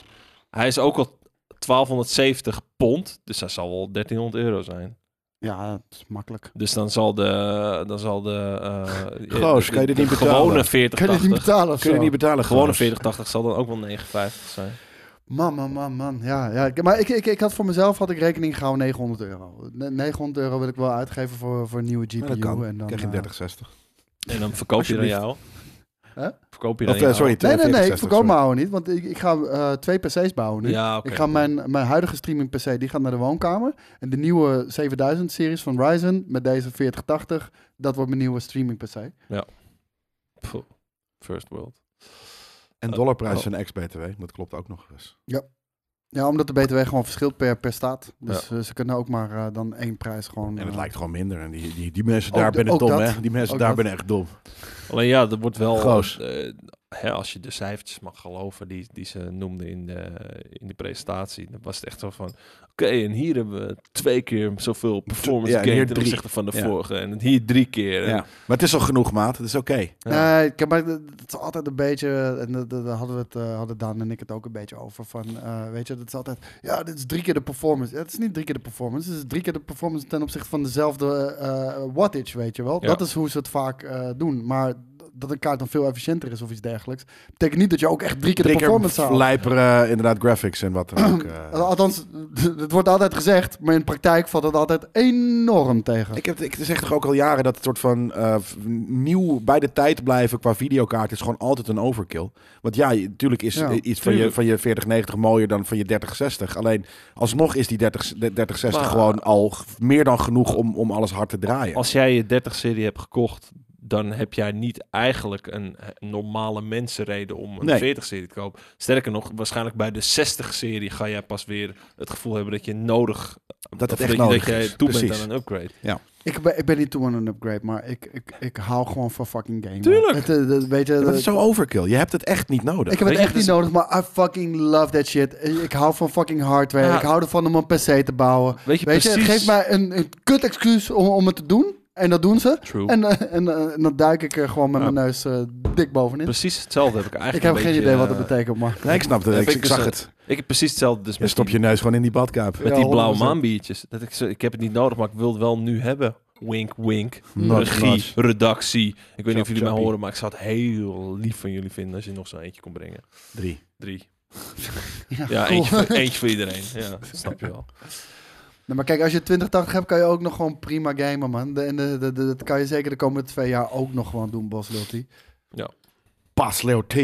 Speaker 1: hij is ook al 1270 pond. Dus hij zal wel 1300 euro zijn.
Speaker 3: Ja, het is makkelijk.
Speaker 1: Dus dan zal de. Dan zal de eh,
Speaker 2: Goos,
Speaker 1: de-
Speaker 2: kan je dit
Speaker 1: de
Speaker 2: niet betalen?
Speaker 1: gewone
Speaker 3: Kun je dit niet
Speaker 1: 4080.
Speaker 3: betalen of
Speaker 2: Kun je
Speaker 3: zo?
Speaker 2: niet betalen,
Speaker 1: De gewone
Speaker 2: Gaas?
Speaker 1: 4080 zal dan ook wel 59 zijn.
Speaker 3: Man, man, man, man. Ja, ja. Ik- Maar ik, ik, ik had voor mezelf had ik rekening gehouden 900 euro. Ne- 900 euro wil ik wel uitgeven voor, voor een nieuwe GPU.
Speaker 2: Ja, dat kan.
Speaker 3: En dan,
Speaker 2: Krijg je
Speaker 3: eh,
Speaker 2: 3060.
Speaker 1: En dan verkoop je dan
Speaker 2: Alsjeblieft.
Speaker 1: jou.
Speaker 3: Hè?
Speaker 1: Verkoop je dan
Speaker 2: Of, eh,
Speaker 1: jou.
Speaker 2: sorry,
Speaker 3: Nee, nee, nee. Ik
Speaker 2: 4060,
Speaker 3: verkoop
Speaker 2: sorry.
Speaker 3: mijn oude niet. Want ik, ik ga eh, twee PC's bouwen nu.
Speaker 1: Ja, oké.
Speaker 3: Ik ga mijn, mijn huidige streaming PC, die gaat naar de woonkamer. En de nieuwe 7000 series van Ryzen met deze 4080, dat wordt mijn nieuwe streaming PC.
Speaker 1: Pff, First world.
Speaker 2: En dollarprijs en ex-BTW. Dat klopt ook nog eens.
Speaker 3: Ja, omdat de BTW gewoon verschilt per, per staat. Dus eh, ze kunnen ook maar eh, dan één prijs gewoon...
Speaker 2: En het
Speaker 3: eh,
Speaker 2: lijkt gewoon minder. En die, die, die mensen
Speaker 3: Ook
Speaker 2: daar
Speaker 3: de-
Speaker 2: binnen
Speaker 3: ook
Speaker 2: dom,
Speaker 3: dat.
Speaker 2: hè? Die mensen
Speaker 3: Ook
Speaker 2: daar
Speaker 3: dat.
Speaker 2: binnen echt dom.
Speaker 1: Alleen ja, er wordt wel.
Speaker 2: Goos.
Speaker 1: eh, hè, als je de cijfertjes mag geloven die, die ze noemden in de, in de presentatie, dan was het echt zo van. Oké, en hier hebben we twee keer zoveel performance
Speaker 2: Ja, en
Speaker 1: gain
Speaker 2: hier
Speaker 1: ten
Speaker 2: drie.
Speaker 1: opzichte van de
Speaker 2: Ja.
Speaker 1: vorige. En hier drie keer. En-
Speaker 2: Ja. Maar het is al genoeg, maat. Het is oké.
Speaker 1: Ja.
Speaker 3: Nee, ik heb, maar dat dat is altijd een beetje, en dat- dat- daar hadden, we het, eh, hadden Daan en ik het ook een beetje over, van, eh, weet je, dat is altijd, ja, dit is drie keer de performance. Ja, het is niet drie keer de performance, het is drie keer de performance ten opzichte van dezelfde eh wattage, weet je wel.
Speaker 1: Ja.
Speaker 3: Dat is hoe ze het vaak eh, doen, maar dat een kaart dan veel efficiënter is of iets dergelijks, betekent niet dat je ook echt drie keer de
Speaker 2: Drie
Speaker 3: performance haalt.
Speaker 2: lijper, eh, inderdaad, graphics en wat dan
Speaker 3: [clears throat]
Speaker 2: ook. eh.
Speaker 3: Althans, [laughs] het wordt altijd gezegd, maar in de praktijk valt het altijd enorm tegen.
Speaker 2: Ik, heb, ik zeg toch ook al jaren dat het soort van eh, v- nieuw bij de tijd blijven qua videokaart is gewoon altijd een overkill. Want ja, je- tuurlijk is
Speaker 3: Ja,
Speaker 2: eh, iets van je,
Speaker 1: tuurlijk.
Speaker 2: van je 4090 mooier dan van je 3060. Alleen alsnog is die 30, 3060
Speaker 1: Maar-
Speaker 2: gewoon al g- meer dan genoeg om, om alles hard te draaien.
Speaker 1: Als jij je 30-serie hebt gekocht, dan heb jij niet eigenlijk een eh, normale mensenreden om een
Speaker 2: Nee.
Speaker 1: 40-serie te kopen. Sterker nog, waarschijnlijk bij de 60-serie ga jij pas weer het gevoel hebben dat je nodig...
Speaker 2: dat
Speaker 1: of
Speaker 2: het echt
Speaker 1: je-
Speaker 2: nodig
Speaker 1: dat jij
Speaker 2: is.
Speaker 1: toe
Speaker 2: Precies.
Speaker 1: bent aan een upgrade.
Speaker 3: Ik ben, ik ben niet toe aan een upgrade, maar ik, ik, ik hou gewoon van fucking game. man.
Speaker 1: Tuurlijk.
Speaker 3: Het, eh, dat- weet je,
Speaker 2: Ja,
Speaker 3: dat-
Speaker 2: dat is zo overkill. Je hebt het echt niet nodig.
Speaker 3: ik heb het
Speaker 1: Weet je,
Speaker 3: echt niet
Speaker 1: dat
Speaker 3: nodig, maar I fucking love that shit. Ik hou van fucking hardware.
Speaker 1: Ja.
Speaker 3: Ik hou ervan om een PC te bouwen.
Speaker 1: Weet je,
Speaker 3: Weet je,
Speaker 1: precies...
Speaker 3: het geeft mij een, een kut excuus om, om het te doen. En dat doen ze.
Speaker 1: True.
Speaker 3: En, eh, en, eh, en dan duik ik er gewoon met
Speaker 1: Ja.
Speaker 3: mijn neus eh, dik bovenin.
Speaker 1: Precies hetzelfde heb ik
Speaker 3: ik
Speaker 1: eigenlijk
Speaker 3: heb
Speaker 1: een
Speaker 3: geen
Speaker 1: beetje,
Speaker 3: idee wat dat
Speaker 1: eh,
Speaker 3: betekent, maar...
Speaker 2: nee, ik snap het.
Speaker 1: Ja,
Speaker 2: Ik,
Speaker 1: vind
Speaker 2: ik
Speaker 1: ik
Speaker 2: zag
Speaker 1: dus,
Speaker 2: het.
Speaker 1: Ik heb precies hetzelfde dus
Speaker 2: Je
Speaker 1: met,
Speaker 2: stop
Speaker 1: die,
Speaker 2: je neus gewoon in die badkuip.
Speaker 1: met
Speaker 3: Ja,
Speaker 1: die blauwe
Speaker 3: 100%.
Speaker 1: maanbiertjes. Dat ik, zo- ik heb het niet nodig, maar ik wil het wel nu hebben. Wink, wink.
Speaker 2: Not
Speaker 1: Regie,
Speaker 2: much.
Speaker 1: redactie. Ik weet niet of jullie mij
Speaker 2: choppy.
Speaker 1: horen, maar ik zou het heel lief van jullie vinden als je nog zo'n eentje kon brengen.
Speaker 2: Drie.
Speaker 1: Drie.
Speaker 3: [laughs]
Speaker 1: [laughs]
Speaker 3: Ja,
Speaker 1: Ja,
Speaker 3: cool.
Speaker 1: eentje, voor, eentje voor iedereen. [laughs] Ja, snap je wel.
Speaker 3: Nee, maar kijk, als je 2080 hebt, kan je ook nog gewoon prima gamen, man. De- En de, de, de- dat kan je zeker de komende twee jaar ook nog gewoon doen, Bos Lilti.
Speaker 2: Pas Leo T.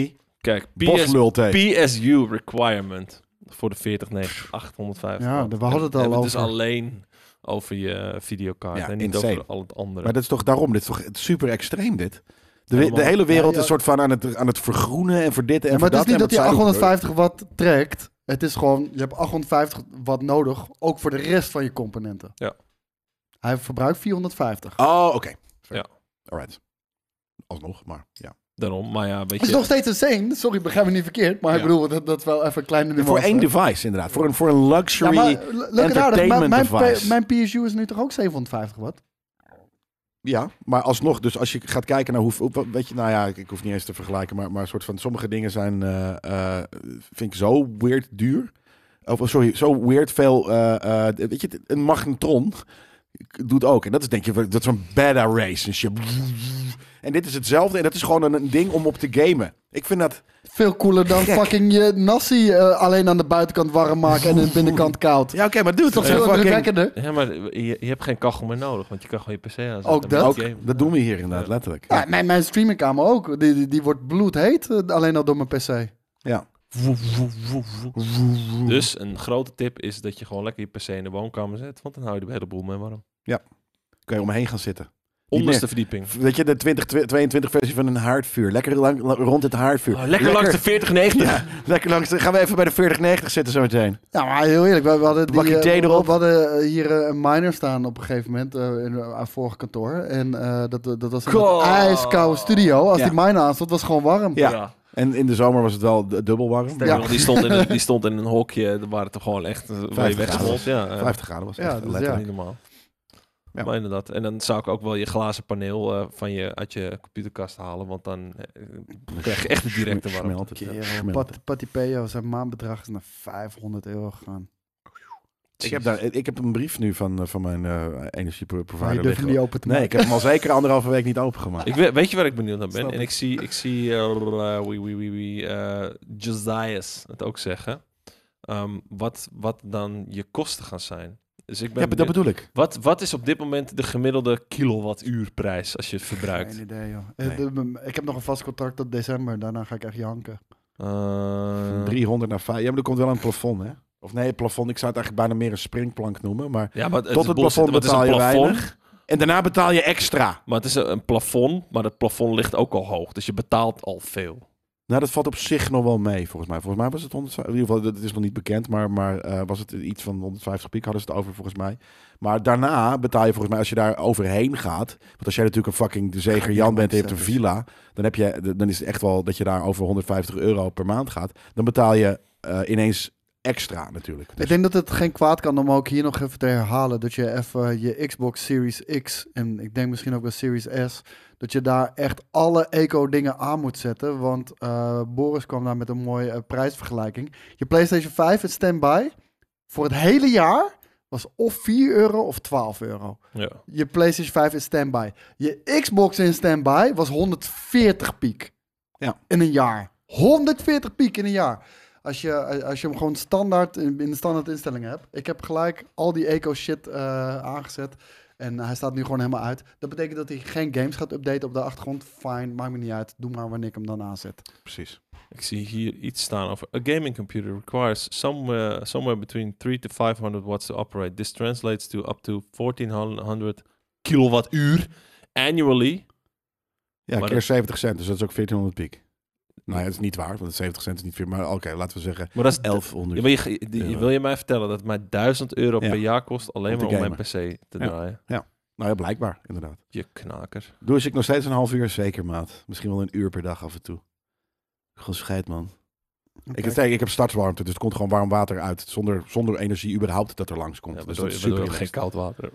Speaker 1: Kijk, PS,
Speaker 2: Boslul T.
Speaker 1: PSU requirement voor de 4090, 850.
Speaker 3: Ja,
Speaker 1: euro.
Speaker 3: we hadden het
Speaker 1: We
Speaker 3: al
Speaker 1: hebben Dus
Speaker 3: over.
Speaker 1: alleen over je eh, videokaart
Speaker 2: Ja,
Speaker 1: en niet
Speaker 2: insane.
Speaker 1: over al het andere.
Speaker 2: Maar dat is toch daarom, dit is toch super extreem dit? De, we-
Speaker 1: Helemaal.
Speaker 2: de hele wereld
Speaker 3: Ja, ja.
Speaker 2: is soort van aan het, aan het vergroenen en voor dit en
Speaker 3: Ja, maar
Speaker 2: voor
Speaker 3: het is
Speaker 2: dat.
Speaker 3: niet dat je
Speaker 2: en wat zij ook
Speaker 3: 850 watt trekt. Het is gewoon, je hebt 850 watt nodig, ook voor de rest van je componenten.
Speaker 1: Ja.
Speaker 3: Hij verbruikt 450.
Speaker 2: doen. Oh, oké. Fair.
Speaker 1: Ja.
Speaker 2: Alright. Alsnog, maar ja.
Speaker 1: Daarom, maar ja, weet
Speaker 3: Het is
Speaker 1: je...
Speaker 3: nog steeds insane, sorry, begrijp me niet verkeerd. Maar ik
Speaker 1: Ja.
Speaker 3: bedoel, dat, dat is wel even een kleine nuance.
Speaker 2: voor één
Speaker 3: hè?
Speaker 2: device inderdaad. Voor een, voor een luxury...
Speaker 3: Ja,
Speaker 2: Ja,
Speaker 3: maar le- leuk en aardig, maar mijn,
Speaker 2: entertainment
Speaker 3: P- mijn PSU is nu toch ook 750 watt?
Speaker 2: maar alsnog. Dus als je gaat kijken naar hoeveel... Weet je, nou ja, ik, ik hoef niet eens te vergelijken. Maar, maar een soort van sommige dingen zijn... eh, eh, vind ik zo weird duur. Of oh, sorry, zo weird veel... eh, eh, weet je, een magnetron doet ook. En dat is denk je, dat is een beta race en shit. En dit is hetzelfde. En dat is gewoon een, een ding om op te gamen. Ik vind dat...
Speaker 3: Veel cooler dan
Speaker 2: Gek.
Speaker 3: fucking je nasi eh, alleen aan de buitenkant warm maken en aan de binnenkant koud.
Speaker 2: Ja, oké, maar dude,
Speaker 3: Toch
Speaker 2: eh,
Speaker 3: veel
Speaker 2: fucking-
Speaker 3: indrukwekkender?
Speaker 1: Ja, maar je, je hebt geen kachel meer nodig, want je kan gewoon je PC aanzetten.
Speaker 3: Ook
Speaker 1: met
Speaker 3: dat?
Speaker 2: Ook,
Speaker 1: game.
Speaker 2: dat doen we hier inderdaad,
Speaker 1: Ja.
Speaker 2: letterlijk.
Speaker 3: Ja, mijn, mijn streamingkamer ook, die, die, die wordt bloedheet, eh, alleen al door mijn PC.
Speaker 2: Ja.
Speaker 1: Dus een grote tip is dat je gewoon lekker je PC in de woonkamer zet, want dan hou je de hele boel mee warm.
Speaker 2: Kun je omheen gaan zitten.
Speaker 1: Onderste verdieping.
Speaker 2: Weet je, de 2022 versie van een haardvuur. Lekker lang, la- rond het haardvuur.
Speaker 1: Oh, lekker langs de 4090.
Speaker 2: Ja, lekker langs. de- Gaan we even bij de 4090 zitten zo meteen.
Speaker 3: Ja, maar heel eerlijk, we, we hadden,
Speaker 2: Bakkie
Speaker 3: die, eh,
Speaker 2: thee
Speaker 3: we-
Speaker 2: erop.
Speaker 3: we hadden eh, hier eh, een miner staan op een gegeven moment eh, in haar vorige kantoor. En eh, dat, dat was een
Speaker 1: Goh.
Speaker 3: ijskoude studio. Als
Speaker 2: Ja.
Speaker 3: die miner aanstond, was het gewoon warm.
Speaker 2: Ja. En in de zomer was het wel d- dubbel warm.
Speaker 1: Sterker nog, Die, stond in een, die stond in een hokje, er waren toch gewoon echt eh, waar je
Speaker 2: 50
Speaker 1: wegsmolt. Ja, eh,
Speaker 2: 50 graden was het.
Speaker 3: Ja,
Speaker 2: echt
Speaker 3: dus
Speaker 2: letterlijk.
Speaker 1: niet normaal.
Speaker 2: Ja.
Speaker 1: Maar inderdaad. En dan zou ik ook wel je glazen paneel eh, van je, uit je computerkast halen. Want dan eh, krijg je echt de directe warmte.
Speaker 2: Smelt het,
Speaker 3: Kerel,
Speaker 2: ja, smelt het.
Speaker 3: eh, Pat, Patty Peo, zijn maandbedrag is naar 500 euro gegaan.
Speaker 2: Ik heb, daar, ik heb een brief nu van, eh, van mijn eh,
Speaker 3: Maar je
Speaker 2: energieprovider
Speaker 3: durft
Speaker 2: liggen.
Speaker 3: hem niet open te
Speaker 2: Nee, ik
Speaker 3: maken.
Speaker 2: heb hem al
Speaker 3: [laughs]
Speaker 2: zeker anderhalve week niet opengemaakt.
Speaker 1: Ik weet, weet je waar ik benieuwd naar ben?
Speaker 3: Snap
Speaker 1: en
Speaker 3: ik.
Speaker 1: ik zie, ik zie eh, eh, wie, wie, wie, wie, eh, Josias het ook zeggen. Ehm, wat, wat dan je kosten gaan zijn. Dus ik ben
Speaker 2: Ja, dat
Speaker 1: benieuwd-
Speaker 2: bedoel ik.
Speaker 1: wat, wat is op dit moment de gemiddelde kilowattuurprijs als je het verbruikt?
Speaker 3: Geen idee, joh.
Speaker 2: Nee.
Speaker 3: Eh, de- Ik heb nog een vast contract tot december. Daarna ga ik echt janken.
Speaker 1: Eh,
Speaker 2: Van 300 naar 5. Ja, maar er komt wel een plafond, hè? Of nee, plafond. Ik zou het eigenlijk bijna meer een springplank noemen. Maar...
Speaker 1: Ja, maar het,
Speaker 2: Tot
Speaker 1: is
Speaker 2: het
Speaker 1: bullshit,
Speaker 2: plafond
Speaker 1: want het is
Speaker 2: betaal je
Speaker 1: een plafond.
Speaker 2: weinig. En daarna betaal je extra.
Speaker 1: Maar het is een, een plafond, maar dat plafond ligt ook al hoog. Dus je betaalt al veel.
Speaker 2: Nou, dat valt op zich nog wel mee, volgens mij. Volgens mij was het 100, in ieder geval, dat is nog niet bekend, maar, maar eh, was het iets van 150 piek hadden ze het over, volgens mij. Maar daarna betaal je volgens mij, als je daar overheen gaat, want als jij natuurlijk een fucking de zeger Jan bent en je hebt een villa, dan, heb je, dan is het echt wel dat je daar over 150 euro per maand gaat. Dan betaal je eh, ineens extra natuurlijk. Dus-
Speaker 3: Ik denk dat het geen kwaad kan om ook hier nog even te herhalen. Dat je even je Xbox Series X en ik denk misschien ook wel Series S. Dat je daar echt alle eco-dingen aan moet zetten. Want eh, Boris kwam daar met een mooie eh, prijsvergelijking. Je PlayStation 5 in standby voor het hele jaar was of 4 euro of 12 euro.
Speaker 1: Ja.
Speaker 3: Je PlayStation 5 in standby. Je Xbox in standby was 140 piek
Speaker 2: Ja.
Speaker 3: in een jaar. 140 piek in een jaar. Als je, als je hem gewoon standaard in in de standaard instellingen hebt. Ik heb gelijk al die eco shit eh, aangezet. En hij staat nu gewoon helemaal uit. Dat betekent dat hij geen games gaat updaten op de achtergrond. Fine, maakt me niet uit. Doe maar wanneer ik hem dan aanzet.
Speaker 2: precies.
Speaker 1: Ik zie hier iets staan over. A gaming computer requires somewhere, somewhere between 3 to 500 watts to operate. This translates to up to 1400 kilowattuur annually.
Speaker 2: Ja,
Speaker 1: Maar
Speaker 2: keer
Speaker 1: dat-
Speaker 2: 70 cent, dus dat is ook 1400 piek. Nou ja, dat is niet waar, want 70 cent is niet veel, maar oké, laten we zeggen
Speaker 1: Maar dat is
Speaker 2: 1100.
Speaker 1: Ja, maar je, je- je- wil je mij vertellen dat het mij 1000 euro
Speaker 2: Ja.
Speaker 1: per jaar kost alleen
Speaker 2: Om te
Speaker 1: maar om mijn
Speaker 2: gamen.
Speaker 1: PC te
Speaker 2: Ja.
Speaker 1: draaien?
Speaker 2: Nou ja, blijkbaar, inderdaad.
Speaker 1: Je knaker.
Speaker 2: Doe eens ik nog steeds een half uur, zeker maat. Misschien wel een uur per dag af en toe. Gewoon scheid, man. Ik, heb, ik heb startwarmte, dus het komt gewoon warm water uit. Zonder, zonder energie überhaupt dat er langs komt.
Speaker 1: Ja,
Speaker 2: dus
Speaker 1: dus
Speaker 2: dat is super
Speaker 1: geen
Speaker 2: relaxed.
Speaker 1: koud water.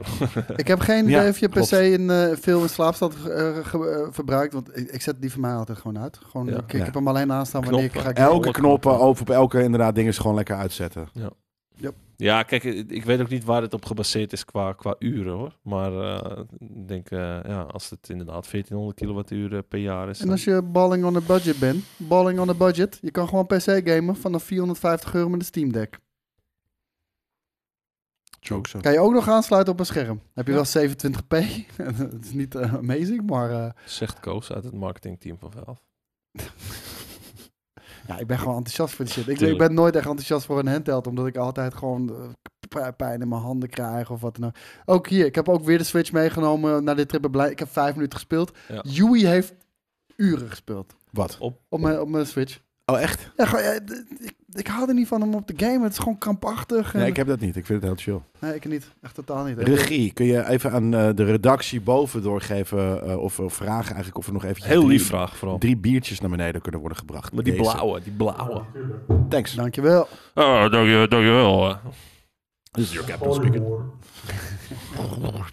Speaker 3: Ik heb geen
Speaker 2: Ja,
Speaker 3: idee of je per
Speaker 2: klopt.
Speaker 3: se in, eh, veel in slaap staat eh, ge- eh, verbruikt. Want ik, ik zet die van mij altijd gewoon uit. Gewoon,
Speaker 1: Ja.
Speaker 3: ik, ik
Speaker 2: Ja.
Speaker 3: heb hem alleen aanstaan wanneer ik ga
Speaker 1: Knoppen.
Speaker 3: gamen.
Speaker 2: Elke knoppen, open op elke inderdaad dingen is gewoon lekker uitzetten.
Speaker 1: [laughs] ja, kijk, eh, ik weet ook niet waar het op gebaseerd is qua, qua uren hoor. Maar eh, ik denk, eh, ja, als het inderdaad 1400 kilowattuur eh, per jaar is.
Speaker 3: En als je balling on a budget bent, balling on a budget, je kan gewoon PC gamen vanaf 450 euro met een Steam Deck.
Speaker 2: Ook zo.
Speaker 3: Kan je ook nog aansluiten op een scherm. Heb je
Speaker 2: Ja.
Speaker 3: wel 27p? [laughs] Dat is niet eh, amazing, maar eh,
Speaker 1: Zegt Koos uit het marketingteam van Valve.
Speaker 3: ja, ik ben gewoon enthousiast voor die shit. Ik, ik
Speaker 1: Tuurlijk.
Speaker 3: ben nooit echt enthousiast voor een handheld, omdat ik altijd gewoon eh, p- pijn in mijn handen krijg of wat dan ook. Ook hier, ik heb ook weer de Switch meegenomen naar dit trip. Ik ben blij- Ik heb vijf minuten gespeeld.
Speaker 1: Ja.
Speaker 3: Yui heeft uren gespeeld
Speaker 2: Wat?
Speaker 3: op mijn, op mijn Switch.
Speaker 2: Oh, echt?
Speaker 3: Ja, gewoon, ja, d- ik, ik hou er niet van om op te gamen. Het is gewoon krampachtig. en-
Speaker 2: Nee, ik heb dat niet. Ik vind het heel chill.
Speaker 3: Nee, ik niet. Echt totaal niet.
Speaker 2: Regie, kun je even aan eh, de redactie boven doorgeven eh, of, of vragen eigenlijk of er nog even
Speaker 1: Heel
Speaker 2: drie,
Speaker 1: lief vraag vooral.
Speaker 2: drie biertjes naar beneden kunnen worden gebracht.
Speaker 1: Maar die
Speaker 2: Deze.
Speaker 1: blauwe, die blauwe.
Speaker 2: Thanks.
Speaker 3: Dankjewel.
Speaker 1: Oh, dankjewel, dankjewel. eh.
Speaker 2: This is your captain speaking. [laughs]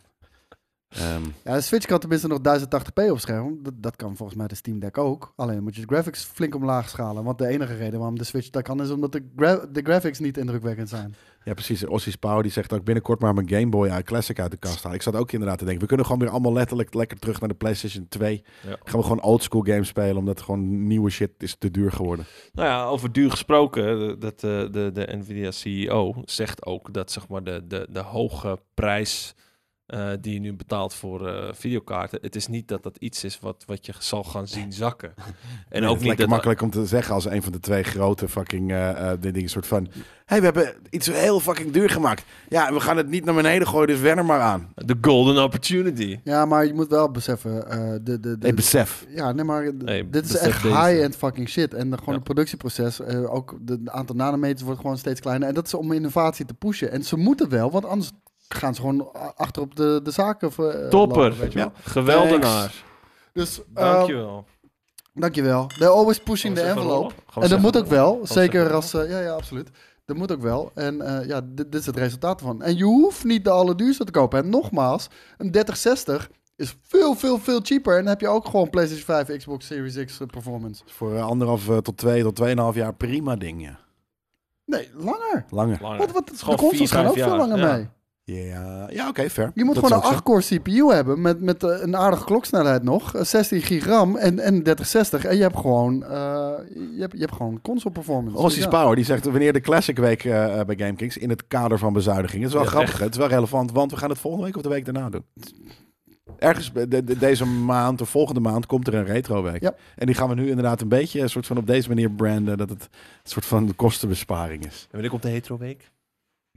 Speaker 2: Ehm,
Speaker 3: Ja, de Switch kan tenminste nog 1080p op scherm. Dat, dat kan volgens mij de Steam Deck ook. Alleen moet je de graphics flink omlaag schalen. Want de enige reden waarom de Switch dat kan is omdat de, gra- de graphics niet indrukwekkend zijn.
Speaker 2: Ja, precies. Ossie Pauw die zegt ook binnenkort maar mijn Game Boy eh, Classic uit de kast halen. Ik zat ook inderdaad te denken, we kunnen gewoon weer allemaal letterlijk lekker terug naar de PlayStation 2.
Speaker 1: Ja.
Speaker 2: Gaan we gewoon oldschool games spelen, omdat gewoon nieuwe shit is te duur geworden.
Speaker 1: Nou ja, over duur gesproken, eh, dat, eh, de, de Nvidia CEO zegt ook dat zeg maar, de, de, de hoge prijs eh, die je nu betaalt voor eh, videokaarten, het is niet dat dat iets is wat, wat je zal gaan zien zakken. En
Speaker 2: Nee,
Speaker 1: ook
Speaker 2: het
Speaker 1: niet
Speaker 2: lijkt me
Speaker 1: dat...
Speaker 2: makkelijk om te zeggen als een van de twee grote fucking eh, eh, dingen. soort van, hey, we hebben iets heel fucking duur gemaakt. Ja, we gaan het niet naar beneden gooien, dus wen er maar aan.
Speaker 1: De golden opportunity.
Speaker 3: Ja, maar je moet wel beseffen. eh, de, de, de,
Speaker 2: Hey, besef.
Speaker 3: ja, nee, maar d-
Speaker 1: Nee,
Speaker 3: dit is
Speaker 1: besef
Speaker 3: echt
Speaker 1: deze.
Speaker 3: high-end fucking shit. En de, gewoon
Speaker 1: Ja.
Speaker 3: het productieproces, eh, ook de, de aantal nanometers wordt gewoon steeds kleiner. En dat is om innovatie te pushen. En ze moeten wel, want anders gaan ze gewoon a- achter op de, de zaken. eh,
Speaker 1: Topper.
Speaker 3: lopen, weet je wel.
Speaker 1: ja. Geweldenaar.
Speaker 3: Dus eh,
Speaker 1: Dankjewel.
Speaker 3: Dankjewel. They're always pushing
Speaker 1: Gaan we eens
Speaker 3: the
Speaker 1: even
Speaker 3: envelope.
Speaker 1: rollen? Gaan we
Speaker 3: En
Speaker 1: eens
Speaker 3: dat
Speaker 1: even
Speaker 3: moet ook
Speaker 1: rollen?
Speaker 3: wel.
Speaker 1: eens
Speaker 3: Zeker
Speaker 1: even
Speaker 3: als... eh, ja, ja, absoluut. Dat moet ook wel. En eh, ja, dit, dit is het resultaat van. En je hoeft niet de allerduurste te kopen. En nogmaals, een 3060 is veel, veel, veel cheaper. En dan heb je ook gewoon PlayStation 5, Xbox Series X eh, performance.
Speaker 2: Voor eh, anderhalf eh, tot twee tot tweeënhalf jaar prima ding, ja.
Speaker 3: Nee, langer.
Speaker 2: Langer.
Speaker 1: Langer.
Speaker 3: Wat, wat,
Speaker 1: is
Speaker 3: de
Speaker 1: gewoon
Speaker 3: consoles
Speaker 1: vier,
Speaker 3: gaan
Speaker 1: vijf
Speaker 3: ook veel
Speaker 1: jaar.
Speaker 3: langer
Speaker 1: Ja.
Speaker 3: mee.
Speaker 2: Ja, ja oké, fair.
Speaker 3: Je moet
Speaker 2: Dat
Speaker 3: gewoon
Speaker 2: is ook
Speaker 3: een 8-core CPU hebben met, met eh, een aardige kloksnelheid nog. eh, 16 gig RAM en, en 3060. En je hebt gewoon, eh, je hebt, je hebt gewoon console
Speaker 2: zo.
Speaker 3: performance.
Speaker 2: Rossi
Speaker 3: Dus ja.
Speaker 2: Spouwer die zegt wanneer de Classic Week eh, eh, bij GameKings in het kader van bezuinigingen. Het is wel
Speaker 1: Ja,
Speaker 2: grappig,
Speaker 1: echt.
Speaker 2: hè? het is wel relevant, want we gaan het volgende week of de week daarna doen. Ergens bij de- de- deze maand of volgende maand komt er een retro week.
Speaker 3: Ja.
Speaker 2: En die gaan we nu inderdaad een beetje een soort van op deze manier branden. Dat het een soort van kostenbesparing is.
Speaker 1: En wanneer komt de hetero week?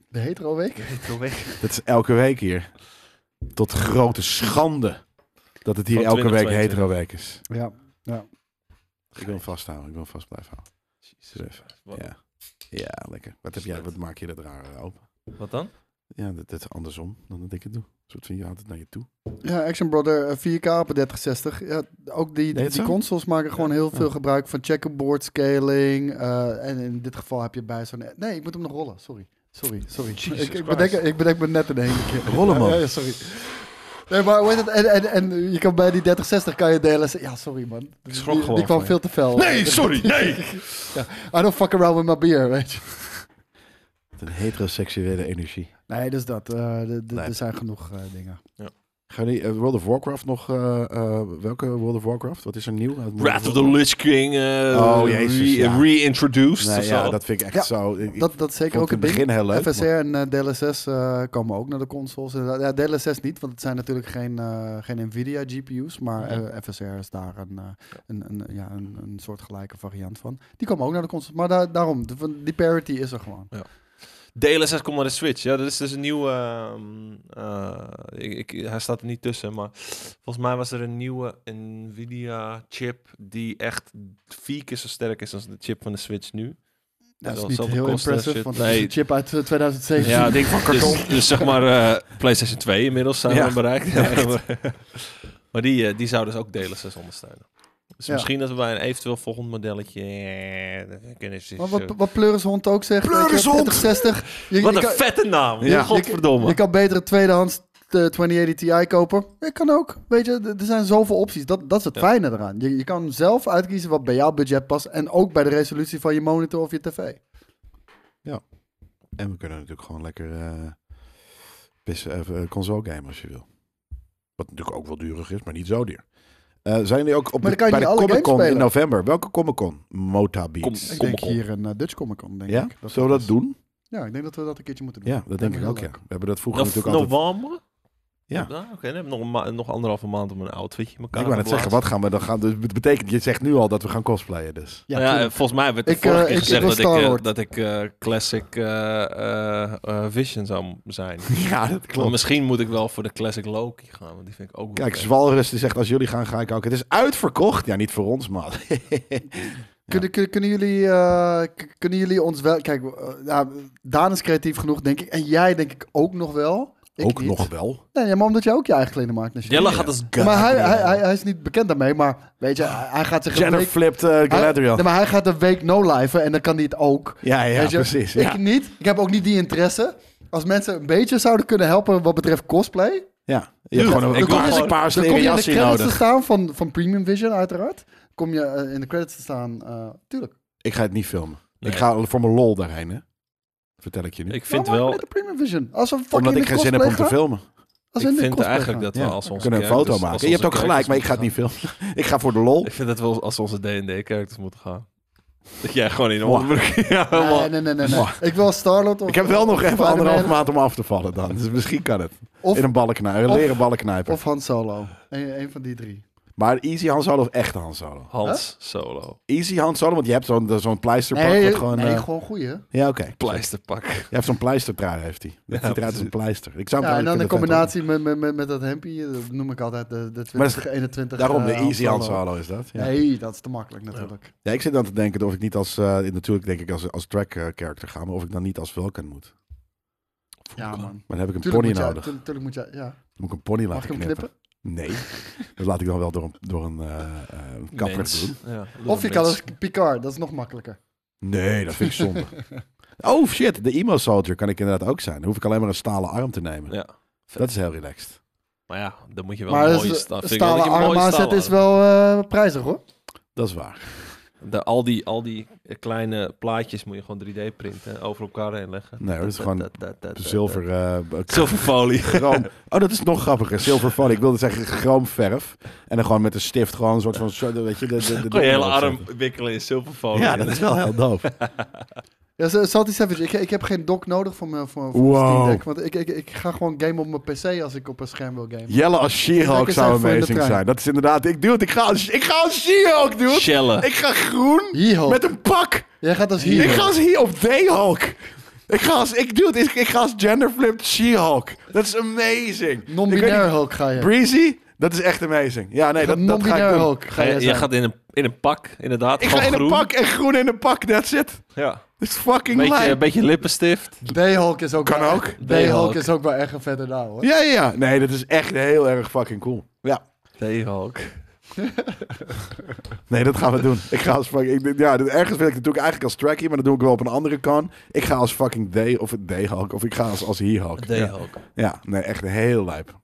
Speaker 3: De hetero week.
Speaker 1: De hetero week.
Speaker 2: Dat is elke week hier. Tot grote schande dat het hier
Speaker 1: Van
Speaker 2: elke week
Speaker 1: 2022.
Speaker 2: hetero week is.
Speaker 3: Ja.
Speaker 2: Ik wil hem vasthouden, ik wil hem vast blijven houden. Jezus.
Speaker 1: Wat,
Speaker 2: Ja. ja, lekker. Wat, heb jij, wat maak je dat raar eh, open?
Speaker 1: wat dan?
Speaker 2: Ja, dat, dat is andersom dan dat ik het doe. Een soort van, je houdt het naar je toe.
Speaker 3: ja, Action Brother eh, 4K op de 3060. Ja, ook die,
Speaker 2: Nee,
Speaker 3: die,
Speaker 2: het zo?
Speaker 3: consoles maken gewoon heel
Speaker 2: Ja.
Speaker 3: veel gebruik van checkerboard scaling. eh, en in dit geval heb je bij zo'n... Nee, ik moet hem nog rollen. Sorry. Sorry, sorry.
Speaker 1: Jesus
Speaker 3: ik, ik,
Speaker 1: Christ.
Speaker 3: bedenk, ik bedenk me net in één keer.
Speaker 2: Rollen, man.
Speaker 3: Ja, ja, sorry. Nee, maar hoe heet het? En, en, en je kan bij die 3060 kan je delen. Ja, sorry man. Ik
Speaker 1: schrok
Speaker 3: die,
Speaker 1: gewoon
Speaker 3: Die
Speaker 1: van
Speaker 3: kwam
Speaker 1: je.
Speaker 3: veel te fel.
Speaker 1: sorry, nee!
Speaker 3: I don't fuck around with my beer, weet je.
Speaker 2: Met een heteroseksuele energie.
Speaker 3: Nee, dus dat. eh, d- d-
Speaker 2: Nee.
Speaker 3: Er zijn genoeg eh, dingen.
Speaker 2: Gaan jullie eh, World of Warcraft nog... eh, eh, welke World of Warcraft? Wat is er nieuw? uit World
Speaker 1: Wrath of the
Speaker 2: Warcraft?
Speaker 1: Lich King eh,
Speaker 2: Oh, jezus,
Speaker 1: re-
Speaker 2: ja.
Speaker 1: reintroduced of
Speaker 2: Nee, ja,
Speaker 1: zo.
Speaker 2: dat vind ik echt
Speaker 3: Ja,
Speaker 2: zo... Ik, dat
Speaker 3: Dat, dat is zeker
Speaker 2: vond
Speaker 3: ook
Speaker 2: het in
Speaker 3: een
Speaker 2: het
Speaker 3: ding.
Speaker 2: begin heel leuk.
Speaker 3: FSR
Speaker 2: maar-
Speaker 3: en eh, DLSS eh, komen ook naar de consoles. Inderdaad, Ja, DLSS niet, want het zijn natuurlijk geen, eh, geen Nvidia GPU's. Maar
Speaker 1: Ja.
Speaker 3: eh, FSR is daar een, eh, een, een, ja, een, een soort gelijke variant van. Die komen ook naar de consoles. Maar daar- daarom, de- van- die parity is er gewoon.
Speaker 1: DLSS komt naar de Switch. Ja, dat is dus een nieuw... ehm, eh, ik, ik- hij staat er niet tussen, maar volgens mij was er een nieuwe Nvidia-chip die echt vier keer zo sterk is dan de chip van de Switch nu.
Speaker 3: Dat is
Speaker 1: Wel,
Speaker 3: niet
Speaker 1: zoveel
Speaker 3: heel
Speaker 1: kosten,
Speaker 3: impressive,
Speaker 1: shit.
Speaker 3: want het is
Speaker 1: Nee.
Speaker 3: een chip uit eh, 2017.
Speaker 1: Ja, ik denk van dus, dus zeg maar eh, PlayStation 2 inmiddels zijn
Speaker 2: Ja,
Speaker 1: we bereikt. maar die, eh, die zou dus ook DLSS ondersteunen. Dus
Speaker 3: Ja.
Speaker 1: misschien dat we bij een eventueel volgend modelletje... eh, dat kunnen ze
Speaker 3: Maar
Speaker 1: zo-
Speaker 3: wat, wat Pleurishond ook zegt. eh,
Speaker 2: Pleurishond!
Speaker 3: 60. Je,
Speaker 1: Wat
Speaker 3: je
Speaker 1: een
Speaker 3: kan,
Speaker 1: vette naam.
Speaker 2: Ja.
Speaker 1: Godverdomme.
Speaker 3: je kan beter een tweedehands eh, 2080 Ti kopen. Je kan ook. Weet je, d- er zijn zoveel opties. Dat, dat is het
Speaker 1: Ja.
Speaker 3: fijne eraan. Je, je kan zelf uitkiezen wat bij jouw budget past. En ook bij de resolutie van je monitor of je tv.
Speaker 2: En we kunnen natuurlijk gewoon lekker eh pissen, eh, eh, console gamen als je wil. Wat natuurlijk ook wel durig is, maar niet zo duur. Eh, zijn jullie ook op
Speaker 3: Maar
Speaker 2: de,
Speaker 3: dan
Speaker 2: bij
Speaker 3: kan je
Speaker 2: de
Speaker 3: niet alle
Speaker 2: Comic
Speaker 3: games
Speaker 2: Con in
Speaker 3: spelen.
Speaker 2: november? Welke Comic Con? Mota Beats.
Speaker 1: Kom- Comic
Speaker 3: Ik denk
Speaker 1: Con.
Speaker 3: hier een eh, Dutch Comic Con, denk
Speaker 2: ja?
Speaker 3: ik.
Speaker 2: Zullen we dat
Speaker 3: is-
Speaker 2: doen?
Speaker 3: Ja, ik denk dat we dat een keertje moeten doen.
Speaker 2: Ja, dat denk ik
Speaker 3: me
Speaker 2: ook,
Speaker 3: heel
Speaker 2: ja. We
Speaker 3: leuk.
Speaker 2: hebben dat vroeger
Speaker 1: Nog
Speaker 2: natuurlijk altijd...
Speaker 1: november?
Speaker 2: Ja.
Speaker 1: Ah, Oké, dan heb ik nog, een ma- nog anderhalve maand om een outfitje in elkaar
Speaker 2: Ik wou
Speaker 1: te
Speaker 2: net zeggen,
Speaker 1: blazen.
Speaker 2: wat gaan we dan gaan... Dus het betekent, je zegt nu al dat we gaan cosplayen
Speaker 1: [laughs]
Speaker 2: dus.
Speaker 3: Ja,
Speaker 1: Nou Ja,
Speaker 3: tuurlijk.
Speaker 1: volgens mij werd de
Speaker 3: Ik,
Speaker 1: vorige
Speaker 3: eh,
Speaker 1: keer
Speaker 3: ik- ik
Speaker 1: gezegd
Speaker 3: wil
Speaker 1: dat, ik, eh,
Speaker 3: Star-Lord.
Speaker 1: dat ik eh, classic eh, eh, eh, Vision zou m- zijn.
Speaker 2: ja, dat
Speaker 1: Maar
Speaker 2: klopt.
Speaker 1: misschien moet ik wel voor de classic Loki gaan, want die vind ik ook wel
Speaker 2: Kijk,
Speaker 1: vet.
Speaker 2: Zwalrus die zegt, als jullie gaan, ga ik ook. Het is uitverkocht. Ja, niet voor ons, man.
Speaker 1: [laughs]
Speaker 3: Kunnen, kunnen, kunnen jullie, eh, k- kunnen jullie ons wel... Kijk, eh, nou, Daan is creatief genoeg, denk ik. En jij denk ik ook nog wel. Ik
Speaker 2: ook
Speaker 3: niet.
Speaker 2: nog wel.
Speaker 3: Nee, ja, maar omdat jij ook je eigen kleden maakt. natuurlijk.
Speaker 1: Jelle gaat dus- als
Speaker 3: Ja, maar hij,
Speaker 1: God.
Speaker 3: hij, hij, hij is niet bekend daarmee, maar weet je, hij, hij gaat zich een
Speaker 2: Jenner
Speaker 3: week...
Speaker 2: flipt eh
Speaker 3: Hij,
Speaker 2: Galadriel.
Speaker 3: Nee, maar hij gaat een week no-liven en dan kan hij het ook.
Speaker 2: Ja, ja,
Speaker 3: Weet je,
Speaker 2: precies. Ja.
Speaker 3: Ik niet. Ik heb ook niet die interesse. Als mensen een beetje zouden kunnen helpen wat betreft cosplay...
Speaker 2: Ja, je
Speaker 1: Duur.
Speaker 2: hebt gewoon
Speaker 1: Ik
Speaker 2: een
Speaker 1: wil
Speaker 2: paars,
Speaker 1: gewoon-
Speaker 2: paars
Speaker 3: Dan kom
Speaker 2: leren
Speaker 3: je in de
Speaker 2: jasje
Speaker 3: credits te
Speaker 2: nodig.
Speaker 3: staan van, van Premium Vision, uiteraard. Kom je eh, in de credits te staan, eh, tuurlijk.
Speaker 2: Ik ga het niet filmen.
Speaker 1: Nee.
Speaker 2: Ik ga voor mijn lol daarheen, hè. Vertel ik je nu.
Speaker 1: Ik vind
Speaker 3: Waarom
Speaker 1: wel,
Speaker 3: maken we dit een Premium Vision. Als we fucking
Speaker 2: Omdat
Speaker 3: in
Speaker 2: ik
Speaker 3: de
Speaker 2: geen zin heb om
Speaker 3: cosplay
Speaker 2: te
Speaker 3: gaan,
Speaker 2: filmen.
Speaker 3: als
Speaker 1: ik
Speaker 3: we in de
Speaker 1: vind
Speaker 3: cosplay
Speaker 1: eigenlijk
Speaker 3: gaan.
Speaker 1: dat we
Speaker 2: Ja,
Speaker 1: als
Speaker 2: we
Speaker 1: onze
Speaker 2: kunnen een foto
Speaker 1: characters-
Speaker 2: maken.
Speaker 1: als
Speaker 2: Je hebt
Speaker 1: onze
Speaker 2: ook gelijk, maar ik ga het niet
Speaker 1: characters
Speaker 2: filmen. [laughs] ik ga voor de lol.
Speaker 1: moeten gaan. [laughs] Ik vind dat we als onze D&D-characters moeten gaan. Dat jij gewoon in de
Speaker 2: Mwah.
Speaker 1: onderbroek... [laughs] Ja, man.
Speaker 3: Nee, nee, nee, nee. nee. Ik wil Starlord of...
Speaker 2: Ik heb wel nog even
Speaker 3: Spider-Man
Speaker 2: anderhalf maand om af te vallen dan. Dus misschien kan het.
Speaker 3: Of,
Speaker 2: In een ballenknijper, een
Speaker 3: of-
Speaker 2: leren ballenknijper.
Speaker 3: of Han Solo. Eén één van die drie.
Speaker 2: Maar easy Han Solo of echte Han Solo?
Speaker 1: Hans Solo.
Speaker 2: Easy Han Solo, want je hebt zo'n zo'n pleisterpak. wat gewoon,
Speaker 3: nee,
Speaker 2: eh,
Speaker 3: gewoon goeie.
Speaker 2: ja, oké.
Speaker 1: Pleisterpak.
Speaker 2: Je hebt zo'n pleistertrui, heeft hij. Dat ziet eruit als een pleister. Ik zou hem
Speaker 3: Ja, en
Speaker 2: trouwens
Speaker 3: dan in
Speaker 2: vinden vet, hoor.
Speaker 3: combinatie met, met, met, met dat hempie, dat noem ik altijd de, de
Speaker 2: Maar dat is-
Speaker 3: 20, 21.
Speaker 2: Daarom, de
Speaker 3: eh,
Speaker 2: easy Han
Speaker 3: Solo.
Speaker 2: Solo is dat. Ja.
Speaker 3: Nee, dat is te makkelijk natuurlijk.
Speaker 2: Ja, ik zit dan te denken of ik niet als, eh, natuurlijk denk ik als, als track eh, character ga, maar of ik dan niet als Vulcan moet.
Speaker 3: Ja, man.
Speaker 2: Maar dan heb ik een
Speaker 3: Tuurlijk moet,
Speaker 2: pony
Speaker 3: jij,
Speaker 2: nodig.
Speaker 3: tu- tuurlijk moet jij, ja.
Speaker 2: Dan moet ik een pony
Speaker 3: Mag
Speaker 2: laten
Speaker 3: ik hem
Speaker 2: knippen.
Speaker 3: knippen?
Speaker 2: Nee, dat laat ik dan wel door een, door een eh, eh, een kapper
Speaker 1: Mens.
Speaker 2: doen.
Speaker 1: Ja,
Speaker 3: Of je
Speaker 1: mens.
Speaker 3: kan als Picard, dat is nog makkelijker. [laughs]
Speaker 2: Nee, dat vind ik zonde. Oh shit, de emo soldier kan ik inderdaad ook zijn. Dan hoef ik alleen maar een stalen arm te nemen.
Speaker 1: Ja.
Speaker 2: Dat is heel relaxed.
Speaker 1: Maar ja, dan moet je wel
Speaker 3: Maar
Speaker 1: een
Speaker 3: dat
Speaker 1: mooie
Speaker 3: is-
Speaker 1: sta- vind ik wel dat
Speaker 3: stalen
Speaker 1: je een mooie
Speaker 3: arm aanzet
Speaker 1: stalen
Speaker 3: is wel eh, prijzig hoor.
Speaker 2: Dat is waar.
Speaker 1: De, al, die, al die kleine plaatjes moet je gewoon 3D printen, over elkaar heen leggen.
Speaker 2: Nee, hoor, dat is
Speaker 1: Dat-
Speaker 2: gewoon
Speaker 1: dat- dat- dat- dat-
Speaker 2: Zilver. eh,
Speaker 1: dat-
Speaker 3: [laughs]
Speaker 1: Zilverfolie. [laughs]
Speaker 2: Chroom. Oh, dat is nog grappiger. Zilverfolie. Ik wilde zeggen chroomverf. En dan gewoon met een stift gewoon een soort van... zo- Weet je, de, de, de,
Speaker 1: [laughs] Gewoon je hele arm wikkelen in zilverfolie.
Speaker 2: Ja, dat is wel heel
Speaker 1: [laughs]
Speaker 2: doof.
Speaker 3: Ja, Z- Salty Savage, ik, ik heb geen dock nodig voor mijn voor, voor mijn
Speaker 2: Wow.
Speaker 3: Steam Deck. Want ik, ik, ik ga gewoon gamen op mijn PC als ik op een scherm wil gamen.
Speaker 2: Jelle als She-Hulk
Speaker 3: Lekker
Speaker 2: zou
Speaker 3: zijn voor in de
Speaker 2: amazing
Speaker 3: trein.
Speaker 2: zijn. Dat is inderdaad... Ik, dude, ik ga als, ik ga als She-Hulk, dude.
Speaker 1: Shellen.
Speaker 2: Ik ga groen
Speaker 3: He-Hulk.
Speaker 2: met een pak.
Speaker 3: Jij gaat als hier.
Speaker 2: Ik ga als hier op D-Hulk. Ik ga als... Ik, dude, ik, ik ga als genderflipped She-Hulk. Dat is amazing. Ik weet
Speaker 3: Non-binair
Speaker 2: niet-
Speaker 3: Hulk ga je.
Speaker 2: Breezy? Dat is echt amazing. Ja, nee, dat, dat ga ik
Speaker 3: Non-binair
Speaker 2: doen.
Speaker 3: Hulk
Speaker 1: Ga
Speaker 3: ga
Speaker 1: je,
Speaker 3: jij
Speaker 1: Eh, je
Speaker 3: zijn.
Speaker 1: gaat in een, in een pak, inderdaad.
Speaker 2: Ik
Speaker 1: gewoon
Speaker 2: ga in een
Speaker 1: groen.
Speaker 2: pak en groen in een pak, that's it.
Speaker 1: Ja.
Speaker 2: Dat is fucking
Speaker 1: Beetje, eh,
Speaker 2: lijp.
Speaker 1: een beetje lippenstift.
Speaker 3: D-Hulk is ook
Speaker 2: Kan
Speaker 3: wel
Speaker 2: ook.
Speaker 3: echt-
Speaker 1: D-Hulk.
Speaker 3: D-Hulk is ook wel echt een verder naam hoor.
Speaker 2: Ja, ja, ja. Nee, dat is echt heel erg fucking cool. Ja.
Speaker 1: Theehawk.
Speaker 2: Nee, dat gaan we doen. Ik ga als fucking... ik- ja, dit- ergens wil ik natuurlijk eigenlijk als trackie, maar dat doe ik wel op een andere kan. Ik ga als fucking D of D-Hulk. Of ik ga als, als He-Hulk. Ja.
Speaker 1: Theehawk.
Speaker 2: ja, nee, echt heel lijp.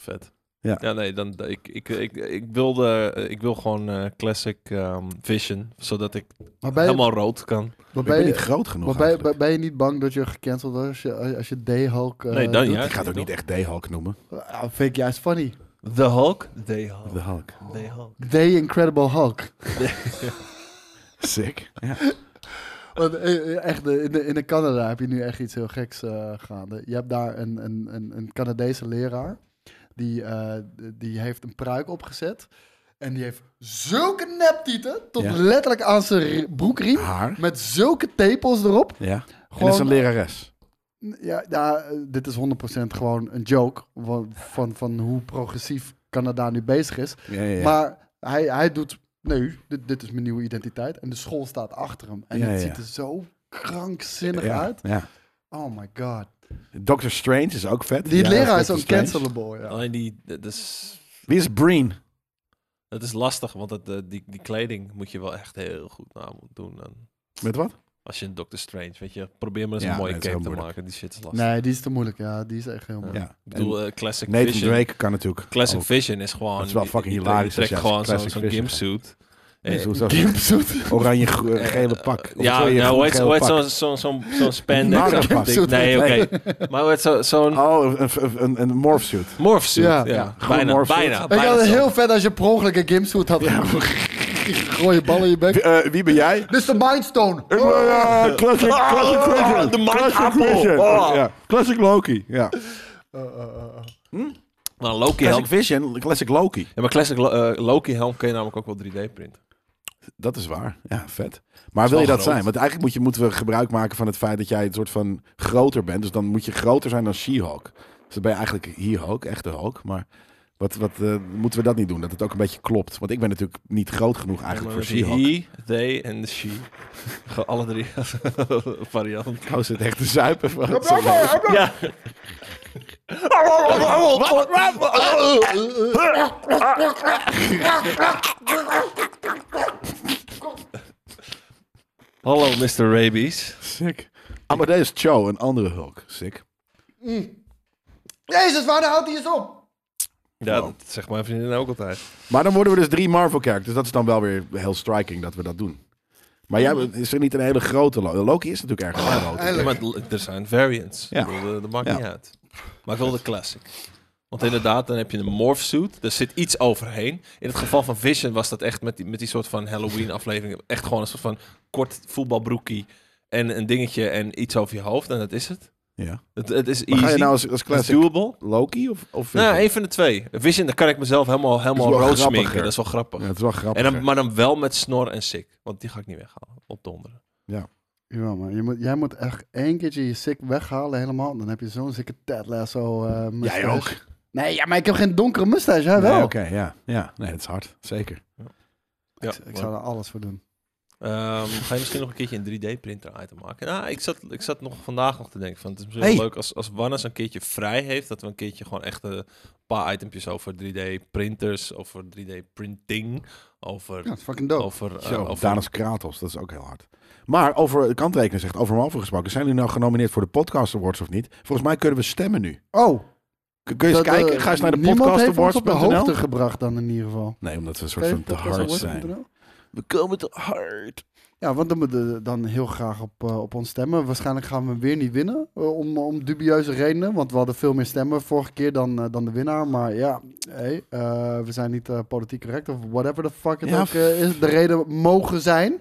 Speaker 1: Vet.
Speaker 2: Ja.
Speaker 1: nee, dan, ik, ik, ik, ik, wilde, ik wil gewoon eh, classic ehm, vision, zodat ik
Speaker 3: Maar ben je,
Speaker 1: helemaal rood kan.
Speaker 3: maar
Speaker 2: Ik ben
Speaker 3: ben
Speaker 2: niet
Speaker 3: je,
Speaker 2: groot genoeg
Speaker 3: maar ben,
Speaker 2: eigenlijk.
Speaker 3: ben je niet bang dat je gecanceld wordt als je, als je D-Hulk... eh,
Speaker 1: Nee, dan
Speaker 3: doet?
Speaker 1: Oh, ja.
Speaker 2: ik ga het ook niet echt D-Hulk noemen.
Speaker 3: Ah, vind ik juist funny.
Speaker 1: The Hulk? Theehawk.
Speaker 2: De Hulk.
Speaker 1: Theehawk.
Speaker 3: D-Incredible Hulk.
Speaker 2: Sick. Ja.
Speaker 3: Want, eh, eh, echt, eh, in, de- in de Canada heb je nu echt iets heel geks eh, gaande. Je hebt daar een, een, een, een Canadese leraar. Die, eh, die heeft een pruik opgezet. En die heeft zulke neptieten. Tot
Speaker 2: Ja.
Speaker 3: letterlijk aan zijn ri- broekriem.
Speaker 2: Haar.
Speaker 3: Met zulke tepels erop.
Speaker 2: Ja. En dat is
Speaker 3: Gewoon-
Speaker 2: een lerares.
Speaker 3: Ja, ja, eh, dit is 100% gewoon een joke. Van, van, van hoe progressief Canada nu bezig is.
Speaker 2: Ja, ja, ja.
Speaker 3: Maar hij, hij doet, nee, dit, dit is mijn nieuwe identiteit. En de school staat achter hem. En
Speaker 2: Ja,
Speaker 3: het
Speaker 2: ja.
Speaker 3: ziet er zo krankzinnig
Speaker 2: ja,
Speaker 3: uit.
Speaker 2: ja.
Speaker 3: Oh my god.
Speaker 2: Doctor Strange is ook vet.
Speaker 3: Die
Speaker 2: Ja,
Speaker 3: leraar is
Speaker 2: Doctor
Speaker 3: ook
Speaker 2: Strange.
Speaker 3: cancelable, ja.
Speaker 1: Alleen die, dat is,
Speaker 2: Wie is Breen?
Speaker 1: dat is lastig, want dat, eh, die, die kleding moet je wel echt heel goed na moeten doen. En
Speaker 2: Met wat?
Speaker 1: als je een Doctor Strange, weet je, probeer maar eens
Speaker 2: Ja,
Speaker 1: een mooie
Speaker 2: nee, het is
Speaker 1: cape te
Speaker 2: heel moeilijk.
Speaker 1: maken. Die shit is lastig.
Speaker 3: Nee, die is te moeilijk, ja. Die is echt heel moeilijk.
Speaker 2: Ja.
Speaker 1: Ik bedoel, eh, classic
Speaker 2: Nathan
Speaker 1: vision.
Speaker 2: Drake kan natuurlijk.
Speaker 1: Classic
Speaker 2: ook.
Speaker 1: Vision is gewoon...
Speaker 2: Dat is wel fucking
Speaker 1: je- je
Speaker 2: hilarisch als
Speaker 1: trekt
Speaker 2: je als
Speaker 1: gewoon zo'n
Speaker 2: Classic
Speaker 1: zo'n
Speaker 2: Vision
Speaker 1: gimpsuit.
Speaker 2: Nee,
Speaker 1: Eh,
Speaker 2: sowieso.
Speaker 3: Gimpsuit.
Speaker 2: Oranje gro- eh, gele pak. Of
Speaker 1: ja,
Speaker 2: sorry,
Speaker 1: nou,
Speaker 2: groen
Speaker 1: hoe heet-
Speaker 2: gele
Speaker 1: hoe heet
Speaker 2: pak.
Speaker 1: zo'n zo'n zo'n zo'n spandex?
Speaker 2: Marapak.
Speaker 1: ding? eh, Nee, oké. Maar hoe heet zo- zo'n
Speaker 2: Oh, een, een- een, een morphsuit.
Speaker 1: morphsuit?
Speaker 3: Ja,
Speaker 1: Ja,
Speaker 2: ja. Gewoon
Speaker 1: bijna,
Speaker 2: morphsuit.
Speaker 1: bijna.
Speaker 3: Ik
Speaker 1: bijna
Speaker 3: had het
Speaker 1: zo.
Speaker 3: heel vet als je per ongeluk een gimpsuit had. [laughs] Gooi je bal in je bek.
Speaker 2: Wie, eh, wie ben
Speaker 1: [laughs]
Speaker 2: jij?
Speaker 3: Dit is de Mindstone.
Speaker 2: Ik ben, eh, classic, classic
Speaker 1: Ah,
Speaker 2: Vision.
Speaker 1: de Mind
Speaker 2: Classic
Speaker 1: Apple.
Speaker 2: Vision.
Speaker 1: Ah.
Speaker 2: Ja. Classic Loki. Ja.
Speaker 3: Eh, eh, eh, eh.
Speaker 1: Maar Nou, Loki helm...
Speaker 2: Classic Vision, Classic Loki.
Speaker 1: Ja, maar classic Lo- eh, Loki helm kun je namelijk ook wel 3D printen.
Speaker 2: Dat is waar. Ja, vet. Maar wil je
Speaker 1: wel
Speaker 2: dat
Speaker 1: groot.
Speaker 2: zijn? Want eigenlijk moet je, moeten we gebruik maken van het feit dat jij een soort van groter bent. Dus dan moet je groter zijn dan She-Hulk. Dus dan ben je eigenlijk He-Hulk, echte Hulk. Maar wat, wat eh, moeten we dat niet doen? Dat het ook een beetje klopt. Want ik ben natuurlijk niet groot genoeg eigenlijk voor
Speaker 1: Die
Speaker 2: She-Hulk.
Speaker 1: He, they en de she. Gewoon alle drie [laughs] variant.
Speaker 2: Ik hou ze Oh, het echt te zuipen. van het zo-
Speaker 1: Ja. Hallo, Mr. Rabies.
Speaker 2: Sick. Amadeus Cho, een andere Hulk. Sick.
Speaker 3: Mm. Jezus, waar houdt hij eens op?
Speaker 1: Ja, dat zegt mijn vriendin ook altijd.
Speaker 2: Maar dan worden we dus drie Marvel-characters. Dus dat is dan wel weer heel striking dat we dat doen. Maar
Speaker 1: Hmm.
Speaker 2: jij is er niet een hele grote Loki? Loki is natuurlijk
Speaker 1: Oh,
Speaker 2: erg groot.
Speaker 1: Ja, maar het- er zijn variants.
Speaker 2: Ja.
Speaker 1: Ik bedoel, dat, dat maakt
Speaker 2: Ja.
Speaker 1: niet uit. Maar ik wil de classic. Want inderdaad, dan heb je een morph suit. Er zit iets overheen. In het geval van Vision was dat echt met die, met die soort van Halloween aflevering. Echt gewoon een soort van kort voetbalbroekie. En een dingetje en iets over je hoofd. En dat is het.
Speaker 2: Ja.
Speaker 1: Het, het is
Speaker 2: Maar
Speaker 1: easy.
Speaker 2: ga je nou als,
Speaker 1: Het
Speaker 2: als
Speaker 1: is
Speaker 2: classic
Speaker 1: doable.
Speaker 2: Loki of, of
Speaker 1: Nou,
Speaker 2: Vision?
Speaker 1: een van de twee. Vision, dan kan ik mezelf helemaal, helemaal
Speaker 2: wel
Speaker 1: rood
Speaker 2: grappiger.
Speaker 1: sminken. Dat is wel grappig.
Speaker 2: Ja, het is wel grappig.
Speaker 1: En dan, maar dan wel met snor en sick. Want die ga ik niet weghalen. Op donderen.
Speaker 3: Ja, man. Je moet, jij moet echt één keertje je sick weghalen helemaal. Dan heb je zo'n zikke Ted Lasso eh, mustache.
Speaker 2: Jij ook.
Speaker 3: Nee, ja, maar ik heb geen donkere mustache. Jij wel.
Speaker 2: Nee, Oké, ja. ja. Nee, het is hard. Zeker.
Speaker 1: Ja,
Speaker 3: Ik zou er alles voor doen.
Speaker 1: Ehm, ga je misschien nog een keertje een 3D-printer item maken? Nou, ik zat, ik zat nog vandaag nog te denken van, het is misschien wel
Speaker 2: Hey.
Speaker 1: leuk als, als Wannes een keertje vrij heeft, dat we een keertje gewoon echt eh, een paar itempjes over 3D-printers, over 3D-printing, over...
Speaker 3: Ja, dat is fucking dope.
Speaker 1: over, eh,
Speaker 2: Zo,
Speaker 1: over
Speaker 2: Danos Kratos, dat is ook heel hard. Maar over de kantrekening zegt, over Marvel gesproken. Zijn jullie nou genomineerd voor de Podcast Awards of niet? Volgens mij kunnen we stemmen nu.
Speaker 3: Oh,
Speaker 2: Kun- Kun je eens
Speaker 3: dat, eh,
Speaker 2: kijken? Ga eens naar de
Speaker 3: Niemand heeft ons op de hoogte
Speaker 2: podcastawards.nl.
Speaker 3: gebracht dan in ieder geval.
Speaker 2: Nee, omdat we een soort van te hard zijn.
Speaker 3: podcastawards.nl?
Speaker 2: We komen te hard.
Speaker 3: Ja, want dan moet je dan heel graag op, eh, op ons stemmen. Waarschijnlijk gaan we weer niet winnen. eh, om, om dubieuze redenen. Want we hadden veel meer stemmen vorige keer dan, eh, dan de winnaar. Maar ja, hey, eh, we zijn niet eh, politiek correct. Of whatever the fuck het
Speaker 2: Ja,
Speaker 3: ook eh, is. De reden mogen zijn.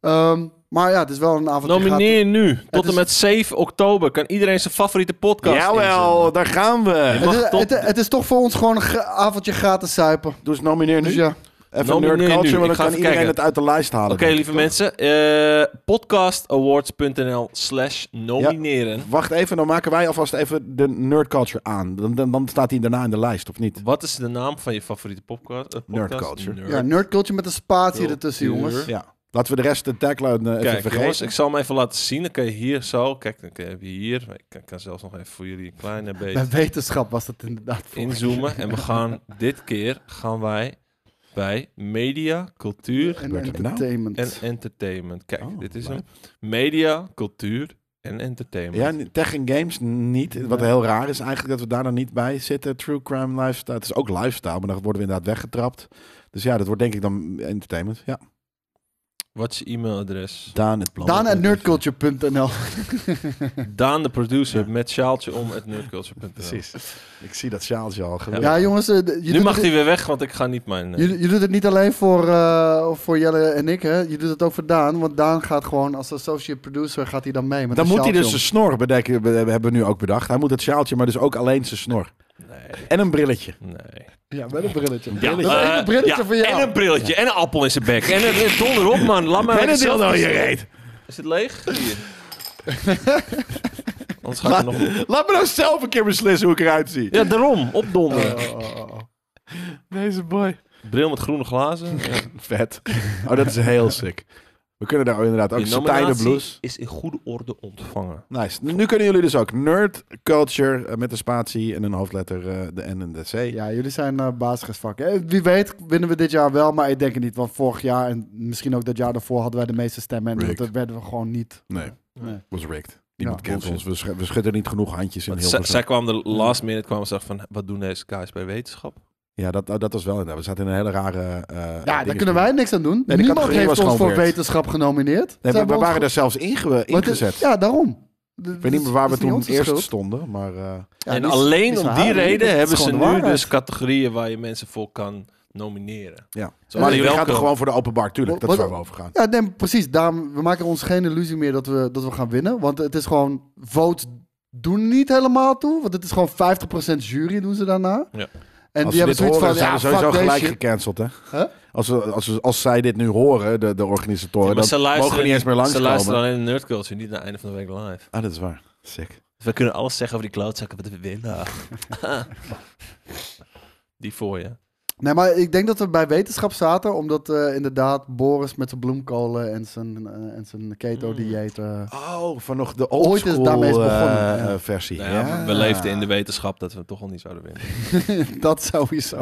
Speaker 3: Ehm, maar ja, het is wel een avond.
Speaker 1: Nomineer nu, tot
Speaker 3: is-
Speaker 1: en met 7 oktober, kan iedereen zijn favoriete podcast
Speaker 2: Jawel,
Speaker 1: inzenden.
Speaker 2: daar gaan
Speaker 1: Je
Speaker 2: we.
Speaker 1: mag
Speaker 3: Het is,
Speaker 1: tot-
Speaker 3: het, het is toch voor ons gewoon een gra- avondje gratis zuipen.
Speaker 2: Doe eens nomineer nu.
Speaker 3: Dus ja,
Speaker 2: Even
Speaker 1: Nomineer
Speaker 2: Nerd
Speaker 1: nu.
Speaker 2: Culture,
Speaker 1: Ik
Speaker 2: want dan
Speaker 1: ga
Speaker 2: kan
Speaker 1: even
Speaker 2: iedereen
Speaker 1: kijken.
Speaker 2: het uit de lijst halen.
Speaker 1: Oké,
Speaker 2: denk ik,
Speaker 1: lieve
Speaker 2: toch?
Speaker 1: mensen, eh, podcastawards.nl slash nomineren.
Speaker 2: Wacht even, dan maken wij alvast even de Nerd Culture aan. Dan, dan, dan staat hij daarna in de lijst, of niet?
Speaker 1: Wat is de naam van je favoriete popca- eh, podcast?
Speaker 2: Nerd Culture.
Speaker 1: Nerd.
Speaker 3: ja nerdcultje met een spatie
Speaker 1: Culture.
Speaker 3: ertussen, jongens.
Speaker 2: Ja. Laten we de rest de tagline eh, even
Speaker 1: Kijk,
Speaker 2: vergeten.
Speaker 1: jongens, ik zal hem even laten zien. Dan kan je hier zo. Kijk, dan heb je hier. Ik kan, kan zelfs nog even voor jullie een
Speaker 3: [laughs]
Speaker 1: kleine
Speaker 3: Bij
Speaker 1: beetje
Speaker 3: wetenschap was dat inderdaad. voor.
Speaker 1: inzoomen. En we
Speaker 3: [laughs]
Speaker 1: gaan dit keer gaan wij bij media, cultuur
Speaker 3: En
Speaker 2: Gebeurt er nou?
Speaker 3: entertainment.
Speaker 1: en entertainment. Kijk,
Speaker 2: Oh,
Speaker 1: dit is hem.
Speaker 2: leuk.
Speaker 1: Media, cultuur en entertainment.
Speaker 2: Ja, n- tech en games niet. Wat heel raar is eigenlijk dat we daar dan niet bij zitten. True crime lifestyle. Het is ook lifestyle, maar dan worden we inderdaad weggetrapt. Dus ja, dat wordt denk ik dan entertainment. Ja.
Speaker 1: Wat is je e-mailadres?
Speaker 2: Daan het plan.
Speaker 3: Daan at nerdculture.nl.
Speaker 1: Daan de producer met sjaaltje om het nerdculture.nl.
Speaker 2: Precies. Ik zie dat sjaaltje al. Geweldig.
Speaker 3: Ja, jongens. eh, d- je
Speaker 1: Nu
Speaker 3: doet
Speaker 1: mag
Speaker 3: het,
Speaker 1: hij weer weg, want ik ga niet mijn... eh,
Speaker 3: je, je doet het niet alleen voor, eh, voor Jelle en ik, hè? Je doet het ook voor Daan. Want Daan gaat gewoon als associate producer gaat hij dan mee. Met
Speaker 2: Dan
Speaker 3: een
Speaker 2: moet hij dus
Speaker 3: sjaaltje
Speaker 2: zijn snor bedekken, be- hebben we nu ook bedacht. Hij moet het sjaaltje, maar dus ook alleen zijn snor.
Speaker 1: Nee,
Speaker 2: En een brilletje.
Speaker 1: nee.
Speaker 3: om. Ja, met een brilletje.
Speaker 1: Ja,
Speaker 3: Dat is
Speaker 1: eh,
Speaker 3: echt een brilletje
Speaker 1: ja,
Speaker 3: voor jou.
Speaker 1: En een brilletje en een appel in zijn bek. En een een donder op, man. Laat maar
Speaker 2: en een
Speaker 1: lekker
Speaker 2: deel
Speaker 1: zelf-
Speaker 2: dan je reet.
Speaker 1: Is het leeg? Hier.
Speaker 3: [laughs]
Speaker 1: Anders ga ik
Speaker 2: Laat,
Speaker 1: er nog...
Speaker 2: laat me nou zelf een keer beslissen hoe ik eruit zie.
Speaker 1: Ja, daarom. Opdonderen.
Speaker 3: Oh, oh, oh, oh.
Speaker 2: Deze boy.
Speaker 1: Bril met groene glazen. Ja.
Speaker 2: Vet. Oh, dat is heel sick. We kunnen daar inderdaad ook
Speaker 1: Je
Speaker 2: satijnen
Speaker 1: nominatie
Speaker 2: blouse.
Speaker 1: is in goede orde ontvangen.
Speaker 2: Nice. Nu kunnen jullie dus ook nerd culture eh, met een spatie en een hoofdletter eh, de N en de C.
Speaker 3: Ja, jullie zijn eh basisvak. Eh, Wie weet winnen we dit jaar wel, maar ik denk het niet. Want vorig jaar en misschien ook dat jaar daarvoor hadden wij de meeste stemmen. En
Speaker 2: Rigged.
Speaker 3: dat werden we gewoon niet.
Speaker 2: Nee,
Speaker 3: Nee.
Speaker 2: was rigged. Niemand
Speaker 3: Ja,
Speaker 2: kent
Speaker 3: bullshit.
Speaker 2: ons. We, sch- we schudden niet genoeg handjes in
Speaker 1: Want
Speaker 2: heel
Speaker 1: zij, zij kwam de last minute kwam en zag van... Wat doen deze guys bij wetenschap?
Speaker 2: Ja, dat, oh, dat was wel inderdaad. We zaten in een hele rare... eh, eh,
Speaker 3: Ja, daar
Speaker 2: dingen.
Speaker 3: kunnen wij niks aan doen.
Speaker 2: de
Speaker 3: Niemand
Speaker 2: categorie
Speaker 3: heeft
Speaker 2: was
Speaker 3: ons
Speaker 2: gewoon
Speaker 3: voor
Speaker 2: weird.
Speaker 3: wetenschap genomineerd.
Speaker 2: Nee,
Speaker 3: Zijn
Speaker 2: we,
Speaker 3: we
Speaker 2: we
Speaker 3: ons
Speaker 2: waren daar zelfs inge,
Speaker 3: Want het-
Speaker 2: ingezet.
Speaker 3: Ja, daarom.
Speaker 2: ik weet niet meer waar we toen eerst stonden, maar... eh,
Speaker 1: en alleen om die reden hebben ze nu
Speaker 3: dus
Speaker 1: dus categorieën waar je mensen voor kan nomineren.
Speaker 2: ja.
Speaker 1: Zo,
Speaker 2: maar
Speaker 1: die
Speaker 2: jullie gaan
Speaker 1: welkom.
Speaker 2: toch gewoon voor de open bar, tuurlijk. Dat is
Speaker 3: Wat-
Speaker 2: waar we over gaan.
Speaker 3: Ja, nee, precies. Daarom, we maken ons geen illusie meer dat we, dat we gaan winnen. Want het is gewoon, votes doen niet helemaal toe. Want het is gewoon 50% jury doen ze daarna.
Speaker 1: Ja.
Speaker 3: En
Speaker 2: als
Speaker 3: die
Speaker 2: ze
Speaker 3: hebben
Speaker 2: dit
Speaker 3: zoiets
Speaker 2: horen,
Speaker 3: van,
Speaker 2: zijn
Speaker 3: ja,
Speaker 2: we sowieso
Speaker 3: fuck deze
Speaker 2: gelijk
Speaker 3: shit.
Speaker 2: gecanceld, hè?
Speaker 3: Huh?
Speaker 2: Als, we, als, we- als zij dit nu horen, de, de organisatoren,
Speaker 1: Ja, maar ze
Speaker 2: dan mogen we
Speaker 1: luisteren
Speaker 2: niet eens meer
Speaker 1: Ze luisteren
Speaker 2: langskomen.
Speaker 1: alleen naar Nerd Culture, niet naar einde van de week live.
Speaker 2: Ah, dat is waar. Sick.
Speaker 1: Dus we kunnen alles zeggen over die klootzakken wat we willen. [laughs] die voor je.
Speaker 3: Nee, maar ik denk dat we bij wetenschap zaten. Omdat eh, inderdaad Boris met zijn bloemkolen en zijn, eh, en zijn keto-dieet... eh,
Speaker 2: Oh, van nog de
Speaker 3: Ooit is
Speaker 2: oldschool
Speaker 3: daarmee is
Speaker 2: eh,
Speaker 3: begonnen, ja.
Speaker 2: eh, versie.
Speaker 1: Nou ja, We leefden in de wetenschap dat we toch al niet zouden winnen.
Speaker 3: [laughs] dat sowieso.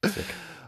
Speaker 3: Eh,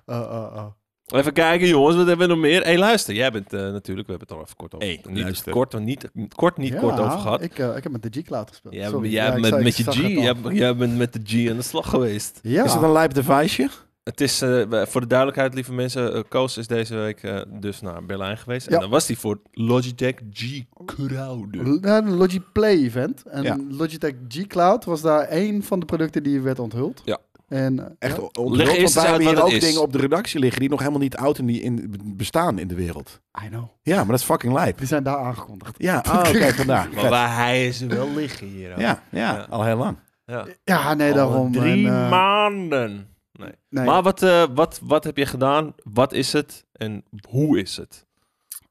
Speaker 3: eh, eh.
Speaker 1: Even kijken, jongens, wat hebben we nog meer? Hé, hey, luister, jij bent eh, natuurlijk, we hebben het al even kort over.
Speaker 2: Hey,
Speaker 1: niet
Speaker 2: luister.
Speaker 1: kort, want niet, kort, niet
Speaker 3: Ja,
Speaker 1: kort over gehad.
Speaker 3: Ik, eh, ik heb met de G-cloud gespeeld.
Speaker 1: Jij,
Speaker 3: Sorry.
Speaker 1: jij
Speaker 3: Ja, ik
Speaker 1: bent
Speaker 3: zag-
Speaker 1: met je
Speaker 3: ik
Speaker 1: G,
Speaker 3: zag het al.
Speaker 1: jij, jij bent met de G aan de slag geweest.
Speaker 3: Ja.
Speaker 2: Is het een lijp deviceje?
Speaker 1: Het is, eh, we- voor de duidelijkheid, lieve mensen, eh, Koos is deze week eh, dus naar Berlijn geweest. En
Speaker 3: Ja.
Speaker 1: dan was hij voor Logitech G Crowd.
Speaker 3: Ja, een Logiplay event. En
Speaker 2: Ja.
Speaker 3: Logitech G Cloud was daar één van de producten die werd onthuld.
Speaker 1: Ja.
Speaker 3: En, eh,
Speaker 2: Echt
Speaker 3: ja.
Speaker 2: onthuld,
Speaker 1: Leg eerst
Speaker 2: want
Speaker 1: eens
Speaker 2: wij
Speaker 1: uit
Speaker 2: hebben
Speaker 1: wat
Speaker 2: hier
Speaker 1: het
Speaker 2: ook
Speaker 1: is.
Speaker 2: dingen op de redactie liggen die nog helemaal niet oud en die in, bestaan in de wereld.
Speaker 3: I know.
Speaker 2: Ja, maar dat is fucking lijp.
Speaker 3: eh, Die zijn daar aangekondigd.
Speaker 2: [laughs] Ja, oh, kijk vandaar.
Speaker 1: Maar waar hij is wel liggen hier. hoor.
Speaker 2: Ja, ja,
Speaker 1: Ja.
Speaker 2: al heel lang.
Speaker 1: Ja.
Speaker 3: Ja, nee,
Speaker 1: Al
Speaker 3: daarom.
Speaker 1: Drie
Speaker 3: en, eh,
Speaker 1: maanden. Nee.
Speaker 3: nee.
Speaker 1: Maar wat, eh, wat, wat heb je gedaan? Wat is het? En hoe is het?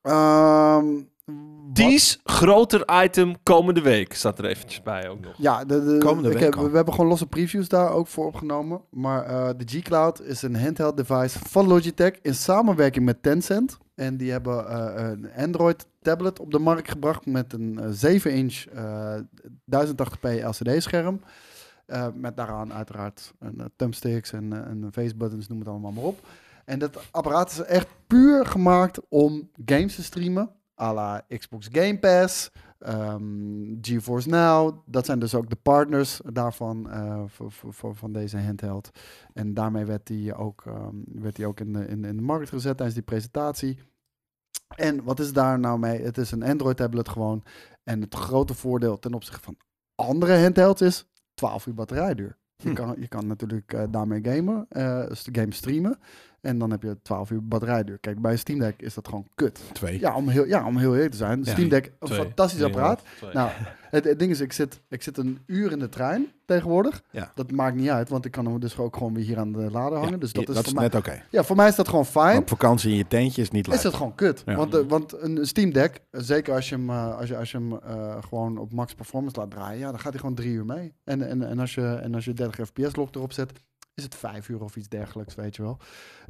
Speaker 3: Ehm, wat-
Speaker 1: Ties, groter item komende week. Staat er eventjes bij ook nog.
Speaker 3: Ja, de, de-
Speaker 2: Komende
Speaker 3: ik
Speaker 2: week
Speaker 3: heb-
Speaker 2: al.
Speaker 3: we hebben gewoon losse previews daar ook voor opgenomen. Maar eh, de G-Cloud is een handheld device van Logitech in samenwerking met Tencent. En die hebben eh, een Android tablet op de markt gebracht met een eh, 7-inch eh, 1080p LCD-scherm. Eh, met daaraan uiteraard een, eh, thumbsticks en, eh, en facebuttons, noem het allemaal maar op. En dat apparaat is echt puur gemaakt om games te streamen. à la Xbox Game Pass, ehm, GeForce Now. Dat zijn dus ook de partners daarvan, eh, voor, voor, voor- van deze handheld. En daarmee werd die ook, ehm, werd die ook in, de, in, in de markt gezet tijdens die presentatie. En wat is daar nou mee? Het is een Android-tablet gewoon. En het grote voordeel ten opzichte van andere handhelds is 12 uur batterijduur. Je
Speaker 2: Hm.
Speaker 3: kan, je kan natuurlijk eh, daarmee gamen, eh game streamen. En dan heb je 12 uur batterijduur. Kijk, bij een Steam Deck is dat gewoon kut.
Speaker 2: Twee.
Speaker 3: Ja, om heel, ja, om heel eerlijk te zijn.
Speaker 2: Ja,
Speaker 3: Steam Deck, een
Speaker 1: Twee.
Speaker 3: fantastisch apparaat.
Speaker 1: Twee.
Speaker 3: Nou, het, het ding is, ik zit, ik zit een uur in de trein tegenwoordig.
Speaker 2: Ja.
Speaker 3: Dat maakt niet uit, want ik kan hem dus ook gewoon weer hier aan de lader hangen. dus dat,
Speaker 2: Ja,
Speaker 3: is,
Speaker 2: dat
Speaker 3: voor
Speaker 2: is
Speaker 3: mij,
Speaker 2: net oké.
Speaker 3: ja, voor mij is dat gewoon
Speaker 2: Maar
Speaker 3: fijn.
Speaker 2: Op vakantie in je tentje is niet leuk.
Speaker 3: Is dat gewoon kut.
Speaker 2: Ja.
Speaker 3: Want, eh, want een Steam Deck, eh, zeker als je hem, eh, als je, als je hem eh, gewoon op max performance laat draaien, ja, dan gaat hij gewoon drie uur mee. En, en, en, als, je, en als je 30 fps lok erop zet, is het vijf uur of iets dergelijks, weet je wel.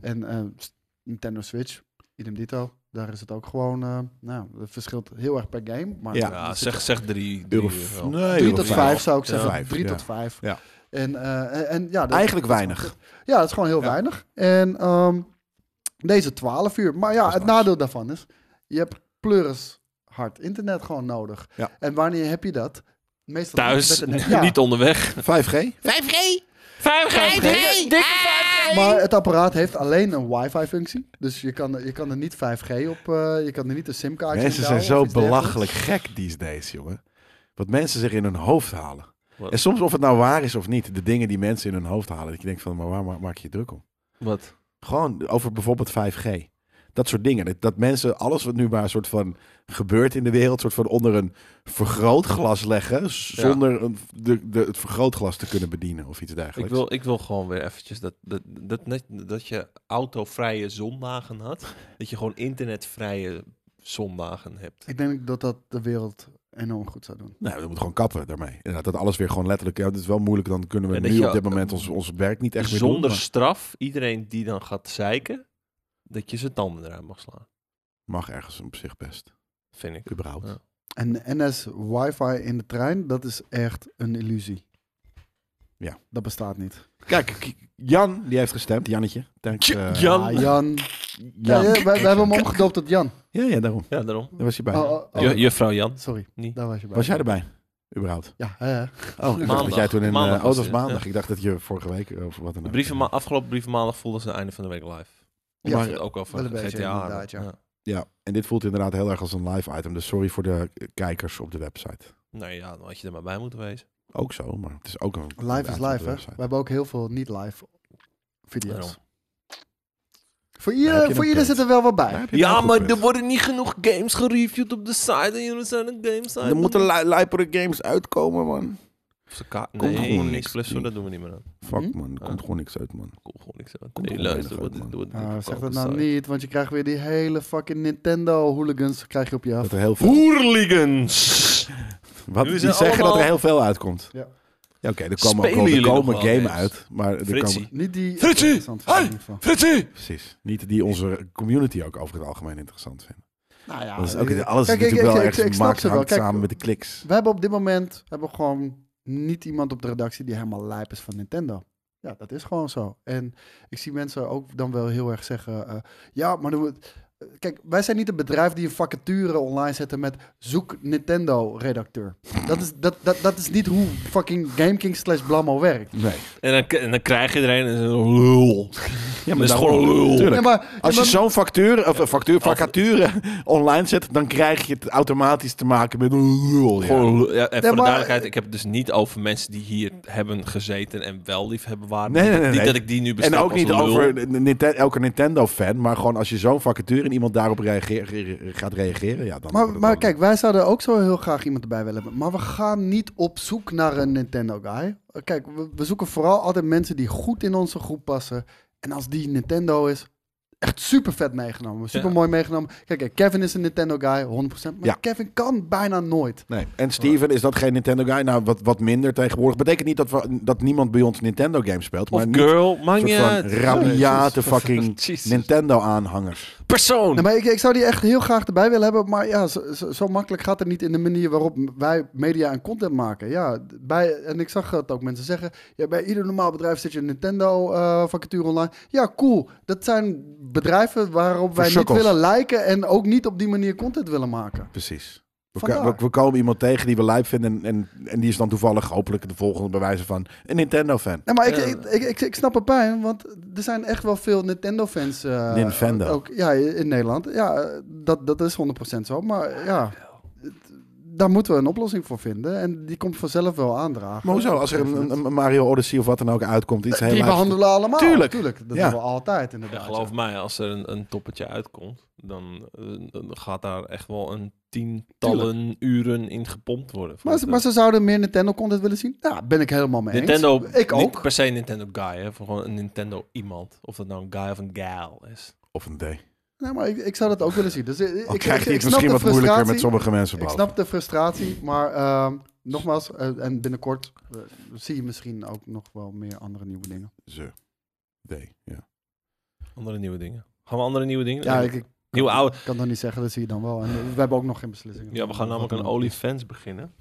Speaker 3: En eh, s- Nintendo Switch, idem dito, daar is het ook gewoon, eh, nou, het verschilt heel erg per game. Maar
Speaker 2: Ja.
Speaker 1: Ja,
Speaker 3: er zit
Speaker 1: zeg, zeg drie. drie
Speaker 2: Euro,
Speaker 1: uur
Speaker 2: f-
Speaker 1: wel.
Speaker 2: nee,
Speaker 3: Drie
Speaker 2: euro
Speaker 3: tot
Speaker 2: vijf.
Speaker 3: vijf zou ik
Speaker 1: Ja.
Speaker 3: zeggen.
Speaker 2: Vijf,
Speaker 3: Drie
Speaker 2: ja.
Speaker 3: tot vijf.
Speaker 2: Ja.
Speaker 3: En, eh, en- en ja, dat-
Speaker 2: Eigenlijk
Speaker 3: dat is
Speaker 2: weinig.
Speaker 3: gewoon- Ja, dat is gewoon heel
Speaker 2: Ja.
Speaker 3: weinig. En ehm, deze 12 uur. Maar ja,
Speaker 2: Dat
Speaker 3: het
Speaker 2: is nice.
Speaker 3: nadeel daarvan is, je hebt pleuris hard internet gewoon nodig.
Speaker 2: Ja.
Speaker 3: En wanneer heb je dat? Meestal
Speaker 1: Thuis,
Speaker 3: met een- ja.
Speaker 2: [laughs]
Speaker 1: niet onderweg.
Speaker 2: 5G?
Speaker 4: 5G!
Speaker 1: 5G, dikke 5G.
Speaker 3: Maar het apparaat heeft alleen een wifi-functie. Dus je kan, je kan er niet 5G op, eh, je kan er niet een simkaartje in
Speaker 2: Mensen zijn
Speaker 3: douwen
Speaker 2: zo
Speaker 3: of iets dergelijks.
Speaker 2: belachelijk gek these days, jongen. Wat mensen zich in hun hoofd halen.
Speaker 1: Wat?
Speaker 2: En soms of het nou waar is of niet, de dingen die mensen in hun hoofd halen. Dat je denkt van, maar waar ma- maak je je druk om?
Speaker 1: Wat?
Speaker 2: Gewoon over bijvoorbeeld 5G. Dat soort dingen. Dat, dat mensen alles wat nu maar soort van gebeurt in de wereld, soort van onder een vergrootglas leggen. z-
Speaker 1: Ja.
Speaker 2: Zonder een, de, de, het vergrootglas te kunnen bedienen of iets dergelijks.
Speaker 1: Ik wil, ik wil gewoon weer eventjes dat, dat, dat, net, dat je autovrije zondagen had. Dat je gewoon internetvrije zondagen hebt.
Speaker 3: Ik denk dat dat de wereld enorm goed zou doen.
Speaker 2: Nou, we moeten gewoon kappen daarmee. Inderdaad, dat alles weer gewoon letterlijk. Ja, het is wel moeilijk, dan kunnen we
Speaker 1: En dat
Speaker 2: nu
Speaker 1: je- eh,
Speaker 2: op dit moment ons, ons werk niet echt meer doen.
Speaker 1: Dus Zonder
Speaker 2: maar-
Speaker 1: straf, iedereen die dan gaat zeiken, dat je zijn tanden eruit mag slaan.
Speaker 2: Mag ergens op zich best.
Speaker 1: Vind ik.
Speaker 2: Überhaupt.
Speaker 1: Ja.
Speaker 3: En NS wifi in de trein, dat is echt een illusie.
Speaker 2: Ja.
Speaker 3: Dat bestaat
Speaker 2: [laughs]
Speaker 3: niet.
Speaker 2: Kijk, k- Jan, die heeft gestemd. Jannetje. Dank, eh,
Speaker 1: Jan.
Speaker 3: Ah, Jan. Ja,
Speaker 2: Jan.
Speaker 3: ja, wij, wij hebben hem omgedoopt tot Jan.
Speaker 2: Ja, ja, daarom.
Speaker 1: Ja, daarom.
Speaker 2: Daar was je bij.
Speaker 3: Oh, oh, oh.
Speaker 1: Ju- juffrouw Jan.
Speaker 3: Sorry,
Speaker 1: Niet.
Speaker 3: daar was je bij.
Speaker 2: Was jij erbij? Überhaupt.
Speaker 3: Ja, hè,
Speaker 2: [laughs]
Speaker 3: hè.
Speaker 2: Oh, ik dacht
Speaker 1: Maandag.
Speaker 2: dat jij toen
Speaker 1: Maandag
Speaker 2: in... Maandag
Speaker 1: was
Speaker 2: oh, dat was
Speaker 1: het,
Speaker 2: maandag. Ik dacht dat je vorige week... eh, Of wat dan
Speaker 1: De
Speaker 2: ook.
Speaker 1: brieven, ma- afgelopen brieven maandag voelden ze het einde van de week live.
Speaker 3: Ja,
Speaker 1: Omdat het ook over
Speaker 3: wel een beetje
Speaker 1: GTA hadden.
Speaker 3: inderdaad, ja.
Speaker 2: Ja, en dit voelt inderdaad heel erg als een live item. Dus sorry voor de eh, kijkers op de website.
Speaker 1: Nee, Nou ja, dan had je er maar bij moeten wezen.
Speaker 2: Ook zo, maar het is ook een...
Speaker 3: Live is
Speaker 2: item op de
Speaker 3: live, hè. We
Speaker 2: website.
Speaker 3: hebben ook heel veel niet-live
Speaker 1: Daarom.
Speaker 3: video's. Voor
Speaker 2: heb je
Speaker 3: ieder,
Speaker 2: een
Speaker 3: voor ieder
Speaker 2: punt.
Speaker 3: zit er wel wat bij.
Speaker 2: Daar heb je nou
Speaker 1: Ja,
Speaker 2: een
Speaker 1: maar
Speaker 2: goed
Speaker 1: er
Speaker 2: punt.
Speaker 1: worden niet genoeg games gereviewd op de site. En jullie zijn een game site.
Speaker 2: Er moeten li- lijpere games uitkomen, man.
Speaker 1: Ze ka-
Speaker 2: Komt
Speaker 1: nee,
Speaker 2: gewoon
Speaker 1: niks.
Speaker 2: niks.
Speaker 1: Plus, zo, dat doen we niet meer aan.
Speaker 2: Fuck,
Speaker 3: Hm?
Speaker 2: man. Er komt gewoon niks uit, man.
Speaker 1: Komt gewoon niks aan.
Speaker 2: Komt
Speaker 1: Nee,
Speaker 2: er
Speaker 1: luister,
Speaker 2: weinig
Speaker 1: wat
Speaker 2: uit,
Speaker 1: dit
Speaker 2: man.
Speaker 1: wordt
Speaker 3: Ah, zeg dat nou niet, want je krijgt weer die hele fucking Nintendo-hooligans krijg je op je af.
Speaker 2: Dat Hm? er heel veel...
Speaker 1: Hoerligans!
Speaker 2: Wat,
Speaker 1: Jullie
Speaker 2: die
Speaker 1: zijn
Speaker 2: zeggen dat er
Speaker 1: allemaal-
Speaker 2: heel veel uitkomt.
Speaker 3: Ja.
Speaker 2: Ja, oké, er komen, ook
Speaker 1: Spelen
Speaker 2: wel- er
Speaker 1: jullie
Speaker 2: komen
Speaker 1: nog wel
Speaker 2: game
Speaker 1: eens?
Speaker 2: uit. Maar er
Speaker 1: Fritsie.
Speaker 2: komen,
Speaker 3: Niet die...
Speaker 1: Fritsie!
Speaker 3: Interessant vind ik
Speaker 1: Hey!
Speaker 3: in ieder geval.
Speaker 1: Fritsie!
Speaker 2: precies. Niet die onze community ook over het algemeen interessant vinden.
Speaker 3: Nou ja,
Speaker 2: Dat is ook,
Speaker 3: eh,
Speaker 2: alles
Speaker 3: kijk,
Speaker 2: is
Speaker 3: ik-
Speaker 2: natuurlijk wel
Speaker 3: ik-
Speaker 2: ergens
Speaker 3: ik- ik snap
Speaker 2: gemaakt
Speaker 3: ze wel.
Speaker 2: hangt
Speaker 3: Kijk,
Speaker 2: samen met de kliks.
Speaker 3: We hebben op dit moment hebben we gewoon niet iemand op de redactie die helemaal lijp is van Nintendo. Ja, dat is gewoon zo. En ik zie mensen ook dan wel heel erg zeggen... eh, ja, maar dan moet- eh, Kijk, wij zijn niet een bedrijf die een vacature online zetten met... zoek Nintendo-redacteur. Dat is, dat, dat, dat is niet hoe fucking GameKing slash Blammo werkt.
Speaker 2: Nee.
Speaker 1: En dan, k- en dan krijg je er een en dan een lul.
Speaker 2: Ja,
Speaker 1: Dat is
Speaker 2: daarom-
Speaker 1: gewoon lul.
Speaker 2: Tuurlijk.
Speaker 3: Ja, maar,
Speaker 2: Als je
Speaker 3: maar-
Speaker 2: zo'n factuur, of een factuur, vacature online zet, dan krijg je het automatisch te maken met een lul. Ja.
Speaker 1: Gewoon lul. Ja, en voor
Speaker 3: maar-
Speaker 1: de duidelijkheid, ik heb het dus niet over mensen die hier hebben gezeten en wel liefhebben waren.
Speaker 2: Nee, nee, nee,
Speaker 1: niet
Speaker 2: nee.
Speaker 1: dat ik die nu
Speaker 2: En
Speaker 1: bestraf
Speaker 2: ook
Speaker 1: als
Speaker 2: niet
Speaker 1: een lul.
Speaker 2: over een Ninte- elke Nintendo-fan, maar gewoon als je zo'n vacature en iemand daarop reageer- gaat reageren, ja, dan... wordt
Speaker 3: Maar,
Speaker 2: het
Speaker 3: maar
Speaker 2: wel-
Speaker 3: kijk, wij zouden ook zo heel graag iemand erbij willen hebben. Maar we gaan niet op zoek naar een Nintendo guy. Kijk, we, we zoeken vooral altijd mensen die goed in onze groep passen. En als die Nintendo is, echt super vet meegenomen. Super mooi meegenomen. Kijk, kijk, Kevin is een Nintendo guy, 100%. Maar
Speaker 2: Ja.
Speaker 3: Kevin kan bijna nooit.
Speaker 2: Nee. En Steven, is dat geen Nintendo guy? Nou, wat, wat minder tegenwoordig. Betekent niet dat, we, dat niemand bij ons Nintendo games speelt.
Speaker 1: Of
Speaker 2: Maar niet
Speaker 1: girl, man
Speaker 2: een soort van rabiate fucking
Speaker 1: [laughs] Jezus.
Speaker 2: Nintendo-aanhangers.
Speaker 1: Persoon.
Speaker 3: Nee, maar ik, ik zou die echt heel graag erbij willen hebben. Maar ja, zo, zo- zo makkelijk gaat het niet in de manier waarop wij media en content maken. Ja, d- bij, en ik zag dat ook mensen zeggen. Ja, bij ieder normaal bedrijf zit je een Nintendo eh, vacature online. Ja, cool. Dat zijn bedrijven waarop wij niet
Speaker 2: sukkels.
Speaker 3: willen lijken en ook niet op die manier content willen maken.
Speaker 2: Precies. We,
Speaker 3: Vandaar.
Speaker 2: ko- we- we komen iemand tegen die we lijp vinden en, en, en die is dan toevallig hopelijk de volgende bewijzen van een Nintendo-fan.
Speaker 3: Nee, maar ik,
Speaker 1: Ja.
Speaker 3: ik, ik, ik, ik snap het pijn, want er zijn echt wel veel Nintendo-fans. eh,
Speaker 2: Nintendo.
Speaker 3: Ook, ja, in Nederland. Ja, eh, dat, dat is 100% zo. Maar ja, het- daar moeten we een oplossing voor vinden. En die komt vanzelf wel aandragen.
Speaker 2: Maar hoezo? Als er een, een- een Mario Odyssey of wat dan ook uitkomt, iets
Speaker 3: Die
Speaker 2: helemaal...
Speaker 3: behandelen we allemaal.
Speaker 2: Tuurlijk.
Speaker 3: dat
Speaker 2: Ja.
Speaker 3: doen we altijd inderdaad.
Speaker 1: Ja, geloof mij, als er een, een toppetje uitkomt, dan, eh, dan gaat daar echt wel een tientallen uren in gepompt worden.
Speaker 3: Maar, ze- maar ze zouden meer Nintendo-content willen zien? Ja, ben ik helemaal mee eens.
Speaker 1: Nintendo,
Speaker 3: Ik
Speaker 1: niet
Speaker 3: ook.
Speaker 1: per se een Nintendo guy, hè, voor gewoon een Nintendo iemand. Of dat nou een guy of een gal is.
Speaker 2: Of een D.
Speaker 3: Nee, maar ik, ik zou dat ook willen zien. Dus eh, ik,
Speaker 2: Al
Speaker 3: ik,
Speaker 2: krijgt
Speaker 3: ik-
Speaker 2: hij het
Speaker 3: ik snap
Speaker 2: misschien
Speaker 3: de
Speaker 2: wat moeilijker met
Speaker 3: frustratie.
Speaker 2: sommige mensen.
Speaker 3: Ik
Speaker 2: boven.
Speaker 3: snap de frustratie, maar ehm, nogmaals, eh, en binnenkort eh, zie je misschien ook nog wel meer andere nieuwe dingen.
Speaker 2: Ze. D, ja.
Speaker 1: Andere nieuwe dingen. Gaan we andere nieuwe dingen?
Speaker 3: Ja,
Speaker 1: doen?
Speaker 3: ik, ik
Speaker 1: nieuwe oude.
Speaker 3: kan dat niet zeggen, dat zie je dan wel. En we hebben ook nog geen beslissingen.
Speaker 1: Ja, we gaan namelijk een OnlyFans beginnen.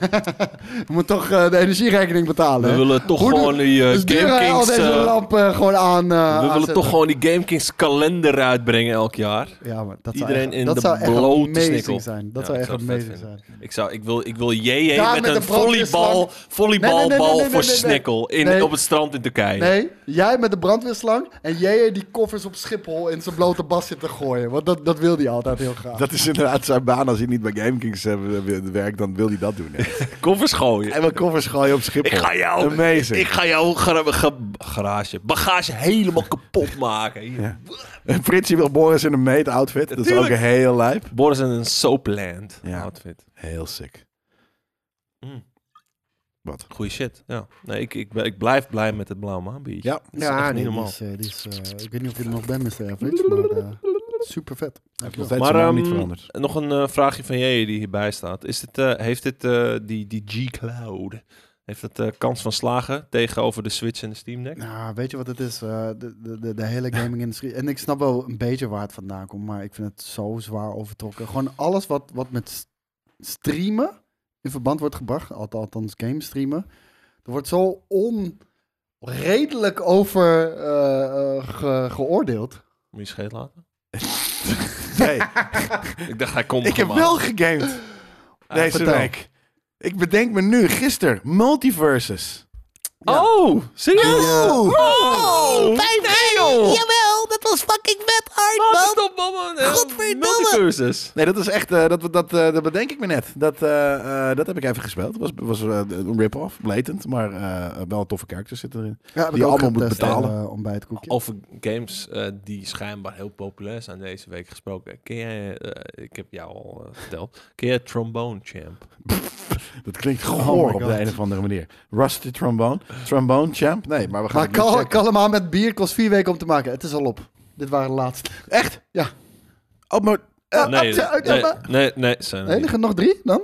Speaker 3: we moeten toch eh, de energierekening betalen.
Speaker 1: We
Speaker 3: hè?
Speaker 1: willen toch
Speaker 3: Hoe de-
Speaker 1: gewoon die eh,
Speaker 3: dus duur
Speaker 1: Game
Speaker 3: al
Speaker 1: Kings...
Speaker 3: deze
Speaker 1: eh,
Speaker 3: lampen gewoon aan. eh,
Speaker 1: we willen
Speaker 3: aanzetten.
Speaker 1: toch gewoon die Game Kings kalender uitbrengen elk jaar.
Speaker 3: Ja, maar dat
Speaker 1: iedereen
Speaker 3: zou echt,
Speaker 1: in
Speaker 3: dat
Speaker 1: de
Speaker 3: zou echt
Speaker 1: blote
Speaker 3: amazing
Speaker 1: snikkel.
Speaker 3: zijn.
Speaker 1: Ja,
Speaker 3: Dat zou
Speaker 1: ik
Speaker 3: echt
Speaker 1: zou het vet
Speaker 3: amazing
Speaker 1: vinden.
Speaker 3: zijn.
Speaker 1: Ik, zou, ik wil, ik wil JJ
Speaker 3: Daar
Speaker 1: met,
Speaker 3: met
Speaker 1: een
Speaker 3: de brandweerslang.
Speaker 1: volleybal, volleybalbal
Speaker 3: Nee, nee, nee, nee, nee, nee,
Speaker 1: voor
Speaker 3: nee, nee.
Speaker 1: snikkel in,
Speaker 3: Nee.
Speaker 1: op het strand in Turkije.
Speaker 3: Nee, jij met de brandweerslang en jij die koffers op Schiphol in zijn blote bas zit te gooien. Want dat, dat wil hij altijd heel graag.
Speaker 2: [laughs] Dat is inderdaad zijn baan. Als hij niet bij GameKings eh, werkt, dan wil hij dat doen. hè.
Speaker 1: Koffers gooien.
Speaker 2: [laughs] en we koffers gooien op Schiphol.
Speaker 1: Ik ga jou,
Speaker 2: Amazing.
Speaker 1: Ik ga jouw gra- ge- garage, bagage helemaal kapot maken. Hier.
Speaker 2: Ja. Fritsie wil Boris in een meet-outfit. Dat is ook
Speaker 1: Tuurlijk.
Speaker 2: heel lijp.
Speaker 1: Boris in een soapland
Speaker 2: Ja.
Speaker 1: outfit.
Speaker 2: Heel sick.
Speaker 1: Mm.
Speaker 2: Wat?
Speaker 1: Goeie shit. Ja. Nee, ik, ik, ben- ik blijf blij met het blauw maanbiertje.
Speaker 2: Ja.
Speaker 1: Dat is echt niet normaal.
Speaker 3: eh, ik weet niet of je er nog bent, Mr. Average, maar eh, super vet.
Speaker 2: Nog steeds
Speaker 1: Maar,
Speaker 2: zijn naam
Speaker 1: ehm,
Speaker 2: niet veranderd.
Speaker 1: Nog een eh, vraagje van jij die hierbij staat. Is dit, eh, heeft dit eh, die, die G-Cloud, heeft dat eh, kans van slagen tegenover de Switch en de Steam Deck?
Speaker 3: Nou, weet je wat het is? Eh, de, de, de, de hele gaming-industrie. En ik snap wel een beetje waar het vandaan komt, maar ik vind het zo zwaar overtrokken. Gewoon alles wat, wat met s- streamen in verband wordt gebracht, al- althans game streamen, er wordt zo onredelijk over eh, eh, ge- geoordeeld.
Speaker 1: Moet je scheet laten?
Speaker 2: [laughs] Nee,
Speaker 1: Ik dacht, hij komt
Speaker 2: ik heb
Speaker 1: gewoon.
Speaker 2: wel gegamed deze
Speaker 3: vertel.
Speaker 2: week. Ik bedenk me nu, gisteren, multiverses.
Speaker 3: Ja.
Speaker 1: Oh, serieus?
Speaker 2: Oh!
Speaker 1: Oh,
Speaker 4: Jawel, dat was fucking vet hard, man.
Speaker 1: Stop, man.
Speaker 4: Godverdomme.
Speaker 1: Multiverses.
Speaker 2: Nee, dat is echt, eh, dat, dat, eh, dat bedenk ik me net. Dat, eh, eh, dat heb ik even gespeeld. Het was, was eh, een rip-off, blatant, maar eh, wel toffe characters zitten erin.
Speaker 3: Ja, heb
Speaker 2: Die
Speaker 3: ik ook
Speaker 2: allemaal moet
Speaker 3: getest,
Speaker 2: betalen.
Speaker 3: eh, ontbijtkoekje.
Speaker 1: Over games eh, die schijnbaar heel populair zijn deze week gesproken. Ken jij, eh, ik heb jou al eh, verteld, ken jij Trombone Champ?
Speaker 2: Dat klinkt
Speaker 3: Oh
Speaker 2: goor
Speaker 3: my
Speaker 2: op de
Speaker 3: God.
Speaker 2: een of andere manier. Rusty trombone, trombone champ. Nee, maar we gaan
Speaker 3: Maar
Speaker 2: het nu
Speaker 3: kal,
Speaker 2: checken.
Speaker 3: kalm aan met bier, kost vier weken om te maken. Het is al op. Dit waren de laatste.
Speaker 2: Echt?
Speaker 3: Ja.
Speaker 2: Oh, maar
Speaker 3: Ah,
Speaker 1: nee,
Speaker 3: ah, ah,
Speaker 1: nee,
Speaker 3: ah,
Speaker 1: nee, nee, zijn er
Speaker 3: Nee,
Speaker 1: niet.
Speaker 3: er gaan nog drie dan?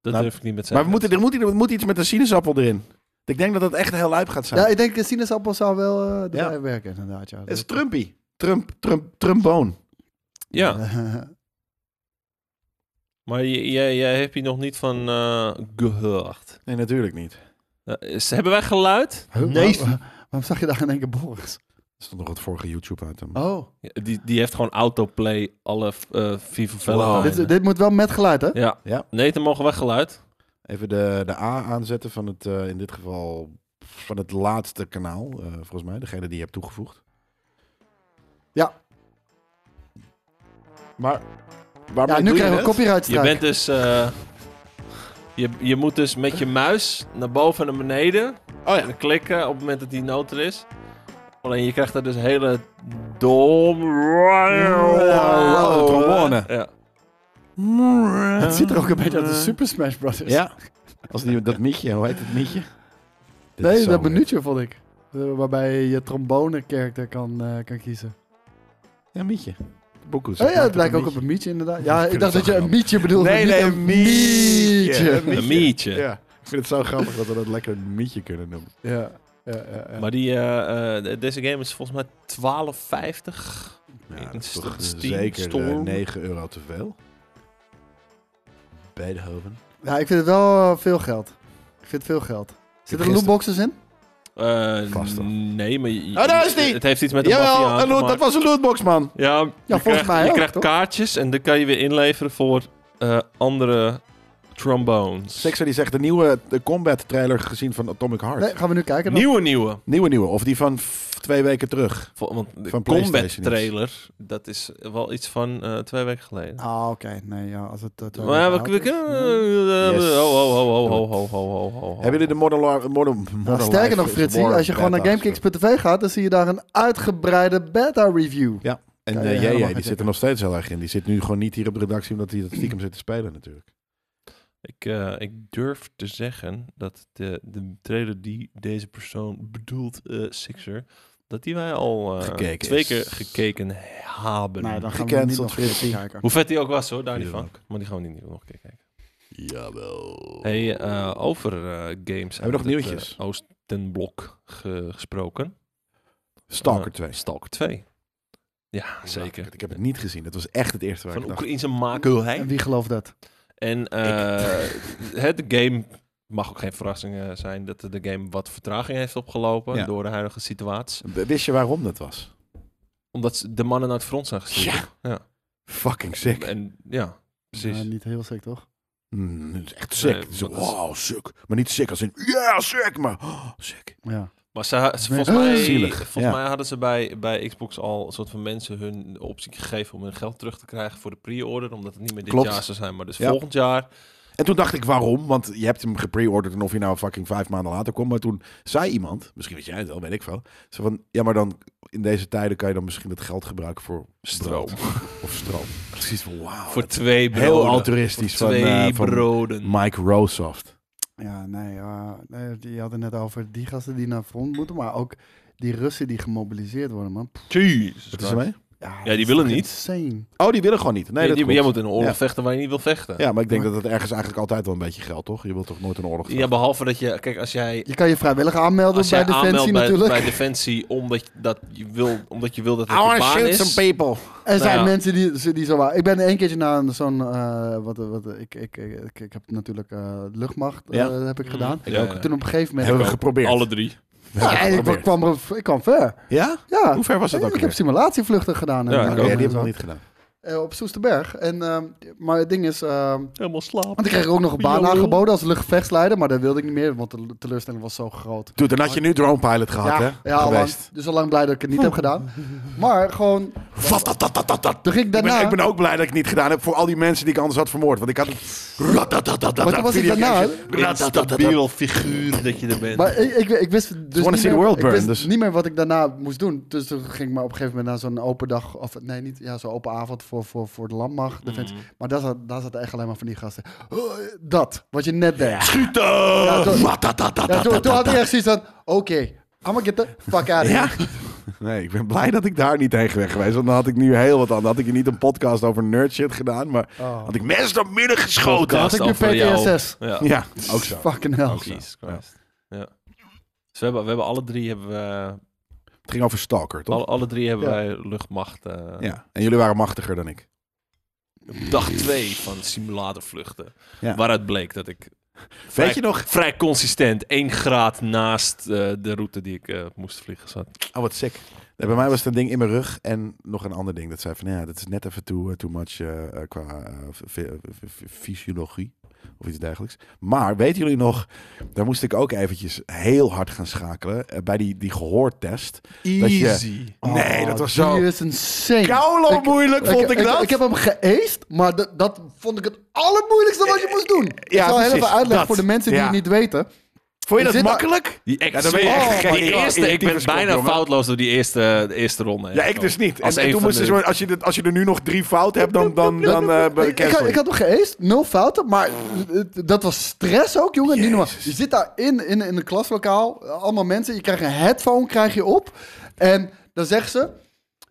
Speaker 1: dat
Speaker 2: Nou,
Speaker 1: durf ik niet met zijn.
Speaker 2: Maar we moeten, er, moet, er moet iets met een sinaasappel erin. Ik denk dat dat echt heel lijp gaat zijn.
Speaker 3: Ja, ik denk de sinaasappel zou wel eh erbij
Speaker 2: Ja.
Speaker 3: werken inderdaad. Ja.
Speaker 2: het is Trumpy. Trump, Trump, Trumboon.
Speaker 3: [laughs]
Speaker 1: Ja, maar j- jij, jij hebt hier nog niet van eh, gehoord.
Speaker 2: Nee, natuurlijk niet.
Speaker 1: Eh, is- hebben wij geluid?
Speaker 3: nee. Waarom zag je daar in één keer Boris?
Speaker 2: Er stond nog het vorige YouTube uit hem.
Speaker 3: Oh,
Speaker 1: Ja, die, die heeft gewoon autoplay alle eh Viva Valentine.
Speaker 3: dit, dit moet wel met geluid, hè?
Speaker 1: Ja.
Speaker 2: Oh, Ja.
Speaker 1: Nee, dan mogen wij geluid.
Speaker 2: Even de, de A aanzetten van het, eh, in dit geval, van het laatste kanaal. eh, volgens mij, degene die je hebt toegevoegd.
Speaker 3: Ja,
Speaker 2: Maar
Speaker 3: ja
Speaker 2: waarmee
Speaker 3: nu
Speaker 2: doe je
Speaker 3: krijgen we
Speaker 2: dat?
Speaker 3: copyright
Speaker 1: Je
Speaker 3: strike.
Speaker 1: bent dus... eh, je, je moet dus met je muis naar boven en naar beneden
Speaker 2: Oh ja.
Speaker 1: en klikken op het moment dat die noot er is. Alleen je krijgt daar dus hele dom...
Speaker 2: de trombone.
Speaker 1: Ja.
Speaker 3: [laughs] Het ziet er ook een beetje uit als Super Smash Bros.
Speaker 2: eh, Ja. Als die, dat mietje, hoe heet het mietje? Dit is
Speaker 3: Nee,
Speaker 2: zo
Speaker 3: dat
Speaker 2: weird.
Speaker 3: minuutje vond ik. Eh, Waarbij je je trombone-character kan, eh, kan kiezen.
Speaker 2: Ja, een mietje. Boekoe, ze
Speaker 3: Oh ja,
Speaker 2: maakt
Speaker 3: het lijkt ook op
Speaker 2: mietje.
Speaker 3: een mietje inderdaad. Ja,
Speaker 2: vind
Speaker 3: ik dacht
Speaker 2: het zo
Speaker 3: dat je een
Speaker 2: grappig.
Speaker 3: mietje bedoelde.
Speaker 2: Nee,
Speaker 3: niet
Speaker 2: nee,
Speaker 3: een
Speaker 2: een mietje.
Speaker 1: Een mietje.
Speaker 2: Ja, ik vind het zo grappig dat we dat lekker een mietje kunnen noemen.
Speaker 3: Ja, ja, ja, ja.
Speaker 1: Maar die, eh, eh, de- deze game is volgens mij 12,50.
Speaker 2: Ja, dat is
Speaker 1: St-
Speaker 2: toch
Speaker 1: Steam
Speaker 2: zeker eh,
Speaker 1: Storm.
Speaker 2: 9 euro te veel. Beethoven.
Speaker 3: Ja, ik vind het wel eh, veel geld. Ik vind het veel geld. Zitten er
Speaker 2: gisteren-
Speaker 3: lootboxes in?
Speaker 1: Eh,
Speaker 2: Vast toch?
Speaker 1: nee, maar... je-
Speaker 2: Oh, daar is die!
Speaker 1: Het heeft iets met de
Speaker 2: Jawel,
Speaker 1: maffia
Speaker 2: een loot, dat was een lootbox, man.
Speaker 1: Ja, je
Speaker 3: volgens
Speaker 1: krijgt,
Speaker 3: mij
Speaker 1: Je
Speaker 3: ook,
Speaker 1: krijgt
Speaker 3: toch?
Speaker 1: kaartjes en dan kan je weer inleveren voor eh, andere trombones.
Speaker 2: Sexer die zegt de nieuwe de combat trailer gezien van Atomic Heart.
Speaker 3: Nee, gaan we nu kijken. dan?
Speaker 1: Nieuwe, nieuwe.
Speaker 2: Nieuwe, nieuwe. Of die van f- twee weken terug.
Speaker 1: Vo- want de
Speaker 2: Van PlayStation
Speaker 1: combat
Speaker 2: is.
Speaker 1: trailer, dat is wel iets van eh, twee weken geleden.
Speaker 3: Ah, oké. Nee, ja, als het... eh, twee
Speaker 1: Maar ja,
Speaker 3: weken
Speaker 1: we, we
Speaker 3: oud is.
Speaker 1: kunnen...
Speaker 3: Ja.
Speaker 1: eh,
Speaker 2: Yes.
Speaker 1: Ho, ho, ho, ho, ho, ho, ho, ho, ho.
Speaker 2: Hebben jullie de Modern Lar- Modern, modern
Speaker 3: Nou, sterker
Speaker 2: Life
Speaker 3: nog,
Speaker 2: is
Speaker 3: Fritsie,
Speaker 2: War
Speaker 3: als je gewoon naar
Speaker 2: beta's.
Speaker 3: GameKicks.tv gaat, dan zie je daar een uitgebreide beta-review.
Speaker 2: En
Speaker 3: Ja,
Speaker 2: eh,
Speaker 3: ja,
Speaker 2: JJ,
Speaker 3: helemaal
Speaker 2: die
Speaker 3: geen
Speaker 2: zit er nog steeds heel erg in. Die zit nu gewoon niet hier op de redactie, omdat hij dat stiekem zit te spelen natuurlijk.
Speaker 1: Ik, eh, ik durf te zeggen dat de, de trailer die deze persoon bedoelt, eh, Sixer, dat die wij al eh,
Speaker 2: Gekeken
Speaker 1: twee
Speaker 2: is.
Speaker 1: keer gekeken hebben.
Speaker 3: Nou, dan gaan we
Speaker 2: Gecanceld,
Speaker 3: niet nog een keer
Speaker 2: Fritsie.
Speaker 3: kijken.
Speaker 1: Hoe vet die ook was hoor, daar niet
Speaker 2: Ja.
Speaker 1: van. Maar die gaan we niet nog een keer kijken.
Speaker 2: Jawel.
Speaker 1: Hey, eh, over eh, games.
Speaker 2: Hebben we nog
Speaker 1: uit het,
Speaker 2: nieuwtjes?
Speaker 1: eh, Oostenblok ge- gesproken.
Speaker 2: Stalker
Speaker 1: Eh,
Speaker 2: 2.
Speaker 1: Stalker 2. Ja, zeker.
Speaker 2: Ik heb het niet gezien. Dat was echt het eerste waar
Speaker 1: Van
Speaker 2: ik dacht.
Speaker 1: Oekraïense makelheid.
Speaker 3: En wie gelooft dat?
Speaker 1: En eh, [laughs] het de game mag ook geen verrassing eh, zijn dat de game wat vertraging heeft opgelopen
Speaker 2: Ja.
Speaker 1: door de huidige situatie.
Speaker 2: W- Wist je waarom dat was?
Speaker 1: Omdat ze de mannen naar het front zijn gestuurd.
Speaker 2: Ja.
Speaker 1: Ja.
Speaker 2: Fucking sick.
Speaker 1: En ja, precies.
Speaker 3: Ja, Eh, niet heel sick, toch?
Speaker 2: Mm, dat is echt sick.
Speaker 1: Nee,
Speaker 2: Zo,
Speaker 1: maar dat is-
Speaker 2: wow, sick. Maar niet sick als in, ja, yeah, sick, maar oh, sick.
Speaker 3: Ja.
Speaker 1: Maar ze, ze- volgens,
Speaker 3: Nee.
Speaker 1: mij,
Speaker 2: Zielig,
Speaker 1: volgens
Speaker 2: ja.
Speaker 1: mij hadden ze bij, bij Xbox al een soort van mensen hun optie gegeven om hun geld terug te krijgen voor de pre-order. Omdat het niet meer dit
Speaker 2: Klopt.
Speaker 1: jaar zou zijn, maar dus
Speaker 2: Ja.
Speaker 1: volgend jaar.
Speaker 2: En toen dacht ik, waarom? Want je hebt hem gepreorderd en of je nou fucking vijf maanden later komt. Maar toen zei iemand, misschien weet jij het wel, weet ik veel. Ze van, ja, maar dan in deze tijden kan je dan misschien dat geld gebruiken voor
Speaker 1: Stroom.
Speaker 2: brood [laughs] Of stroom. Precies van, wauw.
Speaker 1: Voor
Speaker 2: dat-
Speaker 1: twee broden.
Speaker 2: heel
Speaker 1: Voor
Speaker 2: altruïstisch van,
Speaker 1: twee
Speaker 2: eh, van
Speaker 1: broden.
Speaker 2: Mike Rosoft.
Speaker 3: Ja, nee, eh, nee, die hadden net over die gasten die naar front moeten, maar ook die Russen die gemobiliseerd worden, man. Pff,
Speaker 1: Jezus.
Speaker 2: Wat is er mee?
Speaker 3: Ja,
Speaker 1: die
Speaker 3: dat is
Speaker 1: willen
Speaker 3: toch
Speaker 1: niet.
Speaker 3: Insane.
Speaker 2: Oh, die willen gewoon niet. Nee,
Speaker 1: Nee,
Speaker 2: dat
Speaker 1: die-
Speaker 2: klopt.
Speaker 1: jij moet in een oorlog
Speaker 2: Ja.
Speaker 1: vechten waar je niet wil vechten.
Speaker 2: Ja, maar ik denk dat het ergens eigenlijk altijd wel een beetje geldt, toch? Je wilt toch nooit een oorlog
Speaker 1: Ja, behalve dat je, kijk, als jij,
Speaker 3: Je kan je vrijwillig aanmelden
Speaker 1: als
Speaker 3: bij
Speaker 1: jij aanmeldt
Speaker 3: Defensie
Speaker 1: bij,
Speaker 3: natuurlijk.
Speaker 1: bij Defensie omdat je, dat je wil, omdat je wil dat het
Speaker 2: I
Speaker 1: een
Speaker 2: wanna
Speaker 1: baan
Speaker 2: shoot
Speaker 1: is.
Speaker 2: some people.
Speaker 3: Er zijn
Speaker 1: Nou ja.
Speaker 3: mensen die, die zo waren. Ik ben één keertje naar een- zo'n. eh, wat, wat, ik, ik, ik, ik heb natuurlijk eh, luchtmacht eh,
Speaker 2: Ja.
Speaker 3: heb ik gedaan.
Speaker 1: Ja, ja.
Speaker 3: Toen op een gegeven moment.
Speaker 2: Hebben we geprobeerd.
Speaker 1: Alle drie.
Speaker 3: Ja, en ik
Speaker 2: geprobeerd.
Speaker 3: kwam, er- ik kwam ver.
Speaker 2: Ja?
Speaker 3: Ja.
Speaker 2: Hoe ver was dat ook
Speaker 3: ik
Speaker 2: alweer?
Speaker 3: heb simulatievluchten gedaan. en-
Speaker 1: Ja, ik
Speaker 3: en-
Speaker 1: ook.
Speaker 2: Ja, Oh, die
Speaker 3: en
Speaker 2: hebben we
Speaker 3: zo.
Speaker 2: nog niet gedaan.
Speaker 3: Eh, op Soesterberg. En, ehm, maar het ding is. ehm,
Speaker 1: Helemaal slaap.
Speaker 3: want ik kreeg ook nog een baan
Speaker 1: Jawel.
Speaker 3: aangeboden als luchtvechtsleider. Maar dat wilde ik niet meer, want de teleurstelling was zo groot.
Speaker 2: Dude, dan had je nu Drone Pilot gehad, hè?
Speaker 3: ja, ja al lang,
Speaker 2: Geweest.
Speaker 3: dus al lang blij dat ik het niet heb
Speaker 2: [laughs]
Speaker 3: gedaan. Maar gewoon.
Speaker 2: Wat, dat, dat, dat, dat, dat.
Speaker 3: Toen ging ik
Speaker 2: Ik
Speaker 3: daarna.
Speaker 2: ben, ik ben ook blij dat ik het niet gedaan heb voor al die mensen die ik anders had vermoord. Want ik had het... Ratatatatata,
Speaker 3: Maar toen was ik daarna-
Speaker 2: videogame. Ratatatatata.
Speaker 1: Stabiel figuur dat je er bent.
Speaker 3: Maar ik, ik, ik wist dus
Speaker 2: wanna see
Speaker 3: niet,
Speaker 2: the
Speaker 3: meer,
Speaker 2: world
Speaker 3: ik
Speaker 2: burn,
Speaker 3: wist
Speaker 2: dus-
Speaker 3: niet meer wat ik daarna moest doen. Dus toen ging ik maar op een gegeven moment naar zo'n open dag. Of nee, niet ja, zo'n open avond voor, voor, voor de
Speaker 2: Mhm.
Speaker 3: landmacht. Defensie. Maar daar zat, daar zat echt alleen maar van die gasten. Oh, dat, wat je net deed.
Speaker 2: Schieten!
Speaker 3: Ja, toen-
Speaker 2: Ratatatatata.
Speaker 3: Ja, toen, toen had ik echt zoiets van: oké, I'm gonna get the fuck out of
Speaker 2: Ja?
Speaker 3: here.
Speaker 2: Nee, ik ben blij dat ik daar niet heen ben geweest. Want dan had ik nu heel wat aan. Dan had ik hier niet een podcast over nerd shit gedaan. Maar
Speaker 3: Oh.
Speaker 2: had ik mensen naar midden geschoten.
Speaker 1: Podcast
Speaker 3: Had ik nu
Speaker 1: over jou.
Speaker 3: PTSS.
Speaker 1: Ja.
Speaker 2: Ja, ook zo.
Speaker 3: Fucking hell.
Speaker 1: Jezus Christ. Ja. Dus we hebben, we hebben alle drie hebben we,
Speaker 2: Het ging over Stalker, toch?
Speaker 1: alle, alle drie hebben
Speaker 3: Ja.
Speaker 1: wij luchtmacht. eh,
Speaker 2: Ja. En jullie waren machtiger dan ik.
Speaker 1: op Dag 2 van simulatorvluchten.
Speaker 2: Ja.
Speaker 1: Waaruit bleek dat ik vrij,
Speaker 2: Weet je nog?
Speaker 1: vrij consistent één graad naast eh, de route die ik eh, moest vliegen zat.
Speaker 2: Oh, wat sick. Nee, bij mij was het een ding in mijn rug en nog een ander ding. Dat zei van, ja, dat is net even too, eh, too much eh, eh, qua eh, fy- fy- fysiologie of iets dergelijks. Maar weten jullie nog, daar moest ik ook eventjes heel hard gaan schakelen eh, bij die, die gehoortest. je- nee, dat was
Speaker 3: Oh, Die
Speaker 2: zo...
Speaker 3: is insane.
Speaker 2: Koulo
Speaker 3: Ik-
Speaker 2: moeilijk vond ik, dat.
Speaker 3: Ik, heb hem geëist, maar dat, dat vond ik het allermoeilijkste wat je moest doen. Ik
Speaker 2: Ja,
Speaker 3: zal heel
Speaker 2: precies,
Speaker 3: even uitleggen
Speaker 2: dat.
Speaker 3: voor de mensen die
Speaker 2: Ja.
Speaker 3: het niet weten.
Speaker 2: vond
Speaker 3: ik
Speaker 2: je dat
Speaker 3: zit-
Speaker 2: makkelijk?
Speaker 1: Die, ex- oh,
Speaker 2: Ja, dan ben je echt gek.
Speaker 1: die
Speaker 2: Ik-
Speaker 1: eerste,
Speaker 2: ik-
Speaker 1: ik
Speaker 2: typisch
Speaker 1: ben
Speaker 2: kop,
Speaker 1: bijna
Speaker 2: jongen.
Speaker 1: foutloos door die eerste, de eerste ronde. heen
Speaker 2: Ja, ik
Speaker 1: gekomen.
Speaker 2: dus niet. En,
Speaker 1: Als
Speaker 2: en
Speaker 1: een
Speaker 2: toen
Speaker 1: van
Speaker 2: moesten
Speaker 1: de-
Speaker 2: ze, als je, dit, als je er nu nog drie fouten hebt, dan, dan, dan eh, ben ik
Speaker 3: ik, ik, had, ik had hem geëist, nul fouten, maar het- dat was stress ook, jongen. Niet normaal. Je zit daar in, in, in een klaslokaal, allemaal mensen, je krijgt een headphone krijg je op. En dan zegt ze,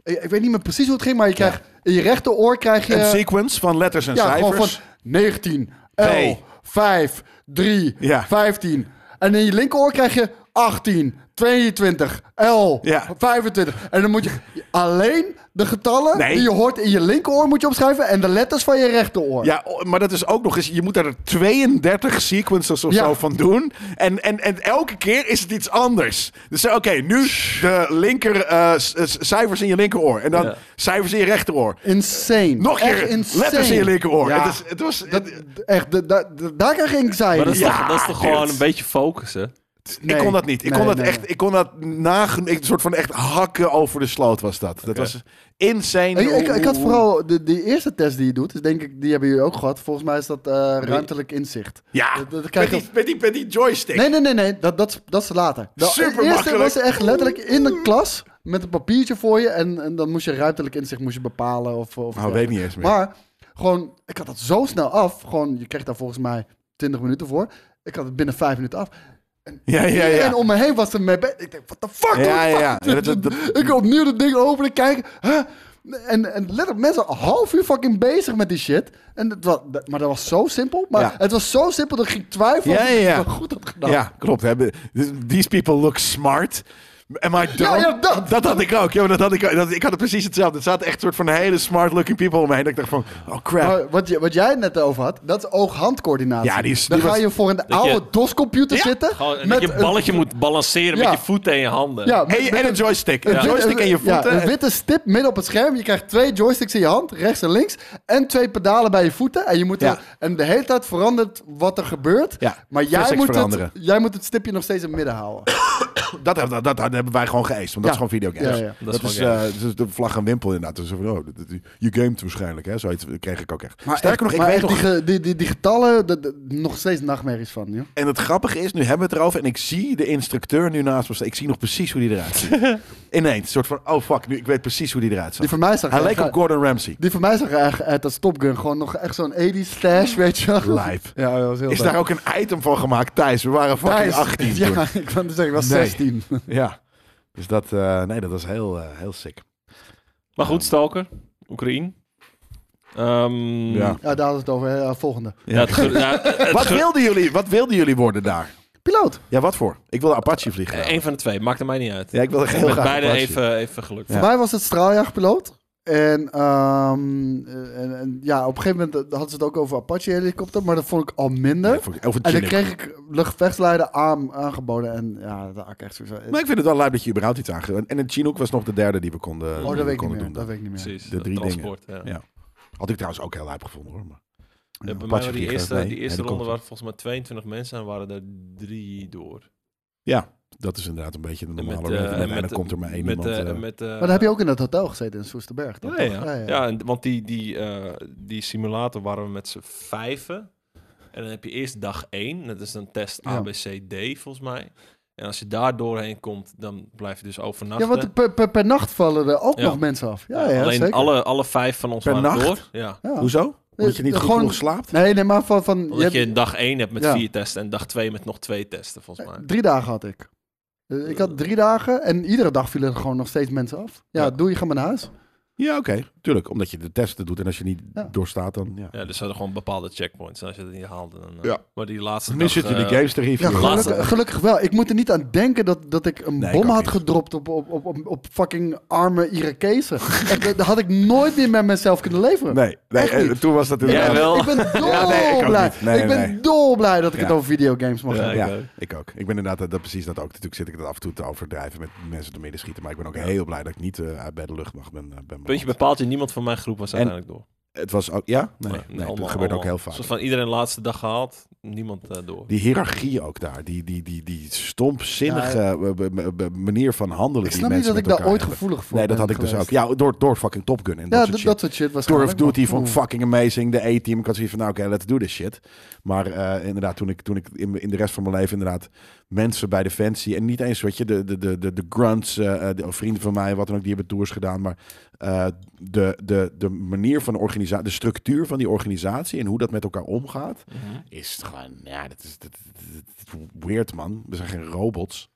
Speaker 3: Ik, ik weet niet meer precies hoe het ging, maar je krijgt in je rechteroor krijg je...
Speaker 2: Een sequence van letters en
Speaker 3: ja, gewoon van
Speaker 2: cijfers.
Speaker 3: 19, 11,
Speaker 2: Nee.
Speaker 3: 5, 3,
Speaker 2: Ja.
Speaker 3: 15. En in je linkeroor krijg je 18, 22, 11,
Speaker 2: Ja.
Speaker 3: 25. En dan moet je alleen de getallen
Speaker 2: Nee.
Speaker 3: die je hoort in je linkeroor moet je opschrijven en de letters van je rechteroor.
Speaker 2: Ja, o- maar dat is ook nog eens... Je moet daar 32 sequences of
Speaker 3: Ja.
Speaker 2: zo van doen. En, en, en elke keer is het iets anders. Dus oké, nu de linker... eh, c- c- cijfers in je linkeroor. En dan
Speaker 1: Ja.
Speaker 2: cijfers in je rechteroor.
Speaker 3: Insane.
Speaker 2: Nog een
Speaker 3: echt
Speaker 2: keer
Speaker 3: insane.
Speaker 2: letters in je linkeroor.
Speaker 3: Ja.
Speaker 2: Het, is, het was...
Speaker 3: Dat, echt, de- da- da- daar krijg ik anxiety.
Speaker 1: Maar dat is,
Speaker 2: Ja,
Speaker 1: toch, dat is toch
Speaker 2: dude.
Speaker 1: gewoon een beetje focussen?
Speaker 3: Nee.
Speaker 2: Ik kon dat niet. Ik
Speaker 3: Nee,
Speaker 2: kon dat
Speaker 3: nee,
Speaker 2: echt...
Speaker 3: nee.
Speaker 2: Ik kon dat nagen... Een soort van echt hakken over de sloot was dat. Dat was insane.
Speaker 3: Ik, ik, ik had
Speaker 2: Hoe-
Speaker 3: vooral de, die eerste test die je doet, is denk ik, die hebben jullie ook gehad. Volgens mij is dat eh, ruimtelijk inzicht.
Speaker 2: Ja,
Speaker 3: Dat- dat
Speaker 2: met,
Speaker 3: krijg je-
Speaker 2: die, met, die, met die joystick.
Speaker 3: Nee, nee, nee, nee. Dat, dat, is- dat is later. De
Speaker 2: Super
Speaker 3: eerste
Speaker 2: makkelijk.
Speaker 3: was echt letterlijk in de klas met een papiertje voor je. En, en dan moest je ruimtelijk inzicht moest je bepalen. Of, of
Speaker 2: Nou, weet ik niet eens meer.
Speaker 3: Maar gewoon, ik had dat zo snel af. Gewoon, je kreeg daar volgens mij 20 minuten voor. Ik had het binnen 5 minuten af.
Speaker 2: ja, ja, ja.
Speaker 3: En om me heen was er mee bezig. Ik denk, what the fuck?
Speaker 2: Ja,
Speaker 3: what the
Speaker 2: ja,
Speaker 3: fuck?
Speaker 2: ja. Dat- dat- dat-
Speaker 3: [laughs] ik opnieuw dat ding open en kijk. Huh? En, en letterlijk, mensen een half uur fucking bezig met die shit. En dat was, dat- maar dat was zo simpel. Maar
Speaker 2: Ja.
Speaker 3: het was zo simpel dat ik ging twijfelen
Speaker 2: Ja, ja,
Speaker 3: of ik
Speaker 2: ja.
Speaker 3: het wel goed had gedaan.
Speaker 2: Ja, klopt. Hè. These people look smart. Am I dumb?
Speaker 3: Ja, ja, dat.
Speaker 2: had ik ook. Ja, maar dat had ik, ook. dat, ik had het precies hetzelfde. Er zaten echt soort van hele smart looking people omheen. Dat ik dacht van, oh crap.
Speaker 3: Maar wat, je- wat jij het net over had, dat is oog-handcoördinatie.
Speaker 2: Ja, die is-
Speaker 3: Dan
Speaker 2: die
Speaker 3: ga
Speaker 2: was-
Speaker 3: je voor een
Speaker 1: je-
Speaker 3: oude DOS-computer
Speaker 2: Ja,
Speaker 3: zitten.
Speaker 1: Gewoon dat je
Speaker 3: een-
Speaker 1: balletje moet balanceren
Speaker 3: Ja.
Speaker 1: met je voeten en je handen.
Speaker 3: ja,
Speaker 2: en, je- en een joystick. Een
Speaker 3: wit-
Speaker 2: joystick en je
Speaker 3: ja,
Speaker 2: voeten.
Speaker 3: een witte stip midden op het scherm. Je krijgt twee joysticks in je hand, rechts en links. En twee pedalen bij je voeten. En, je moet
Speaker 2: Ja.
Speaker 3: er- en de hele tijd verandert wat er gebeurt.
Speaker 2: Ja,
Speaker 3: maar jij
Speaker 2: physics
Speaker 3: moet, het,
Speaker 2: veranderen.
Speaker 3: jij moet het stipje nog steeds in het midden houden.
Speaker 2: dat, hebben- dat, dat, dat hebben wij gewoon geëist. Want dat is gewoon videogames.
Speaker 3: Ja, ja.
Speaker 2: Dat,
Speaker 1: Dat is
Speaker 2: is,
Speaker 1: gewoon
Speaker 2: eh, dat is de vlag en wimpel inderdaad. Dus, van, oh, dat- dat- je gamet waarschijnlijk. Hè? Zoiets kreeg ik ook echt. Sterker nog, ik
Speaker 3: maar
Speaker 2: weet
Speaker 3: echt,
Speaker 2: nog...
Speaker 3: die, ge- die, die, die getallen, dat- dat- nog steeds nachtmerries van. Joh.
Speaker 2: En het grappige is, nu hebben we het erover en ik zie de instructeur nu naast me staan. Ik zie nog precies hoe die eruit
Speaker 3: [laughs]
Speaker 2: ziet. Ineens, een soort van, oh fuck, nu, ik weet precies hoe die eruit
Speaker 3: Die
Speaker 2: ziet.
Speaker 3: voor mij zag
Speaker 2: Hij
Speaker 3: er
Speaker 2: leek
Speaker 3: echt-
Speaker 2: op Gordon Ramsay.
Speaker 3: Die van mij zag er echt uit als Top Gun. Gewoon nog echt zo'n 80s stash, weet je wel.
Speaker 2: Lijp.
Speaker 3: Ja, dat was heel
Speaker 2: Is
Speaker 3: leuk.
Speaker 2: daar ook een item van gemaakt, Thijs? We waren fucking
Speaker 3: Thijs.
Speaker 2: 18 toen.
Speaker 3: Ja, ik kan zeggen, ik was
Speaker 2: Nee.
Speaker 3: 16.
Speaker 2: Ja. Dus dat, eh, nee, dat was heel, eh, heel sick.
Speaker 1: Maar goed, Stalker. Oekraïne. Ehm,
Speaker 2: Ja.
Speaker 3: Ja, daar hadden we het over. hè. Ja, volgende.
Speaker 1: ja, het ge- ja, het
Speaker 2: [laughs] Wat
Speaker 1: ge-
Speaker 2: wilden, jullie, wat wilden jullie worden daar?
Speaker 3: Piloot.
Speaker 2: Ja, wat voor? Ik wilde Apache vliegen.
Speaker 1: Eén van de twee, maakt mij niet uit.
Speaker 2: Ja, ik wilde heel
Speaker 1: Eh, Met
Speaker 2: graag
Speaker 1: beide
Speaker 2: Apache.
Speaker 1: even, even geluk.
Speaker 2: Ja.
Speaker 3: Voor mij was het straaljagerpiloot. En, ehm, en, en ja, op een gegeven moment eh, hadden ze het ook over Apache-helikopter, maar dat vond ik al minder.
Speaker 2: Nee, vond ik- of een
Speaker 3: en dan
Speaker 2: Chinook.
Speaker 3: kreeg ik luchtvechtsleider aan, aangeboden en ja, dat had ik echt eh, sowieso...
Speaker 2: Maar ik vind het wel leuk dat je überhaupt iets aangeeft. En een Chinook was nog de derde die we konden, die
Speaker 3: oh,
Speaker 2: we
Speaker 3: dat weet ik niet
Speaker 2: konden
Speaker 3: meer.
Speaker 2: doen.
Speaker 3: Dat weet ik niet meer.
Speaker 1: Precies,
Speaker 2: De
Speaker 1: dat
Speaker 2: drie
Speaker 1: transport. Ja.
Speaker 2: Ja. Had ik trouwens ook heel lijp gevonden hoor. Maar...
Speaker 1: Ja, bij mij
Speaker 2: Apache
Speaker 1: waren die
Speaker 2: vliegen,
Speaker 1: eerste,
Speaker 2: nee,
Speaker 1: die eerste ronde
Speaker 2: helikopter.
Speaker 1: waren volgens mij 22 mensen en waren er drie door.
Speaker 2: Dat is inderdaad een beetje de
Speaker 1: En
Speaker 2: normale
Speaker 1: eh,
Speaker 2: regel. En,
Speaker 1: en
Speaker 2: dan komt er maar één
Speaker 1: met,
Speaker 2: iemand.
Speaker 1: eh,
Speaker 2: eh,
Speaker 1: met, eh,
Speaker 3: Maar dan heb je ook in dat hotel gezeten in Soesterberg. toch?
Speaker 1: ja, ja.
Speaker 3: Ja, ja.
Speaker 1: Ja, en- want die, die, eh, die simulator waren we met z'n vijven. En dan heb je eerst dag één. Dat is dan test
Speaker 3: Ja.
Speaker 1: A, B, C, D volgens mij. En als je daar doorheen komt, dan blijf je dus
Speaker 3: Ja,
Speaker 1: overnachten.
Speaker 3: want per, per, per nacht vallen er ook
Speaker 1: Ja.
Speaker 3: nog mensen af. Ja, ja,
Speaker 1: Alleen
Speaker 3: zeker.
Speaker 1: alle, alle vijf van ons
Speaker 2: Per
Speaker 1: waren
Speaker 2: nacht?
Speaker 1: door. Ja.
Speaker 3: Ja.
Speaker 2: Hoezo? Omdat je niet
Speaker 3: Gewoon-
Speaker 2: goed genoeg slaapt?
Speaker 3: Nee, nee, maar van... van je
Speaker 1: Omdat
Speaker 3: hebt-
Speaker 1: je, dag één hebt met
Speaker 3: Ja.
Speaker 1: vier testen en dag twee met nog twee testen volgens mij.
Speaker 3: Drie dagen had ik. Eh, Ik had drie dagen en iedere dag vielen er gewoon nog steeds mensen af. Ja,
Speaker 1: Ja.
Speaker 3: doe je, ga maar naar huis.
Speaker 2: Ja, oké. Tuurlijk, omdat je de testen doet en als je niet
Speaker 3: Ja.
Speaker 2: doorstaat dan... Ja.
Speaker 1: Ja, dus ze hadden gewoon bepaalde checkpoints. En als je dat niet haalde, dan... eh,
Speaker 2: Ja.
Speaker 1: Maar die laatste
Speaker 2: Nu
Speaker 1: dag,
Speaker 2: zitten die
Speaker 1: eh,
Speaker 2: games te
Speaker 3: Ja,
Speaker 2: reviewen.
Speaker 1: Laatste.
Speaker 3: gelukkig, gelukkig wel. Ik moet er niet aan denken dat, dat ik een
Speaker 2: Nee, ik
Speaker 3: bom
Speaker 2: ook
Speaker 3: had
Speaker 2: niet.
Speaker 3: gedropt op, op, op, op, op fucking arme Irakezen. Echt, dat dat had ik nooit meer met mezelf kunnen leveren.
Speaker 2: Nee, nee
Speaker 3: Echt niet.
Speaker 2: eh, toen was dat inderdaad...
Speaker 1: Jij wel?
Speaker 3: Ik ben
Speaker 2: [laughs] Ja, nee, ik ook
Speaker 3: dolblij.
Speaker 2: niet. Nee,
Speaker 3: ik ben
Speaker 2: nee.
Speaker 3: dolblij dat ik het
Speaker 2: Ja.
Speaker 3: over videogames mag
Speaker 1: Ja,
Speaker 3: hebben.
Speaker 1: ik
Speaker 2: Ja,
Speaker 1: ook.
Speaker 2: ik ook. Ik ben inderdaad eh, dat, dat precies dat ook. Natuurlijk zit ik dat af en toe te overdrijven met mensen door midden schieten. Maar ik ben ook heel blij dat ik niet eh, uit bij de lucht mag ben. eh, ben
Speaker 1: Puntje
Speaker 2: beland.
Speaker 1: bepaalt je, niemand van mijn groep was
Speaker 2: En-
Speaker 1: uiteindelijk door.
Speaker 2: Het was ook... Ja? Nee, nee,
Speaker 1: allemaal-
Speaker 2: dat gebeurt ook
Speaker 1: allemaal.
Speaker 2: heel
Speaker 1: Soort
Speaker 2: vaak.
Speaker 1: van iedereen laatste dag gehaald, niemand eh, door.
Speaker 2: Die hiërarchie ook daar. Die, die, die, die stompzinnige eh, be- be- be- manier van handelen
Speaker 3: Ik
Speaker 2: die
Speaker 3: snap niet
Speaker 2: mensen
Speaker 3: dat ik
Speaker 2: met
Speaker 3: daar
Speaker 2: elkaar
Speaker 3: ooit
Speaker 2: hebben.
Speaker 3: gevoelig voor
Speaker 2: Nee, dat
Speaker 3: ben
Speaker 2: had ik dus ook.
Speaker 3: geweest.
Speaker 2: Ja, door, door fucking Top Gun en dat
Speaker 3: Ja,
Speaker 2: soort
Speaker 3: dat,
Speaker 2: shit.
Speaker 3: dat soort shit was
Speaker 2: Tour of Duty vond ik fucking amazing. De A-team. Ik had zoiets van, nou oké, let's do this shit. Maar eh, inderdaad, toen ik, toen ik in, in de rest van mijn leven inderdaad mensen bij Defensie... en niet eens, weet je, de, de, de, de, de grunts, eh, eh, de vrienden van mij, wat dan ook, die hebben tours gedaan. Maar eh, de, de, de manier van de organisatie, de structuur van die organisatie... en hoe dat met elkaar omgaat,
Speaker 1: Mhm.
Speaker 2: is gewoon, ja, dat is, dat, dat- dat- dat- weird man. We zijn geen robots.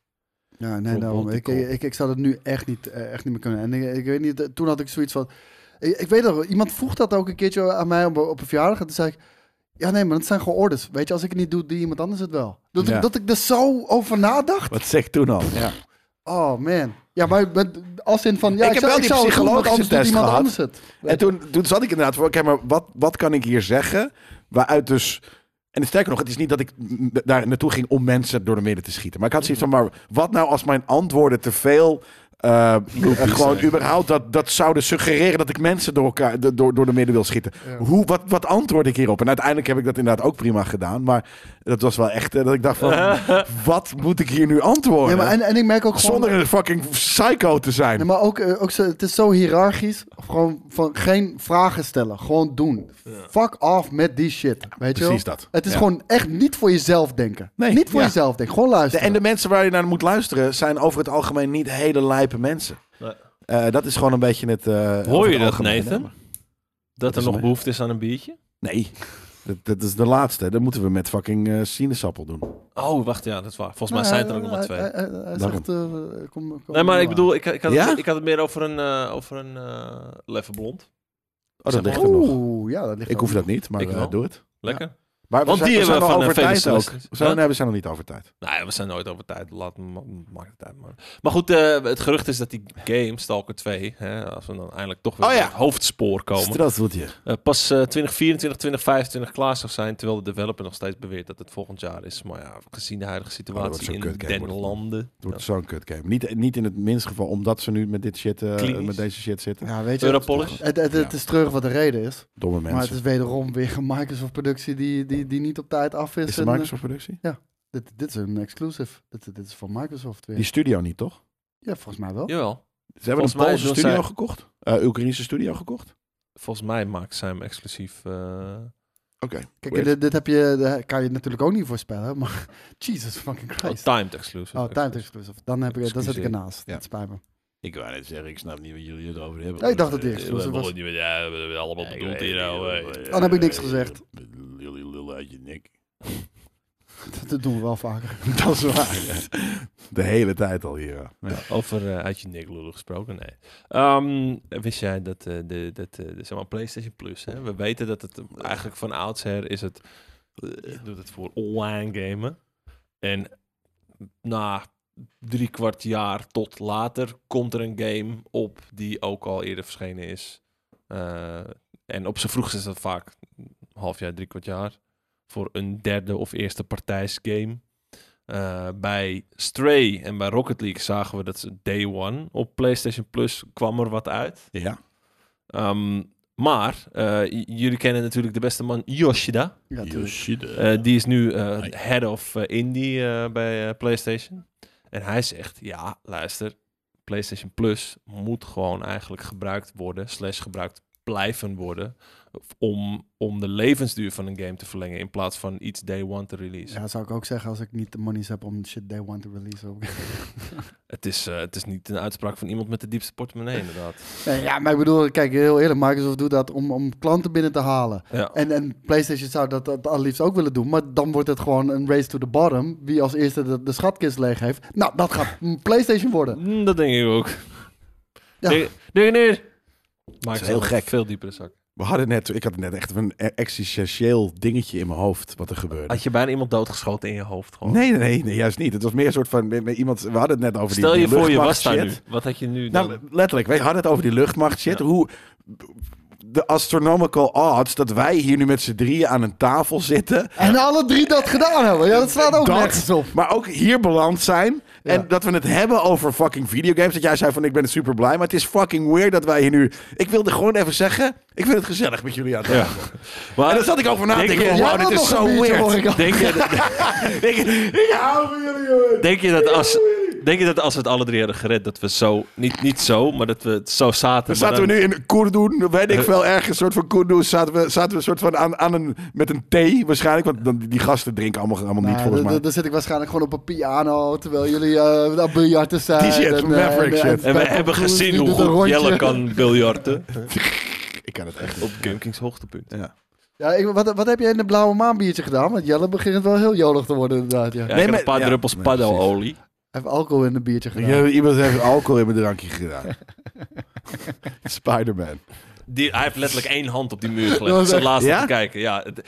Speaker 3: Ja, nee,
Speaker 1: Klopt,
Speaker 3: daarom.
Speaker 1: want die
Speaker 3: Ik, ik,
Speaker 1: kop.
Speaker 3: ik, ik zou dat nu echt niet, eh, echt niet meer kunnen. En ik, ik weet niet, eh, toen had ik zoiets van... Ik, ik weet dat, iemand vroeg dat ook een keertje aan mij op, op een verjaardag. En toen zei ik, ja nee, maar dat zijn gewoon orders. Weet je, als ik het niet doe, doet iemand anders het wel. Dat,
Speaker 2: Ja.
Speaker 3: ik, dat ik er zo over nadacht.
Speaker 2: Wat zeg ik toen al? Ja.
Speaker 3: Oh man. Ja, maar met- als in van, ja,
Speaker 2: Ik
Speaker 3: ik,
Speaker 2: heb
Speaker 3: zou,
Speaker 2: wel
Speaker 3: ik
Speaker 2: die
Speaker 3: zou het doen, want
Speaker 2: psychologische
Speaker 3: anders doet
Speaker 2: test
Speaker 3: iemand
Speaker 2: gehad.
Speaker 3: anders het.
Speaker 2: En toen, toen zat ik inderdaad voor, oké, maar wat, wat kan ik hier zeggen? Waaruit dus. En sterker nog, het is niet dat ik mm, daar naartoe ging om mensen door de midden te schieten. Maar ik had zoiets van, maar wat nou als mijn antwoorden te veel. eh, eh, gewoon
Speaker 1: zijn.
Speaker 2: überhaupt dat, dat zouden suggereren dat ik mensen door, elkaar, de- door, door de midden wil schieten. Hoe, wat, wat antwoord ik hierop? En uiteindelijk heb ik dat inderdaad ook prima gedaan. Maar dat was wel echt eh, dat ik dacht
Speaker 3: [laughs]
Speaker 2: van, wat moet ik hier nu
Speaker 3: Ja,
Speaker 2: antwoorden?
Speaker 3: maar en, en ik merk ook gewoon...
Speaker 2: Zonder een fucking psycho te zijn.
Speaker 3: Nee, maar ook, eh, ook zo, het is zo hiërarchisch. Gewoon van geen vragen stellen. Gewoon doen. Fuck off met die shit. Weet je wel?
Speaker 2: Precies dat.
Speaker 3: Het is
Speaker 2: Ja.
Speaker 3: gewoon echt niet voor jezelf denken.
Speaker 2: Nee,
Speaker 3: niet voor
Speaker 2: ja.
Speaker 3: jezelf denken. Gewoon
Speaker 2: De-
Speaker 3: luisteren.
Speaker 2: en de mensen waar je naar moet luisteren zijn over het algemeen niet hele lijpe mensen.
Speaker 1: Nee.
Speaker 2: Eh, dat is gewoon een beetje het. eh, over
Speaker 1: Hoor je
Speaker 2: het
Speaker 1: dat,
Speaker 2: algemeen, hè,
Speaker 1: Nathan?
Speaker 2: maar-
Speaker 1: Dat
Speaker 2: is
Speaker 1: er nog
Speaker 2: mee.
Speaker 1: behoefte is aan een biertje?
Speaker 2: Nee, dat, dat is de laatste. Dat moeten we met fucking eh, sinaasappel doen.
Speaker 1: Oh, wacht, ja, dat is waar. Volgens
Speaker 2: Eh,
Speaker 1: mij zijn het er ook nog maar twee.
Speaker 3: Hij, hij- hij- hij
Speaker 2: Daarom.
Speaker 3: zegt, eh, kom, kom
Speaker 1: Nee, maar ik
Speaker 3: aan.
Speaker 1: bedoel, ik, ik, had,
Speaker 2: oh. Ja?
Speaker 1: het, ik had het meer over een, eh over een eh leffe blond.
Speaker 2: Oh,
Speaker 1: Zeg
Speaker 2: dat
Speaker 1: maar.
Speaker 2: ligt er nog.
Speaker 3: Oeh, ja, dat ligt
Speaker 2: Ik hoef dat niet, maar
Speaker 1: Ik
Speaker 2: eh,
Speaker 1: wel.
Speaker 2: doe het.
Speaker 1: Lekker.
Speaker 2: Maar we
Speaker 1: Want
Speaker 2: zijn,
Speaker 1: die
Speaker 2: we
Speaker 1: hebben
Speaker 2: zijn
Speaker 1: we
Speaker 2: al
Speaker 1: van
Speaker 2: over
Speaker 1: de
Speaker 2: tijd ook.
Speaker 1: Venezuelers.
Speaker 2: Zo,
Speaker 1: Huh?
Speaker 2: nee, we zijn nog niet over tijd.
Speaker 1: Nee, Nou we zijn nooit over tijd. Laat, ma maakt het uit, man. Maar goed, eh, het gerucht is dat die game, Stalker 2, hè, als we dan eindelijk toch weer
Speaker 2: Oh
Speaker 1: op
Speaker 2: ja.
Speaker 1: het hoofdspoor komen,
Speaker 2: Strasbourg.
Speaker 1: eh, pas eh 2024, 2025 klaar zou zijn, terwijl de developer nog steeds beweert dat het volgend jaar is. Maar ja, gezien de huidige
Speaker 2: Oh, dat wordt
Speaker 1: situatie
Speaker 2: zo'n
Speaker 1: in
Speaker 2: kutgame,
Speaker 1: den
Speaker 2: wordt het.
Speaker 1: landen.
Speaker 2: Het wordt zo'n kut game. Niet, niet in het minst geval omdat ze nu met dit shit, eh,
Speaker 1: Klinisch.
Speaker 2: met deze shit zitten.
Speaker 3: Ja, weet je, het,
Speaker 1: Europolis?
Speaker 3: het, het- het is terug wat de reden is.
Speaker 2: Domme
Speaker 3: Maar het
Speaker 2: mensen.
Speaker 3: is wederom weer een Microsoft-productie die, die, die niet op tijd af
Speaker 2: Is
Speaker 3: is. en,
Speaker 2: het
Speaker 3: eh,
Speaker 2: een Microsoft-productie?
Speaker 3: dit, dit is een exclusive. Dit, dit is van Microsoft weer.
Speaker 2: Die studio niet, toch?
Speaker 3: Ja, volgens mij wel.
Speaker 1: Jawel.
Speaker 2: Ze hebben
Speaker 1: Volgens mij
Speaker 2: een Poolse
Speaker 1: doen
Speaker 2: studio
Speaker 1: zij-
Speaker 2: gekocht. Eh Oekraïnse studio gekocht.
Speaker 1: Volgens mij maakt zij hem exclusief. eh,
Speaker 2: Oké.
Speaker 3: Kijk, dit, dit heb je, daar kan je natuurlijk ook niet voorspellen, maar [laughs] Jesus fucking
Speaker 1: oh,
Speaker 3: Christ.
Speaker 1: timed exclusive.
Speaker 3: Oh, timed exclusive. Dan heb ik, dat zit ik
Speaker 1: Excuseer.
Speaker 3: ernaast.
Speaker 2: Ja.
Speaker 3: Het spijt me. [laughs]
Speaker 2: Ik wou net zeggen, ik snap niet wat jullie het over hebben.
Speaker 3: Ja, ik dacht dat die exclusive was. Oh,
Speaker 1: Ja, we hebben allemaal bedoeld hier nou, eh.
Speaker 3: Dan heb ik niks gezegd.
Speaker 2: nou, eh? Jullie lullen uit je
Speaker 3: [laughs]
Speaker 2: nek.
Speaker 3: Dat doen we wel vaker.
Speaker 2: Dat is waar. [laughs] De hele tijd al hier. Ja.
Speaker 1: [laughs] Over eh, uit je nek lullen gesproken, nee. Ehm, wist jij dat, eh, de, dat eh, zeg maar PlayStation Plus, hè? we weten dat het eigenlijk van oudsher is het, je doet het voor online gamen. En na drie kwart jaar tot later komt er een game op die ook al eerder verschenen is. Eh, en op zijn vroegst is dat vaak een half jaar, drie kwart jaar. Voor een derde of eerste partijs game. Eh, bij Stray en bij Rocket League zagen we dat ze day one op PlayStation Plus kwam er wat uit.
Speaker 2: ja.
Speaker 1: Ehm, maar eh, j- jullie kennen natuurlijk de beste man Yoshida.
Speaker 3: Ja, tuurlijk.
Speaker 1: Eh, die is nu eh,
Speaker 2: Hi.
Speaker 1: head of eh, indie eh, bij eh, PlayStation. En hij zegt, ja, luister, PlayStation Plus moet gewoon eigenlijk gebruikt worden, slash gebruikt blijven worden, om, om de levensduur van een game te verlengen in plaats van iets day one te releasen.
Speaker 3: ja, zou ik ook zeggen als ik niet de monies heb om shit day one te releasen.
Speaker 1: Het, is, eh, het is niet een uitspraak van iemand met de diepste portemonnee, inderdaad.
Speaker 3: [laughs] Nee, ja, maar ik bedoel, kijk, heel eerlijk, Microsoft doet dat om, om klanten binnen te halen.
Speaker 1: Ja.
Speaker 3: En, en PlayStation zou dat, dat allerliefst ook willen doen, maar dan wordt het gewoon een race to the bottom. Wie als eerste de, de schatkist leeg heeft, nou, dat [laughs] gaat een PlayStation worden.
Speaker 1: Mm, Dat denk ik ook.
Speaker 3: Ja.
Speaker 1: Denk, denk neer. Maar
Speaker 2: is
Speaker 1: ik
Speaker 2: heel
Speaker 1: heel gek.
Speaker 2: gek.
Speaker 1: Veel diepere zak.
Speaker 2: We hadden net, ik had net echt een e- existentieel dingetje in mijn hoofd wat er gebeurde.
Speaker 1: Had je bijna iemand doodgeschoten in je hoofd gewoon?
Speaker 2: Nee, nee, nee, nee, juist niet. Het was meer een soort van, met- met iemand, we hadden het net over
Speaker 1: Stel
Speaker 2: die,
Speaker 1: je
Speaker 2: die
Speaker 1: voor, je was
Speaker 2: luchtmacht
Speaker 1: daar
Speaker 2: shit.
Speaker 1: nu. Wat had je nu dan?
Speaker 2: Nou, letterlijk. We hadden het over die luchtmacht shit.
Speaker 1: Ja.
Speaker 2: Hoe de astronomical odds dat wij hier nu met z'n drieën aan een tafel zitten.
Speaker 3: En alle drie dat gedaan hebben. Ja, dat slaat ook
Speaker 2: Dat-
Speaker 3: nergens op.
Speaker 2: Maar ook hier beland zijn. En
Speaker 3: Ja.
Speaker 2: dat we het hebben over fucking videogames. Dat jij zei van ik ben super blij. Maar het is fucking weird dat wij hier nu. Ik wilde gewoon even zeggen. Ik vind het gezellig met jullie aan tafel.
Speaker 1: Maar-
Speaker 2: En daar zat ik over na te
Speaker 1: Denk
Speaker 2: denken.
Speaker 1: je-
Speaker 2: van,
Speaker 1: Jij
Speaker 2: Wow, dit
Speaker 3: wil
Speaker 2: is
Speaker 3: nog
Speaker 2: zo
Speaker 3: een biertje, hoor
Speaker 2: [laughs]
Speaker 3: ik
Speaker 2: weird.
Speaker 3: al.
Speaker 1: denk, je,
Speaker 2: ik, ik hou van jullie, jongen.
Speaker 1: denk, je dat als, denk je dat als we het alle drie hadden gered, dat we zo, niet, niet zo, maar dat we het zo zaten.
Speaker 2: Dan
Speaker 1: maar
Speaker 2: zaten we
Speaker 1: dan-
Speaker 2: nu in Koerdoen, weet ik veel, ergens een soort van Koerdoen. Zaten we, zaten we een soort van aan, aan een, met een thee waarschijnlijk. Want dan, die gasten drinken allemaal, allemaal niet
Speaker 3: Nou,
Speaker 2: volgens
Speaker 3: dan-
Speaker 2: mij.
Speaker 3: dan- Dan zit ik waarschijnlijk gewoon op een piano, terwijl jullie eh aan [laughs] biljarten zijn.
Speaker 2: Die shit,
Speaker 3: en, eh,
Speaker 2: Maverick
Speaker 3: en-
Speaker 2: shit.
Speaker 1: En we
Speaker 3: Pat
Speaker 1: hebben
Speaker 3: Cruz,
Speaker 1: gezien
Speaker 3: die
Speaker 1: hoe
Speaker 3: doet een
Speaker 1: goed
Speaker 3: rondje.
Speaker 1: Jelle kan biljarten.
Speaker 2: Ik kan het echt
Speaker 1: Op Gunkings hoogtepunt.
Speaker 3: Ja, ik, wat, wat heb jij in de blauwe maan biertje gedaan? Want Jelle begint wel heel jolig te worden inderdaad, ja.
Speaker 1: Ja,
Speaker 2: Nee,
Speaker 1: ik had
Speaker 2: maar-
Speaker 1: een paar
Speaker 2: ja.
Speaker 1: druppels
Speaker 2: Nee,
Speaker 1: paddo-olie.
Speaker 3: Even alcohol in een biertje gedaan.
Speaker 2: Je- Iemand heeft alcohol in mijn drankje [laughs] gedaan. Spider-Man.
Speaker 1: Die, hij heeft letterlijk één hand op die
Speaker 3: [laughs]
Speaker 1: muur
Speaker 3: Dat
Speaker 1: gelegd.
Speaker 3: was
Speaker 1: Ik zat
Speaker 3: echt-
Speaker 1: laatst
Speaker 2: Ja?
Speaker 1: te kijken. Ja, het-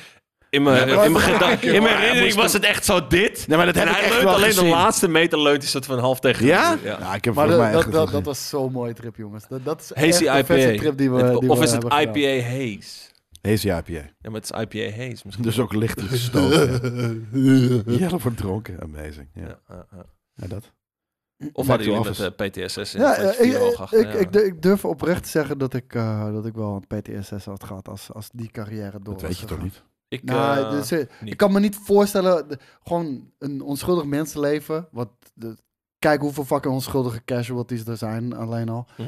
Speaker 1: in mijn, in mijn, gedachten- in mijn herinnering was het echt zo dit.
Speaker 2: Nee, maar dat
Speaker 1: en
Speaker 2: heb ik
Speaker 1: hij
Speaker 2: echt
Speaker 1: leunt
Speaker 2: wel
Speaker 1: alleen de
Speaker 2: gezien.
Speaker 1: laatste meter leunt hij soort van half tegen.
Speaker 2: Ja?
Speaker 1: de muur,
Speaker 2: Ja, ik heb
Speaker 3: maar
Speaker 2: volgens mij
Speaker 3: dat,
Speaker 2: echt
Speaker 3: dat, dat,
Speaker 2: gezien.
Speaker 3: dat was zo'n mooie trip, jongens. Dat, dat is echt
Speaker 1: Hazy
Speaker 3: de vetste
Speaker 1: IPA.
Speaker 3: trip die we die
Speaker 1: of
Speaker 3: we
Speaker 1: is het
Speaker 3: hebben gedaan.
Speaker 1: IPA haze?
Speaker 2: Hazy [laughs] IPA.
Speaker 1: Ja, maar het is IPA haze misschien.
Speaker 2: Dus ook licht gestoken.
Speaker 3: [laughs]
Speaker 2: Jelle wordt dronken. Amazing. Ja,
Speaker 1: Ja, ja, ja.
Speaker 2: Ja, dat.
Speaker 1: Of
Speaker 2: Back
Speaker 1: hadden
Speaker 2: to
Speaker 1: jullie
Speaker 2: office.
Speaker 1: met eh, PTSS in
Speaker 3: Ja,
Speaker 1: ja,
Speaker 3: eh, ik, ik, ik, ik durf oprecht te zeggen dat ik, eh, dat ik wel een PTSS had gehad als, als die carrière door
Speaker 2: Dat
Speaker 3: was
Speaker 2: weet je toch
Speaker 3: gegaan.
Speaker 2: niet?
Speaker 1: Ik,
Speaker 3: Nou,
Speaker 1: eh,
Speaker 3: dus, eh,
Speaker 1: niet.
Speaker 3: ik kan me niet voorstellen, de- gewoon een onschuldig mensenleven. Wat de, kijk hoeveel fucking onschuldige casualties er zijn alleen al.
Speaker 1: mhm.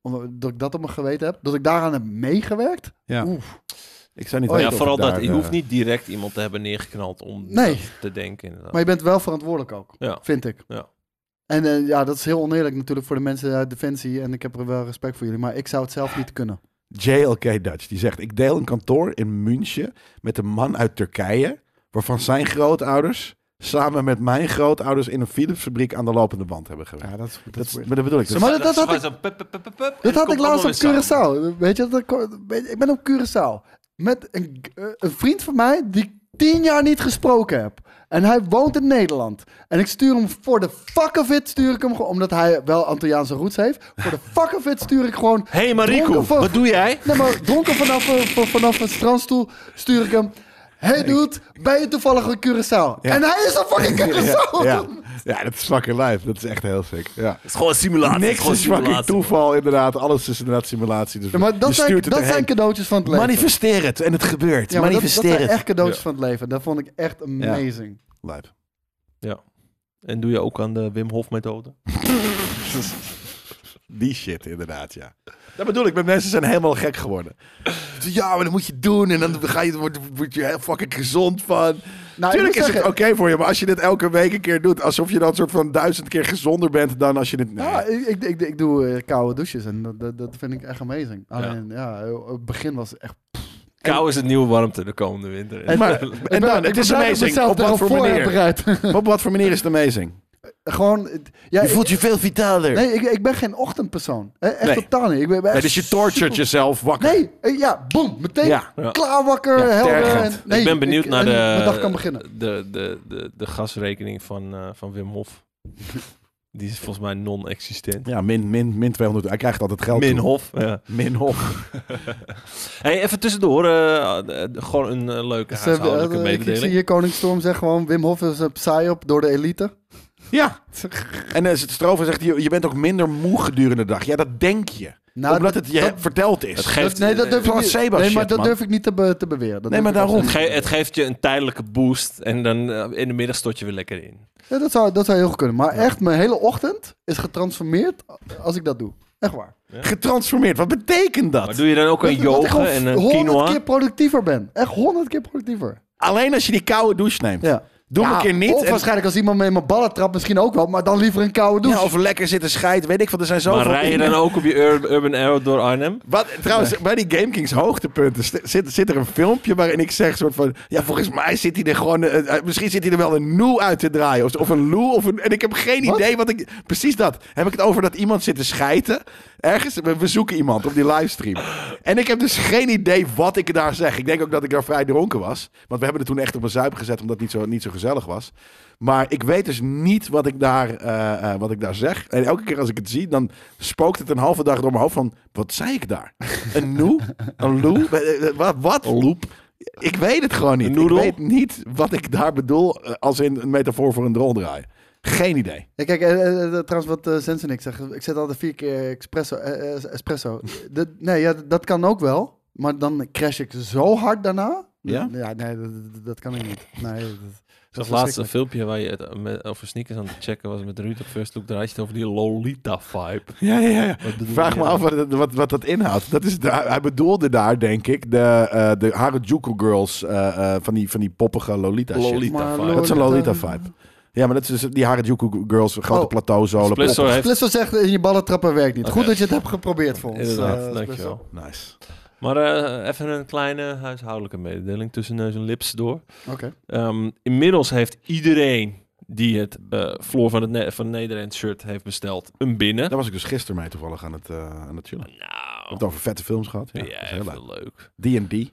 Speaker 3: Omdat ik dat op mijn geweten heb. Dat ik daaraan heb meegewerkt.
Speaker 2: Ja.
Speaker 3: Oef.
Speaker 2: Ik zou niet
Speaker 3: Oh,
Speaker 1: Maar
Speaker 2: weten
Speaker 1: ja,
Speaker 2: of
Speaker 1: vooral
Speaker 2: ik daar,
Speaker 1: dat. Je
Speaker 2: eh,
Speaker 1: hoeft niet direct iemand te hebben neergeknald om
Speaker 3: Nee.
Speaker 1: dat te denken. Inderdaad.
Speaker 3: Maar je bent wel verantwoordelijk ook,
Speaker 1: Ja.
Speaker 3: vind ik.
Speaker 1: Ja.
Speaker 3: En eh, ja, dat is heel oneerlijk natuurlijk voor de mensen uit Defensie. En ik heb er wel respect voor jullie. Maar ik zou het zelf niet kunnen.
Speaker 2: JLK Dutch, die zegt... Ik deel een kantoor in München met een man uit Turkije... waarvan zijn grootouders samen met mijn grootouders... in een Philips-fabriek aan de lopende band hebben gewerkt.
Speaker 3: dat is...
Speaker 2: dat, is, maar dat bedoel ik.
Speaker 1: Zo,
Speaker 2: Dat-
Speaker 3: maar dat- dat had
Speaker 1: is gewoon zo pup, pup, pup, pup, en
Speaker 3: Dat
Speaker 1: het
Speaker 3: had ik
Speaker 1: komt
Speaker 3: laatst op
Speaker 1: allemaal weer samen.
Speaker 3: Curaçao. Weet je, dat, kon- weet je, ik ben op Curaçao. Met een, eh, een vriend van mij die ik tien jaar niet gesproken heb. En hij woont in Nederland. En ik stuur hem voor de fuck of it, stuur ik hem gewoon... Omdat hij wel Antilliaanse roots heeft. Voor de fuck of it stuur ik gewoon...
Speaker 1: Hé hey, Mariko,
Speaker 3: Dronken van-
Speaker 1: wat doe jij?
Speaker 3: Nee, maar dronken vanaf, eh, van- vanaf een strandstoel stuur ik hem... Hey dude, ben je toevallig op Curaçao? En hij is op fucking Curaçao!
Speaker 2: [laughs] ja, ja, dat is fucking live. Dat is echt heel sick. Ja.
Speaker 1: Het is gewoon een simulatie. het
Speaker 2: Niks
Speaker 1: gewoon
Speaker 2: is fucking
Speaker 1: simulatie,
Speaker 2: toeval, inderdaad. Alles is inderdaad simulatie. Dus
Speaker 3: Ja, maar dat,
Speaker 2: je
Speaker 3: zijn,
Speaker 2: stuurt het
Speaker 3: dat zijn
Speaker 2: erheen.
Speaker 3: cadeautjes van het leven.
Speaker 2: Manifesteer het en het gebeurt.
Speaker 3: Ja, maar dat, dat
Speaker 2: Manifesteer
Speaker 3: zijn
Speaker 2: het.
Speaker 3: echt cadeautjes van het leven. Dat vond ik echt amazing.
Speaker 2: Lijp.
Speaker 1: En doe je ook aan de Wim Hof methode?
Speaker 2: [laughs] Die shit, inderdaad, ja. Dat bedoel ik, met mensen zijn helemaal gek geworden. Ja, maar dat moet je doen en dan ga je, word, word je heel fucking gezond van.
Speaker 3: Nou,
Speaker 2: Tuurlijk
Speaker 3: ik moet
Speaker 2: is het
Speaker 3: zeggen-
Speaker 2: oké voor je, maar als je dit elke week een keer doet, alsof je dan soort van duizend keer gezonder bent dan als je dit... Nee.
Speaker 3: Ja, ik, ik, ik, ik doe eh, koude douches en dat, dat, dat vind ik echt amazing. Alleen ja, eh, het begin was echt.
Speaker 1: Kou is het nieuwe warmte de komende winter. [laughs]
Speaker 3: En-
Speaker 2: maar, en dan, het is amazing. Op wat voor manier?
Speaker 3: bereid.
Speaker 2: Op wat voor manier is het amazing?
Speaker 3: [laughs] Gewoon, het- ja, ik-
Speaker 2: je veel vitaler. Nee,
Speaker 3: nee, ik, ik ben geen ochtendpersoon. Hè, Echt
Speaker 2: Nee.
Speaker 3: totaal niet. Ik ben, ben echt
Speaker 2: dus je tortured jezelf wakker.
Speaker 3: Nee, eh, ja, boom, meteen
Speaker 2: Ja.
Speaker 1: Ja.
Speaker 3: klaar wakker,
Speaker 2: Ja,
Speaker 3: helder.
Speaker 2: tergend.
Speaker 3: En, nee,
Speaker 1: ik ben benieuwd
Speaker 3: ik-
Speaker 1: naar
Speaker 3: en
Speaker 1: de,
Speaker 3: Mijn dag kan beginnen.
Speaker 1: De, de, de, de gasrekening van, eh, van Wim
Speaker 3: [laughs]
Speaker 1: Hof. Die is volgens mij non-existent.
Speaker 2: Ja, min, min, min 200. Hij krijgt altijd geld.
Speaker 1: Min
Speaker 2: toe.
Speaker 1: Hof. Ja.
Speaker 2: Min hof.
Speaker 1: Hey, even tussendoor. eh, eh, eh, gewoon een eh, leuke
Speaker 3: Ze hebben-
Speaker 1: huishoudelijke
Speaker 3: eh, ik, ik zie
Speaker 1: mededeling.
Speaker 3: hier Koning Storm zeggen gewoon: Wim Hof is een psyop door de elite.
Speaker 2: Ja. [laughs] En als het stroven zegt, je, je bent ook minder moe gedurende de dag. Ja, dat denk je.
Speaker 3: Nou,
Speaker 2: Omdat het je
Speaker 3: dat-
Speaker 2: verteld is.
Speaker 1: Het geeft,
Speaker 3: nee, dat durf ik niet,
Speaker 2: placebo
Speaker 3: nee,
Speaker 2: shit,
Speaker 3: maar dat
Speaker 2: man.
Speaker 3: durf ik niet te, be- te beweren. Dat
Speaker 2: Nee,
Speaker 3: durf
Speaker 2: maar
Speaker 3: ik absoluut
Speaker 2: daarom.
Speaker 1: het, ge- het geeft je een tijdelijke boost. En dan eh, in de middag stort je weer lekker in.
Speaker 3: Ja, dat, zou, dat zou heel goed kunnen. Maar echt, mijn hele ochtend is getransformeerd als ik dat doe. Echt waar.
Speaker 2: Getransformeerd. Wat betekent dat?
Speaker 1: Maar doe je dan ook een
Speaker 3: Dat- dat ik
Speaker 1: yoga
Speaker 3: gewoon
Speaker 1: en een
Speaker 3: 100
Speaker 1: quinoa?
Speaker 3: keer productiever ben. Echt honderd keer productiever.
Speaker 2: Alleen als je die koude douche neemt.
Speaker 3: Ja.
Speaker 2: Doe hem
Speaker 3: Ja,
Speaker 2: een keer niet.
Speaker 3: Of
Speaker 2: en-
Speaker 3: waarschijnlijk als iemand me in mijn ballen trapt, misschien ook wel. Maar dan liever een koude douche.
Speaker 2: ja, of lekker zitten scheiden. Weet ik veel. Er zijn zoveel
Speaker 1: Maar rij je
Speaker 2: dingen.
Speaker 1: dan ook op je Ur- Urban Arrow door Arnhem?
Speaker 2: Wat, trouwens, bij die GameKings hoogtepunten st- zit, zit er een filmpje waarin ik zeg soort van... Ja, volgens mij zit hij er gewoon... eh, eh, misschien zit hij er wel een noe uit te draaien. Of, of een loe. Of een, en ik heb geen
Speaker 3: Wat?
Speaker 2: idee wat ik... Precies dat. Heb ik het over dat iemand zit te schijten. Ergens, we, we zoeken iemand op die livestream. En ik heb dus geen idee wat ik daar zeg. Ik denk ook dat ik daar vrij dronken was. Want we hebben het toen echt op een zuip gezet, omdat het niet zo, niet zo gezellig was. Maar ik weet dus niet wat ik, daar, eh, eh, wat ik daar zeg. En elke keer als ik het zie, dan spookt het een halve dag door mijn hoofd van... Wat zei ik daar? Een noe? Een [laughs] loe? Eh, eh, Wat? wat? Een loep? Ik weet het gewoon
Speaker 1: Een
Speaker 2: niet. Ik
Speaker 1: noedel?
Speaker 2: weet niet wat ik daar bedoel eh, als in een metafoor voor een droldraai. Geen idee.
Speaker 3: Ja, kijk, eh, eh, eh, trouwens wat eh Sens en ik zeggen. Ik zet altijd vier keer espresso. eh, eh, espresso. Dat- nee, ja, dat kan ook wel. Maar dan crash ik zo hard daarna.
Speaker 2: Ja?
Speaker 3: Ja, nee, dat, dat- dat kan ik niet. Nee, dat,
Speaker 1: Dat
Speaker 3: dat
Speaker 1: laatste filmpje waar je het eh, met, over sneakers aan het checken was met Ruud op First Look. Daar had je het over die Lolita-vibe.
Speaker 2: Ja, ja, ja.
Speaker 1: Wat bedoel
Speaker 2: Vraag
Speaker 1: je?
Speaker 2: me af wat, het- wat, wat dat inhoudt. Dat is de, hij bedoelde daar, denk ik, de, eh de Harajuku Girls eh, eh, van, die, van die poppige Lolita shit.
Speaker 1: Lolita
Speaker 3: Maar
Speaker 1: vibe.
Speaker 2: Dat is een Lolita
Speaker 3: Lolita-
Speaker 2: vibe. Ja, maar dat is dus die Harajuku Girls, grote
Speaker 3: Oh.
Speaker 2: plateau zolen.
Speaker 1: Espresso
Speaker 2: poppen.
Speaker 1: heeft...
Speaker 3: Flesso zegt in je ballen trappen werkt niet.
Speaker 1: Oké.
Speaker 3: Goed dat je het hebt geprobeerd voor ons.
Speaker 1: Inderdaad,
Speaker 3: eh, Espresso.
Speaker 1: dankjewel.
Speaker 2: Nice.
Speaker 1: Maar eh, even een kleine huishoudelijke mededeling tussen neus en lips door.
Speaker 3: Oké.
Speaker 1: Ehm, inmiddels heeft iedereen die het eh Floor van het ne van Nederland shirt heeft besteld, een binnen.
Speaker 2: Daar was ik dus gisteren mee toevallig aan het, eh aan het chillen. We
Speaker 1: Nou,
Speaker 2: hebben het over vette films gehad. Ja,
Speaker 1: ja,
Speaker 2: dat is heel leuk.
Speaker 1: even leuk.
Speaker 2: D&D.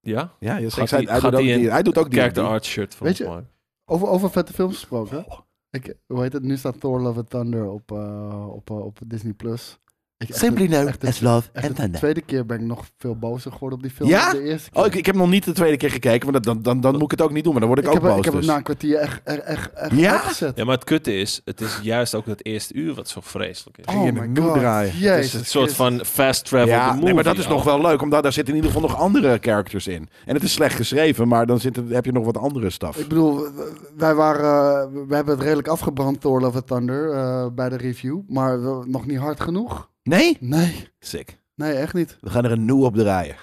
Speaker 1: Ja?
Speaker 2: Ja, yes,
Speaker 1: Gaat
Speaker 2: ik zei,
Speaker 1: die-
Speaker 2: hij,
Speaker 1: gaat
Speaker 2: doet ook
Speaker 1: die in-
Speaker 2: D&D. hij doet ook
Speaker 1: Kijk de
Speaker 2: D&D.
Speaker 1: art shirt van
Speaker 3: Weet
Speaker 1: ons
Speaker 3: je-
Speaker 1: maar.
Speaker 3: Over, over vette films gesproken. Ik, hoe heet het? Nu staat Thor Love and Thunder op, eh, op, eh, op Disney+. Plus. Ik- echt
Speaker 4: Simply
Speaker 3: de-
Speaker 4: known
Speaker 3: echt de-
Speaker 4: as love
Speaker 3: echt
Speaker 4: and
Speaker 3: de
Speaker 4: thunder.
Speaker 3: tweede keer ben ik nog veel bozer geworden op die film.
Speaker 2: Ja?
Speaker 3: dan De eerste keer.
Speaker 2: Oh, ik, ik heb hem nog niet de tweede keer gekeken, want dat- dan, dan, dan moet ik het ook niet doen. Maar dan word ik,
Speaker 3: heb,
Speaker 2: ook boos.
Speaker 3: ik heb nou,
Speaker 2: dus.
Speaker 3: hem na een kwartier echt, echt, echt, echt
Speaker 2: Ja?
Speaker 3: uitgezet.
Speaker 1: Ja, maar het kutte is, het is juist ook dat eerste uur wat zo vreselijk is.
Speaker 2: Ging je in de moed draaien.
Speaker 3: Oh Jezus,
Speaker 1: het is een soort
Speaker 3: Christus.
Speaker 1: van fast travel
Speaker 2: ja,
Speaker 1: the movie.
Speaker 2: nee, maar dat is
Speaker 1: joh.
Speaker 2: nog wel leuk, omdat daar zitten in ieder geval nog andere characters in. En het is slecht geschreven, maar dan zit, heb je nog wat andere staf.
Speaker 3: Ik bedoel, w- w- wij waren, eh, we hebben het redelijk afgebrand, Thor Love and Thunder, eh, bij de review. Maar wel nog niet hard genoeg.
Speaker 2: Nee?
Speaker 3: Nee,
Speaker 2: Sick.
Speaker 3: nee, echt niet.
Speaker 2: We gaan er een nieuw op draaien.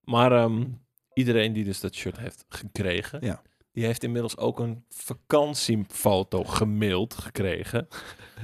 Speaker 1: Maar ehm, iedereen die dus dat shirt heeft gekregen,
Speaker 2: Ja.
Speaker 1: die heeft inmiddels ook een vakantiefoto gemaild gekregen.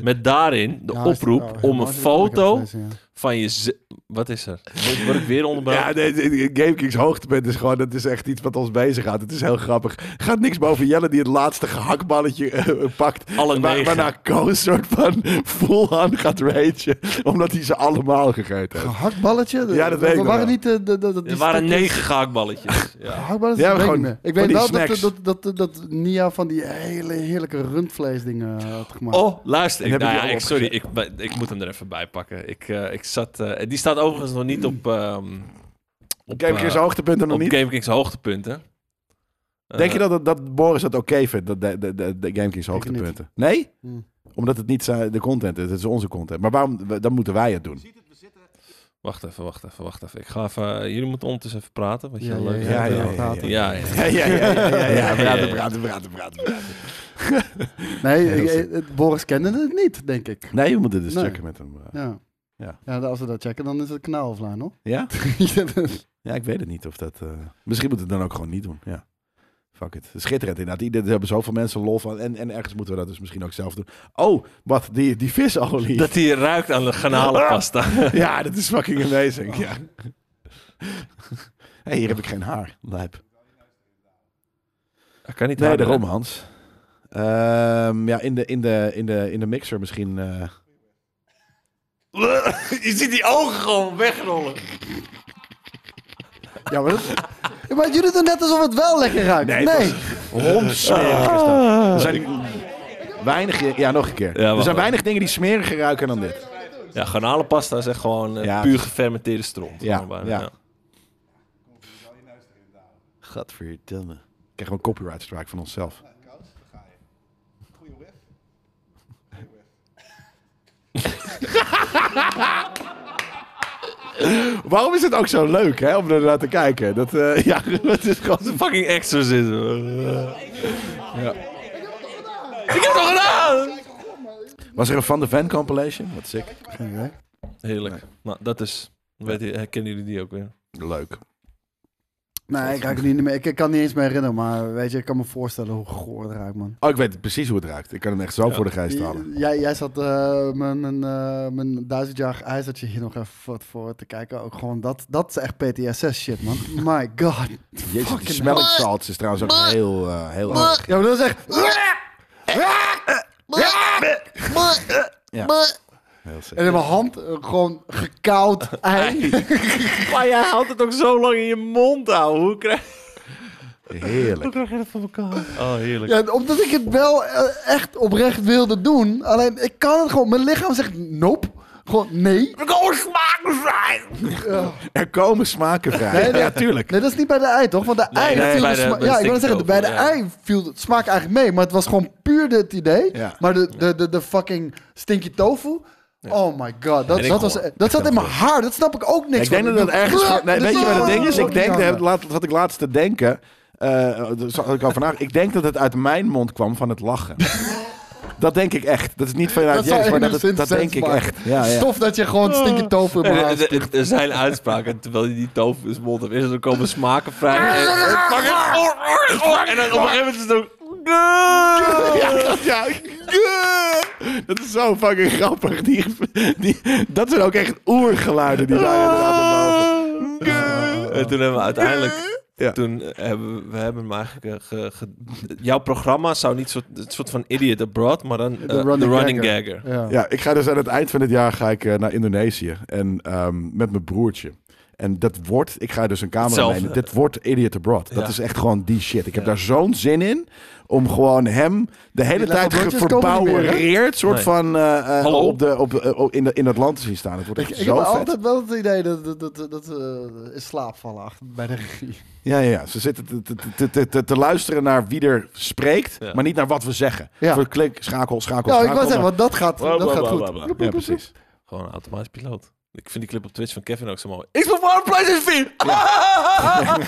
Speaker 1: Met daarin de
Speaker 3: Ja,
Speaker 1: oproep om
Speaker 3: is- oh, ja,
Speaker 1: een
Speaker 3: maar- ik
Speaker 1: foto
Speaker 3: heb het gelezen, ja.
Speaker 1: van je... z- Wat is er? Word- Word ik weer onderbroken?
Speaker 2: Ja, nee, nee, GameKings hoogtepunt is gewoon, dat is echt iets wat ons bezighoudt. Het is heel grappig. Gaat niks boven Jelle die het laatste gehaktballetje eh, pakt.
Speaker 1: Alle
Speaker 2: Waar,
Speaker 1: negen.
Speaker 2: waarna Koos soort van full-on gaat ragen, omdat hij ze allemaal gegeten heeft.
Speaker 3: Een hardballetje?
Speaker 2: Ja, dat weet ik
Speaker 3: We
Speaker 2: nog
Speaker 3: waren
Speaker 2: wel.
Speaker 3: niet eh, de, de, de, de, die
Speaker 1: er waren
Speaker 3: stukjes-
Speaker 1: negen gehaktballetjes. Ja.
Speaker 3: Gehaktballetjes?
Speaker 2: Ja,
Speaker 3: dat weet ik
Speaker 2: gewoon
Speaker 3: niet meer.
Speaker 2: van
Speaker 3: Ik weet
Speaker 2: die
Speaker 3: wel dat,
Speaker 2: snacks.
Speaker 3: dat, dat, dat, dat Nia van die hele heerlijke rundvleesdingen eh, had gemaakt.
Speaker 1: Oh, luister.
Speaker 2: En
Speaker 1: Ik,
Speaker 2: hebben
Speaker 1: nou
Speaker 2: die
Speaker 1: ja,
Speaker 2: al
Speaker 1: ik- sorry, ik, ik moet hem er even bij pakken. Ik, eh, ik zat, eh, die staat overigens nog niet op, ehm op,
Speaker 2: GameKings
Speaker 1: eh,
Speaker 2: hoogtepunten nog
Speaker 1: op
Speaker 2: niet.
Speaker 1: GameKings hoogtepunten.
Speaker 2: Denk
Speaker 1: Eh,
Speaker 2: je dat, dat Boris dat oké vindt, dat de, de, de, de GameKings
Speaker 3: Denk het
Speaker 2: hoogtepunten? Nee?
Speaker 3: Hmm.
Speaker 2: Omdat het niet zijn- de content is, het is onze content. Maar waarom, we- dan moeten wij het doen.
Speaker 1: Wacht even, wacht even, wacht even. Ik ga even... eh, jullie moeten ondertussen even praten, wat je
Speaker 3: Ja,
Speaker 1: heel
Speaker 3: ja,
Speaker 1: leuk
Speaker 3: ja,
Speaker 1: vindt.
Speaker 2: ja, ja,
Speaker 3: ja, praten.
Speaker 1: Ja, ja.
Speaker 2: [laughs] Ja, ja, ja, ja, ja, ja.
Speaker 1: Ja,
Speaker 2: Praten,
Speaker 1: ja.
Speaker 2: praten, praten, praten, praten.
Speaker 3: Nee,
Speaker 2: Ja, dat is-
Speaker 3: ik- eh, Boris kende het niet, denk ik.
Speaker 2: Nee, we moeten dus
Speaker 3: Nee.
Speaker 2: checken met hem. eh.
Speaker 3: Ja.
Speaker 2: Ja.
Speaker 3: als we dat checken, dan is het kanaal offline, hoor. [laughs]
Speaker 2: Ja?
Speaker 3: Ja,
Speaker 2: Ja, ik weet het niet of dat... eh, Misschien moeten we het dan ook gewoon niet doen, ja. Fuck it. Schitterend inderdaad. Ieder- Er hebben zoveel mensen lol van. En, en ergens moeten we dat dus misschien ook zelf doen. Oh, wat, die, die visolie.
Speaker 1: Dat hij ruikt aan de garnalenpasta.
Speaker 2: [laughs] Ja, dat is fucking [laughs] amazing. Ja. Hey, hier heb ik geen haar. Lijp.
Speaker 1: Dat kan niet
Speaker 2: Nee,
Speaker 1: harder, hè?
Speaker 2: daarom Hans. Ehm, ja, in de, in, de, in, de, in de mixer misschien. eh.
Speaker 1: [laughs] Je ziet die ogen gewoon wegrollen.
Speaker 3: maar, dat- Ja, maar jullie doen net alsof het wel lekker ruikt. Nee.
Speaker 2: Hondsmerig is dat. Er zijn weinig... Ah. Ja, nog een keer.
Speaker 1: wacht,
Speaker 2: er zijn
Speaker 1: wacht.
Speaker 2: weinig dingen die smeriger ruiken dan dit.
Speaker 1: Ja, garnalenpasta is echt gewoon eh,
Speaker 2: Ja.
Speaker 1: puur gefermenteerde stront.
Speaker 2: Ja,
Speaker 1: Gewoon bijna,
Speaker 2: ja. Gadverdamme. Ik krijg gewoon copyright strike van [laughs] onszelf. Waarom is het ook zo leuk hè, om ernaar te kijken? Dat, eh, [laughs] ja, het is gewoon
Speaker 1: Een fucking exorcism. Ik heb het al gedaan!
Speaker 2: Was er een Van de Ven compilation? Wat sick.
Speaker 1: Heerlijk. Nou, dat is... Weet je, herkennen jullie die ook weer?
Speaker 2: Leuk.
Speaker 3: Nee, ik ruik het niet meer. Ik, ik kan het niet eens meer herinneren, maar weet je, ik kan me voorstellen hoe goor het ruikt, man.
Speaker 2: Oh, ik weet precies hoe het ruikt. Ik kan hem echt zo
Speaker 1: Ja.
Speaker 2: voor de geest halen.
Speaker 3: J- Jij, jij zat eh, mijn, mijn, eh, mijn duizendjarig ijzertje hier nog even wat voor te kijken. Ook gewoon dat, dat is echt PTSS shit, man. My god.
Speaker 2: Jezus, die
Speaker 3: Fucking
Speaker 2: smelling salts is trouwens ook heel, eh, heel
Speaker 4: Maar-
Speaker 2: erg.
Speaker 3: Ja, maar dat is echt...
Speaker 2: Ja.
Speaker 4: Maar
Speaker 2: Heel sick.
Speaker 3: En in mijn hand eh, gewoon gekoud ei.
Speaker 1: Maar jij houdt het ook zo lang in je mond, ouwe. Hoe krijg,
Speaker 2: Heerlijk.
Speaker 1: je dat voor elkaar? Oh, heerlijk.
Speaker 3: [laughs] Ja, omdat ik het wel eh, echt oprecht wilde doen. Alleen ik kan het gewoon. Mijn lichaam zegt nope. Gewoon nee.
Speaker 1: We komen smaken zijn!
Speaker 2: Er komen smaken vrij.
Speaker 3: Nee, nee.
Speaker 2: ja, tuurlijk.
Speaker 3: Nee, dat is niet bij de ei, toch? Want de
Speaker 1: Nee,
Speaker 3: ei
Speaker 1: nee,
Speaker 3: viel
Speaker 1: bij
Speaker 3: de,
Speaker 1: de-
Speaker 3: sma-
Speaker 1: bij de
Speaker 3: Ja, ik wil zeggen, bij de
Speaker 1: stikstof, ja.
Speaker 3: ei viel de smaak eigenlijk mee. Maar het was gewoon puur dit idee.
Speaker 2: Ja.
Speaker 3: Maar de, de, de, de fucking stinky tofu... Oh my god, dat,
Speaker 1: En ik
Speaker 3: dat, was,
Speaker 1: gewoon-
Speaker 3: dat zat in mijn haar. Dat snap ik ook niks
Speaker 2: Ik denk
Speaker 3: van.
Speaker 2: dat dat ergens...
Speaker 3: Blah,
Speaker 2: van- nee,
Speaker 3: dat
Speaker 2: weet je wat het ding is?
Speaker 3: ook
Speaker 2: Ik
Speaker 3: niet
Speaker 2: denk,
Speaker 3: aan
Speaker 2: dat,
Speaker 3: me.
Speaker 2: laat- wat ik laatst te denken... eh, dat zat ik al vandaag. Ik denk dat het uit mijn mond kwam van het
Speaker 3: [laughs]
Speaker 2: lachen. dat denk ik echt. Dat is niet vanuit
Speaker 3: Dat zou
Speaker 2: Jezus, maar dat,
Speaker 3: enigszins
Speaker 2: dat
Speaker 3: sens
Speaker 2: denk ik
Speaker 3: maken.
Speaker 2: echt. Ja, Oh. ja.
Speaker 3: Stof dat je gewoon stinky tofu in mijn haar
Speaker 1: Er- Eh, er- Er zijn uitspraken, terwijl je die tofu is mond hebt. Is er komen smaken vrij. En, en, en dan op een gegeven moment is het ook...
Speaker 2: Ja, dat, ja. dat is zo fucking grappig. Die, die, dat zijn ook echt oergeluiden die daar aan de boven.
Speaker 1: Eh, En toen hebben we uiteindelijk...
Speaker 2: Ja.
Speaker 1: Toen eh, hebben we, we hebben hem eigenlijk... eh, ge- ge- jouw programma zou niet soort, het soort van idiot abroad, maar dan eh, de running, gagger.
Speaker 3: Ja.
Speaker 2: Ja, ik ga dus aan het eind van het jaar ga ik eh, naar Indonesië en ehm, met mijn broertje. En dat wordt, ik ga dus een camera
Speaker 1: Hetzelfde.
Speaker 2: nemen. Dit wordt Idiot Abroad. Dat
Speaker 1: Ja.
Speaker 2: is echt gewoon die shit. Ik heb
Speaker 1: Ja.
Speaker 2: daar zo'n zin in om gewoon hem de hele
Speaker 3: Die
Speaker 2: tijd
Speaker 3: Lego Broodjes komen niet meer, hè?
Speaker 2: verbouwereerd soort
Speaker 1: Nee.
Speaker 2: van eh, eh,
Speaker 1: Hallo?
Speaker 2: op de, op, eh, in, de, in dat land te zien staan. Het wordt
Speaker 3: Ik,
Speaker 2: echt
Speaker 3: ik heb
Speaker 2: zo vet.
Speaker 3: altijd wel het idee dat, dat, dat, dat eh, is slaapvallen achter bij de regie.
Speaker 2: Ja, ja, ja, ze zitten te, te- te, te, te, te luisteren naar wie er spreekt,
Speaker 1: Ja.
Speaker 2: maar niet naar wat we zeggen.
Speaker 3: Ja.
Speaker 2: Voor klik, schakel, schakel,
Speaker 3: Nou, ik
Speaker 2: schakel.
Speaker 3: wou zeggen, want dat gaat,
Speaker 1: Bla,
Speaker 3: dat
Speaker 1: bla,
Speaker 3: gaat
Speaker 1: bla,
Speaker 3: goed.
Speaker 1: bla, bla.
Speaker 2: maar- Ja, precies.
Speaker 1: Gewoon een automatisch piloot. Ik vind die clip op Twitch van Kevin ook zo mooi. Ik speel voor PlayStation 4!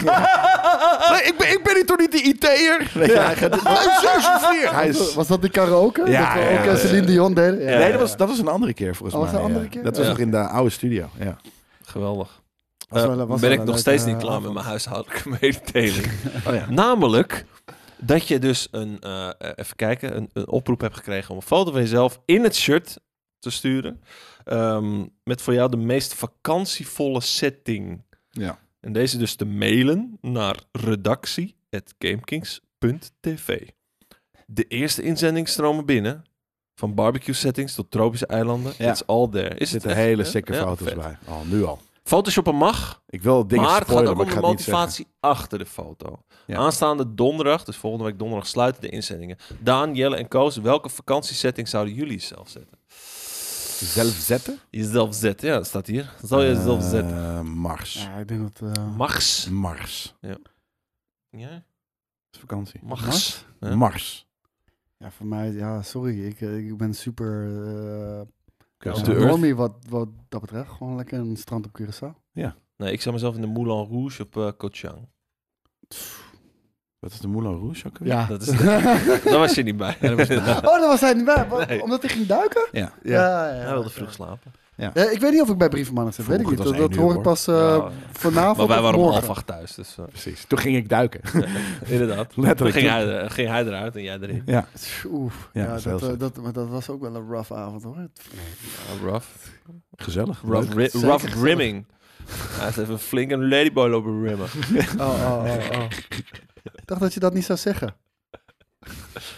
Speaker 3: [laughs]
Speaker 2: Nee, ik ben, ik ben hier toch niet de IT'er? Nee, ja. hij gaat- Mijn zus is hier. Hij is-
Speaker 3: Was dat die karaoke?
Speaker 2: Ja,
Speaker 3: dat we
Speaker 2: ja,
Speaker 3: ook eh, Celine
Speaker 1: ja.
Speaker 3: Dion deden? Ja.
Speaker 2: Nee, dat was, dat was een andere keer volgens
Speaker 3: Oh, was
Speaker 2: mij.
Speaker 3: dat een andere
Speaker 2: ja.
Speaker 3: keer?
Speaker 2: Dat was
Speaker 1: Ja.
Speaker 2: nog in de oude studio. Ja.
Speaker 1: Geweldig.
Speaker 3: Was
Speaker 1: Eh,
Speaker 3: wel- was wel
Speaker 1: ben ik
Speaker 3: een
Speaker 1: nog
Speaker 3: leuke,
Speaker 1: steeds
Speaker 3: eh,
Speaker 1: niet klaar met
Speaker 3: avond.
Speaker 1: mijn huishoudelijke [laughs] mededeling.
Speaker 2: [laughs] Oh, ja.
Speaker 1: Namelijk dat je dus een, eh, eh, even kijken, een, een oproep hebt gekregen om een foto van jezelf in het shirt te sturen. Ehm, met voor jou de meest vakantievolle setting.
Speaker 2: Ja.
Speaker 1: En deze dus te mailen naar redactie.gamekings.tv. De eerste inzendingen stromen binnen. Van barbecue settings tot tropische eilanden.
Speaker 2: Ja.
Speaker 1: It's all there. Is
Speaker 2: Er zitten
Speaker 1: het echt,
Speaker 2: hele
Speaker 1: hè?
Speaker 2: sikke
Speaker 1: Ja,
Speaker 2: foto's
Speaker 1: vet.
Speaker 2: bij. Oh, nu al.
Speaker 1: Photoshoppen mag,
Speaker 2: Ik wil dingen
Speaker 1: maar het gaat
Speaker 2: spoilen,
Speaker 1: ook
Speaker 2: maar
Speaker 1: om
Speaker 2: ik
Speaker 1: de
Speaker 2: ga het niet zeggen.
Speaker 1: motivatie achter de foto.
Speaker 2: Ja.
Speaker 1: Aanstaande donderdag, dus volgende week donderdag, sluiten de inzendingen. Daan, Jelle en Koos, welke vakantiesetting zouden jullie zelf zetten?
Speaker 2: Zelf zetten?
Speaker 1: Jezelf zetten, ja, dat staat hier. Zou je zelf
Speaker 2: Eh,
Speaker 1: zetten?
Speaker 2: Mars.
Speaker 3: Ja, ik denk dat... eh
Speaker 1: Max.
Speaker 2: Mars.
Speaker 1: Ja?
Speaker 3: vakantie.
Speaker 1: Max. Ja.
Speaker 2: Mars.
Speaker 3: Ja, voor mij, ja, sorry. Ik, eh, ik ben super... eh
Speaker 1: Down
Speaker 2: Ja.
Speaker 1: to
Speaker 3: eh,
Speaker 1: earth.
Speaker 3: homie wat, wat dat betreft. Gewoon lekker een strand op Curaçao.
Speaker 1: Nee, ik zou mezelf in de Moulin Rouge op eh Koh Chang.
Speaker 2: Wat is de Moulin Rouge ook? alweer?
Speaker 3: Ja.
Speaker 1: Dat is [laughs] Daar was je niet bij.
Speaker 2: Ah. daar was je niet bij.
Speaker 3: [laughs] oh, dat was hij niet bij. Wat-
Speaker 1: Nee.
Speaker 3: Omdat hij ging duiken?
Speaker 2: Ja.
Speaker 3: Ja, ja,
Speaker 1: [laughs]
Speaker 3: ja.
Speaker 1: Hij wilde
Speaker 3: oké.
Speaker 1: vroeg slapen.
Speaker 3: Ja, ik weet niet of ik bij Brievenmannen zit. Weet ik
Speaker 2: Vroeger,
Speaker 3: niet.
Speaker 2: het
Speaker 3: Dat,
Speaker 2: was één uur,
Speaker 3: dat hoor ik
Speaker 2: hoor.
Speaker 3: pas eh,
Speaker 1: Ja,
Speaker 3: vanavond
Speaker 1: maar wij
Speaker 3: of
Speaker 1: waren om
Speaker 3: morgen.
Speaker 1: half acht thuis, dus eh,
Speaker 2: Precies. Toen ging ik duiken. [laughs]
Speaker 1: [laughs] inderdaad. Toen
Speaker 2: Letterlijk.
Speaker 1: ging hij, eh, ging hij eruit en jij erin.
Speaker 2: Ja.
Speaker 3: Oef,
Speaker 2: Ja,
Speaker 3: ja,
Speaker 2: dat is
Speaker 3: dat,
Speaker 2: heel
Speaker 3: eh, dat, maar dat was ook wel een rough avond hoor.
Speaker 1: Ja, rough.
Speaker 2: Gezellig.
Speaker 1: Rough,
Speaker 2: Leuk.
Speaker 1: ri-
Speaker 3: Zeker
Speaker 1: rough
Speaker 3: gezellig.
Speaker 1: rimming. Hij heeft even flink een ladyboy lopen rimmen.
Speaker 3: Oh, oh, oh, oh. Ik dacht dat je dat niet zou zeggen.